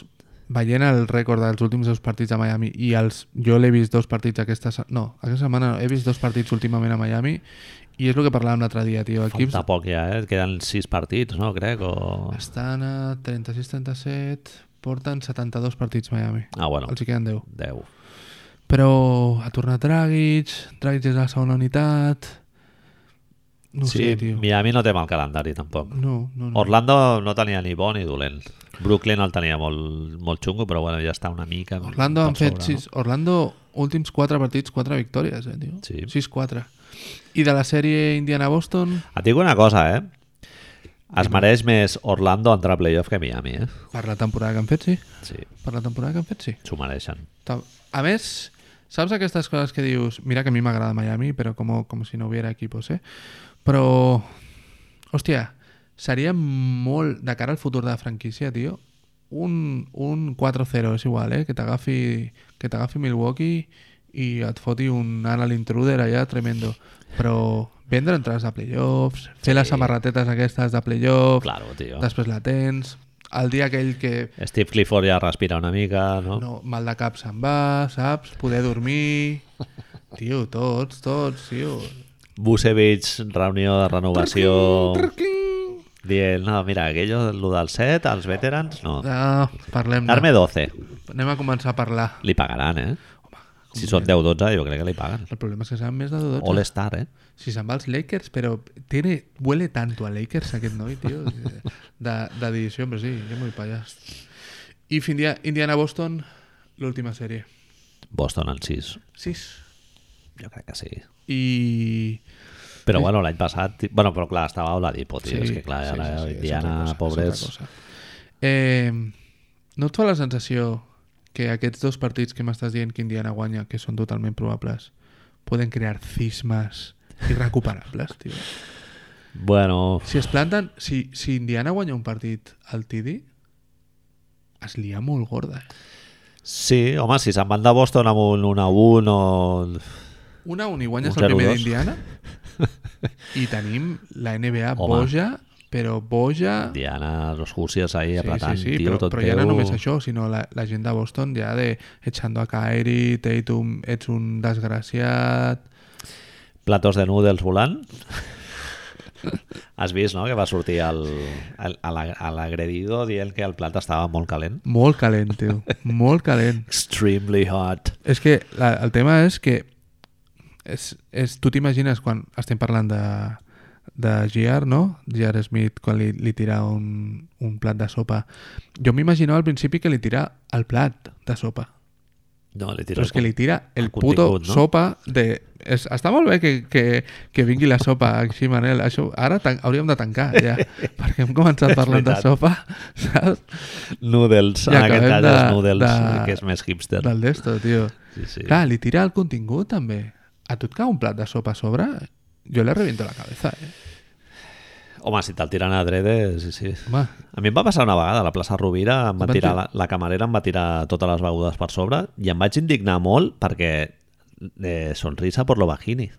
Speaker 2: veient el rècord dels últims dos partits a Miami i els, jo l'he vist dos partits aquesta se... no, aquesta setmana no, he vist dos partits últimament a Miami i és el que parlàvem l'altre dia, tio. Equips
Speaker 1: Falta poc ja, eh? Queden sis partits, no? Crec, o...
Speaker 2: estan a 36-37, porten 72 partits Miami.
Speaker 1: Ah, bueno,
Speaker 2: Els hi queden 10.
Speaker 1: 10.
Speaker 2: Però ha tornat Dragic, Dragic és a la segona unitat... No ho
Speaker 1: sí,
Speaker 2: sé, tio.
Speaker 1: Miami no té mal calendari, tampoc.
Speaker 2: No, no, no.
Speaker 1: Orlando no tenia ni bo ni dolent. Brooklyn el tenia molt, molt xungo, però bueno, ja està una mica...
Speaker 2: Orlando
Speaker 1: per
Speaker 2: han fet
Speaker 1: sobre, no?
Speaker 2: sis, Orlando últims 4 partits, 4 victòries, eh, tio.
Speaker 1: Sí.
Speaker 2: 6-4. I de la sèrie Indiana-Boston,
Speaker 1: Et dic una cosa, eh? Es mereix més Orlando entrar a playoff que Miami, eh?
Speaker 2: per la temporada que han fet, sí.
Speaker 1: Sí,
Speaker 2: Per la temporada que han fet, sí.
Speaker 1: s'ho mereixen.
Speaker 2: Ta- A més, saps aquestes coses que dius, mira que a mi m'agrada Miami, però com, com si no hubiera equipos, eh? Però, hòstia, seria molt, de cara al futur de la franquícia, tio, un, un 4-0, és igual, eh? Que t'agafi que t'agafi Milwaukee i et foti un anal intruder allà tremendo. Però vendre entrades de playoffs, fer les samarretetes aquestes de playoffs,
Speaker 1: Claro, tio.
Speaker 2: després la tens, el dia aquell que
Speaker 1: Steve Clifford ja respira una mica, no?
Speaker 2: no, mal de cap se'n va, saps? Poder
Speaker 1: [laughs]
Speaker 2: dormir... Tio, tots, tots, tio.
Speaker 1: Busevich, reunió de renovació...
Speaker 2: Trrrquing.
Speaker 1: Dient, no, mira, aquello, lo del set, els veterans, no.
Speaker 2: Ah, parlem
Speaker 1: Darme 12.
Speaker 2: Anem a començar a parlar.
Speaker 1: Li pagaran, eh? Si són 10-12, jo crec que li paguen.
Speaker 2: El problema és que seran més de 12.
Speaker 1: All-Star, eh?
Speaker 2: Si se'n va als Lakers, però tiene, huele tanto a Lakers aquest noi,
Speaker 1: [laughs]
Speaker 2: tio, de, de dir, sí, hombre, sí, que muy payas. I fins dia, Indiana-Boston, l'última sèrie.
Speaker 1: Boston en 6.
Speaker 2: Sis.
Speaker 1: Jo crec que sí.
Speaker 2: I...
Speaker 1: Però bueno, l'any passat... ti- Bueno, però clar, estava Oladipo, tio. és que clar,
Speaker 2: Eh? sí,
Speaker 1: ara
Speaker 2: sí, sí, és
Speaker 1: Indiana,
Speaker 2: altra cosa, és
Speaker 1: pobres...
Speaker 2: altra cosa. Eh, no et fa la sensació que aquests dos partits que m'estàs dient que Indiana guanya, que són totalment probables, poden crear cismes irrecuperables, tio?
Speaker 1: Bueno,
Speaker 2: Si es planten... Si, si Indiana guanya un partit al TD, es lia molt gorda. eh?
Speaker 1: sí, home, si se'n van de Boston amb un 1-1 o...
Speaker 2: Una a un i guanyes
Speaker 1: Un
Speaker 2: el
Speaker 1: 0-2.
Speaker 2: primer d'Indiana i tenim la NBA
Speaker 1: Home.
Speaker 2: boja, però boja...
Speaker 1: Diana, los Hussies ahí
Speaker 2: Sí,
Speaker 1: apretant,
Speaker 2: sí, sí,
Speaker 1: tio,
Speaker 2: però,
Speaker 1: tot
Speaker 2: però ja no
Speaker 1: teu.
Speaker 2: només això, sinó la, la gent de Boston ja de echando a Kyrie, Tatum, ets un desgraciat...
Speaker 1: Platos de noodles volant. Has vist, no?, que va sortir el, el, a la- a l'agredido dient que el plat estava molt calent.
Speaker 2: Molt calent,
Speaker 1: [laughs]
Speaker 2: tio, molt calent.
Speaker 1: Extremely hot.
Speaker 2: És que la, el tema és que és, és, tu t'imagines quan estem parlant de, de GR, no? GR Smith quan li, li tira un, un plat de sopa. Jo m'imaginava al principi que li tira el plat de sopa.
Speaker 1: No, li tiro
Speaker 2: Però és que li tira el
Speaker 1: el
Speaker 2: puto
Speaker 1: contingut, no?
Speaker 2: sopa de... És, està molt bé que, que, que vingui la sopa així, Manel. Això, ara tan, hauríem de tancar, ja.
Speaker 1: [laughs]
Speaker 2: perquè hem començat parlant de
Speaker 1: veritat.
Speaker 2: sopa, saps?
Speaker 1: Noodles,
Speaker 2: I
Speaker 1: en aquest
Speaker 2: acabem
Speaker 1: cas els
Speaker 2: de-
Speaker 1: noodles, eh,
Speaker 2: de-
Speaker 1: que és més hipster.
Speaker 2: Del desto, tio.
Speaker 1: Sí, sí.
Speaker 2: Clar, li tira el contingut, també. A tu et cau un plat de sopa a sobre? Jo le reviento la cabeza, eh?
Speaker 1: Home, si te'l tiren a drede, sí, sí.
Speaker 2: Home,
Speaker 1: A mi em va passar una vegada a la plaça Rovira, em va
Speaker 2: Van
Speaker 1: tirar, la,
Speaker 2: tirar-
Speaker 1: la camarera em va tirar totes les begudes per sobre i em vaig indignar molt perquè eh, sonrisa por lo bajini.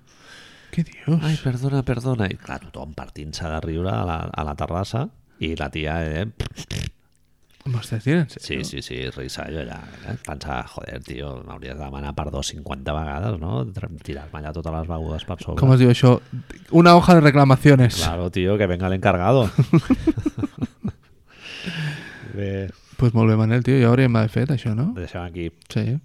Speaker 2: què dius?
Speaker 1: Ai, perdona, perdona. I clar, tothom partint-se de riure a la, a la terrassa i la tia, eh,
Speaker 2: M'ho estàs dient en
Speaker 1: sí,
Speaker 2: sèrio?
Speaker 1: sí, sí, risa, jo ja eh, pensava, joder, tio, m'hauries de demanar perdó 50 vegades, no? Tr- Tirar-me allà totes les begudes per sobre.
Speaker 2: Com es diu això? Una hoja de reclamaciones.
Speaker 1: Claro, tío, que venga el
Speaker 2: [laughs]
Speaker 1: encargado. Bé,
Speaker 2: Pues molt bé, Manel, tio. Ja hauríem d'haver fet això, no?
Speaker 1: ho deixem aquí.
Speaker 2: Sí.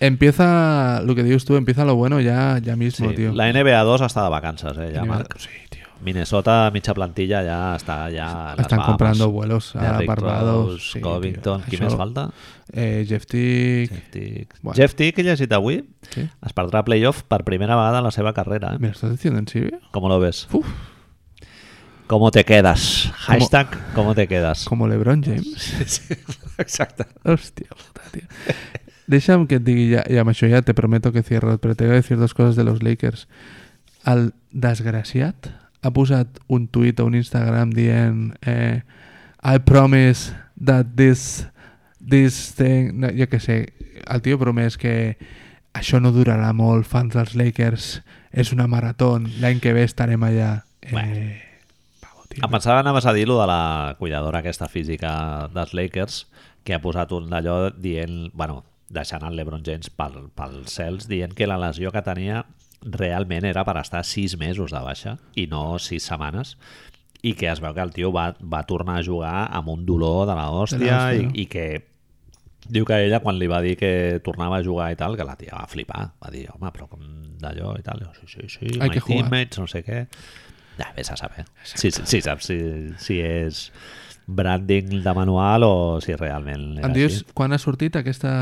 Speaker 2: Empieza, lo que dius tú, empieza lo bueno ya, ya
Speaker 1: Sí,
Speaker 2: mismo, tío.
Speaker 1: la NBA 2 està de vacances, eh, ja, Marc.
Speaker 2: Sí, tío.
Speaker 1: Minnesota, mitja plantilla, ja està ja a les
Speaker 2: Están
Speaker 1: Bahamas.
Speaker 2: comprando vuelos a
Speaker 1: Derrick
Speaker 2: Barbados.
Speaker 1: Rose,
Speaker 2: sí, tío.
Speaker 1: Covington, qui
Speaker 2: Això-
Speaker 1: més falta?
Speaker 2: Eh, Jeff Tick.
Speaker 1: Jeff Tick.
Speaker 2: Bueno.
Speaker 1: Jeff Tick, he llegit avui,
Speaker 2: Sí.
Speaker 1: es perdrà playoff per primera vegada en la seva carrera.
Speaker 2: ¿Me
Speaker 1: Eh?
Speaker 2: lo estás diciendo en serio?
Speaker 1: ¿Cómo lo ves?
Speaker 2: Uf,
Speaker 1: ¿Cómo te quedas? Hashtag ¿Cómo te quedas? [laughs]
Speaker 2: [laughs] como LeBron James.
Speaker 1: Exacte.
Speaker 2: Hostia puta, tío. Deixa'm que et digui ja, i amb això ja te prometo que cierro, però t'he de decir dos coses de los Lakers. El desgraciat ha posat un tuit a un Instagram dient eh, I promise that this this thing... No, jo què sé, el tio promès que això no durarà molt, fans dels Lakers, és una marató, l'any que ve estarem allà.
Speaker 1: Bueno.
Speaker 2: Eh, pavo, tio.
Speaker 1: Em pensava que anaves a dir lo de la cuidadora aquesta física dels Lakers que ha posat un d'allò dient, bueno, deixant el LeBron James pel, pels cels, dient que la lesió que tenia realment era per estar sis mesos de baixa i no sis setmanes i que es veu que el tio va, va tornar a jugar amb un dolor de la hòstia
Speaker 2: hòstia,
Speaker 1: i,
Speaker 2: no?
Speaker 1: i que diu que ella quan li va dir que tornava a jugar i tal, que la tia va flipar va dir, home, però com d'allò i tal jo, sí, sí, sí,
Speaker 2: Hay
Speaker 1: my
Speaker 2: que jugar."
Speaker 1: teammates, no sé què Ja, vés a saber. Sí, sí, sí, saps si, si és branding de manual o si realment era
Speaker 2: Em dius
Speaker 1: així.
Speaker 2: quan ha sortit aquesta...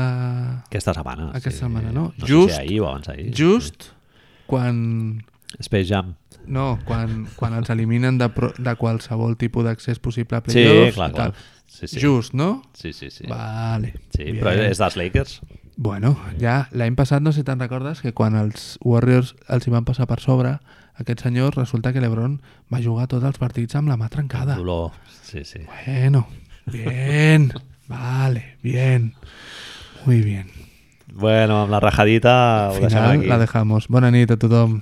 Speaker 1: Aquesta setmana.
Speaker 2: Aquesta
Speaker 1: sí.
Speaker 2: setmana, no?
Speaker 1: no
Speaker 2: Just-
Speaker 1: Just... sé si ahir o abans ahir.
Speaker 2: Just quan
Speaker 1: Space Jam.
Speaker 2: No, quan, quan els eliminen de, pro, de qualsevol tipus d'accés possible a
Speaker 1: Sí,
Speaker 2: playoffs.
Speaker 1: clar, clar.
Speaker 2: i tal.
Speaker 1: Sí, sí.
Speaker 2: Just, no?
Speaker 1: Sí, sí, sí.
Speaker 2: Vale.
Speaker 1: Sí,
Speaker 2: Bien.
Speaker 1: però és dels Lakers.
Speaker 2: Bueno, ja l'any passat, no sé si te'n recordes, que quan els Warriors els hi van passar per sobre, aquest senyor resulta que l'Ebron va jugar tots els partits amb la mà trencada.
Speaker 1: Dolor. Sí, sí.
Speaker 2: Bueno, bien, vale, bien. Muy bien.
Speaker 1: Bueno, amb la rajadita ho
Speaker 2: Final
Speaker 1: deixem aquí.
Speaker 2: la dejamos. Bona nit a tothom.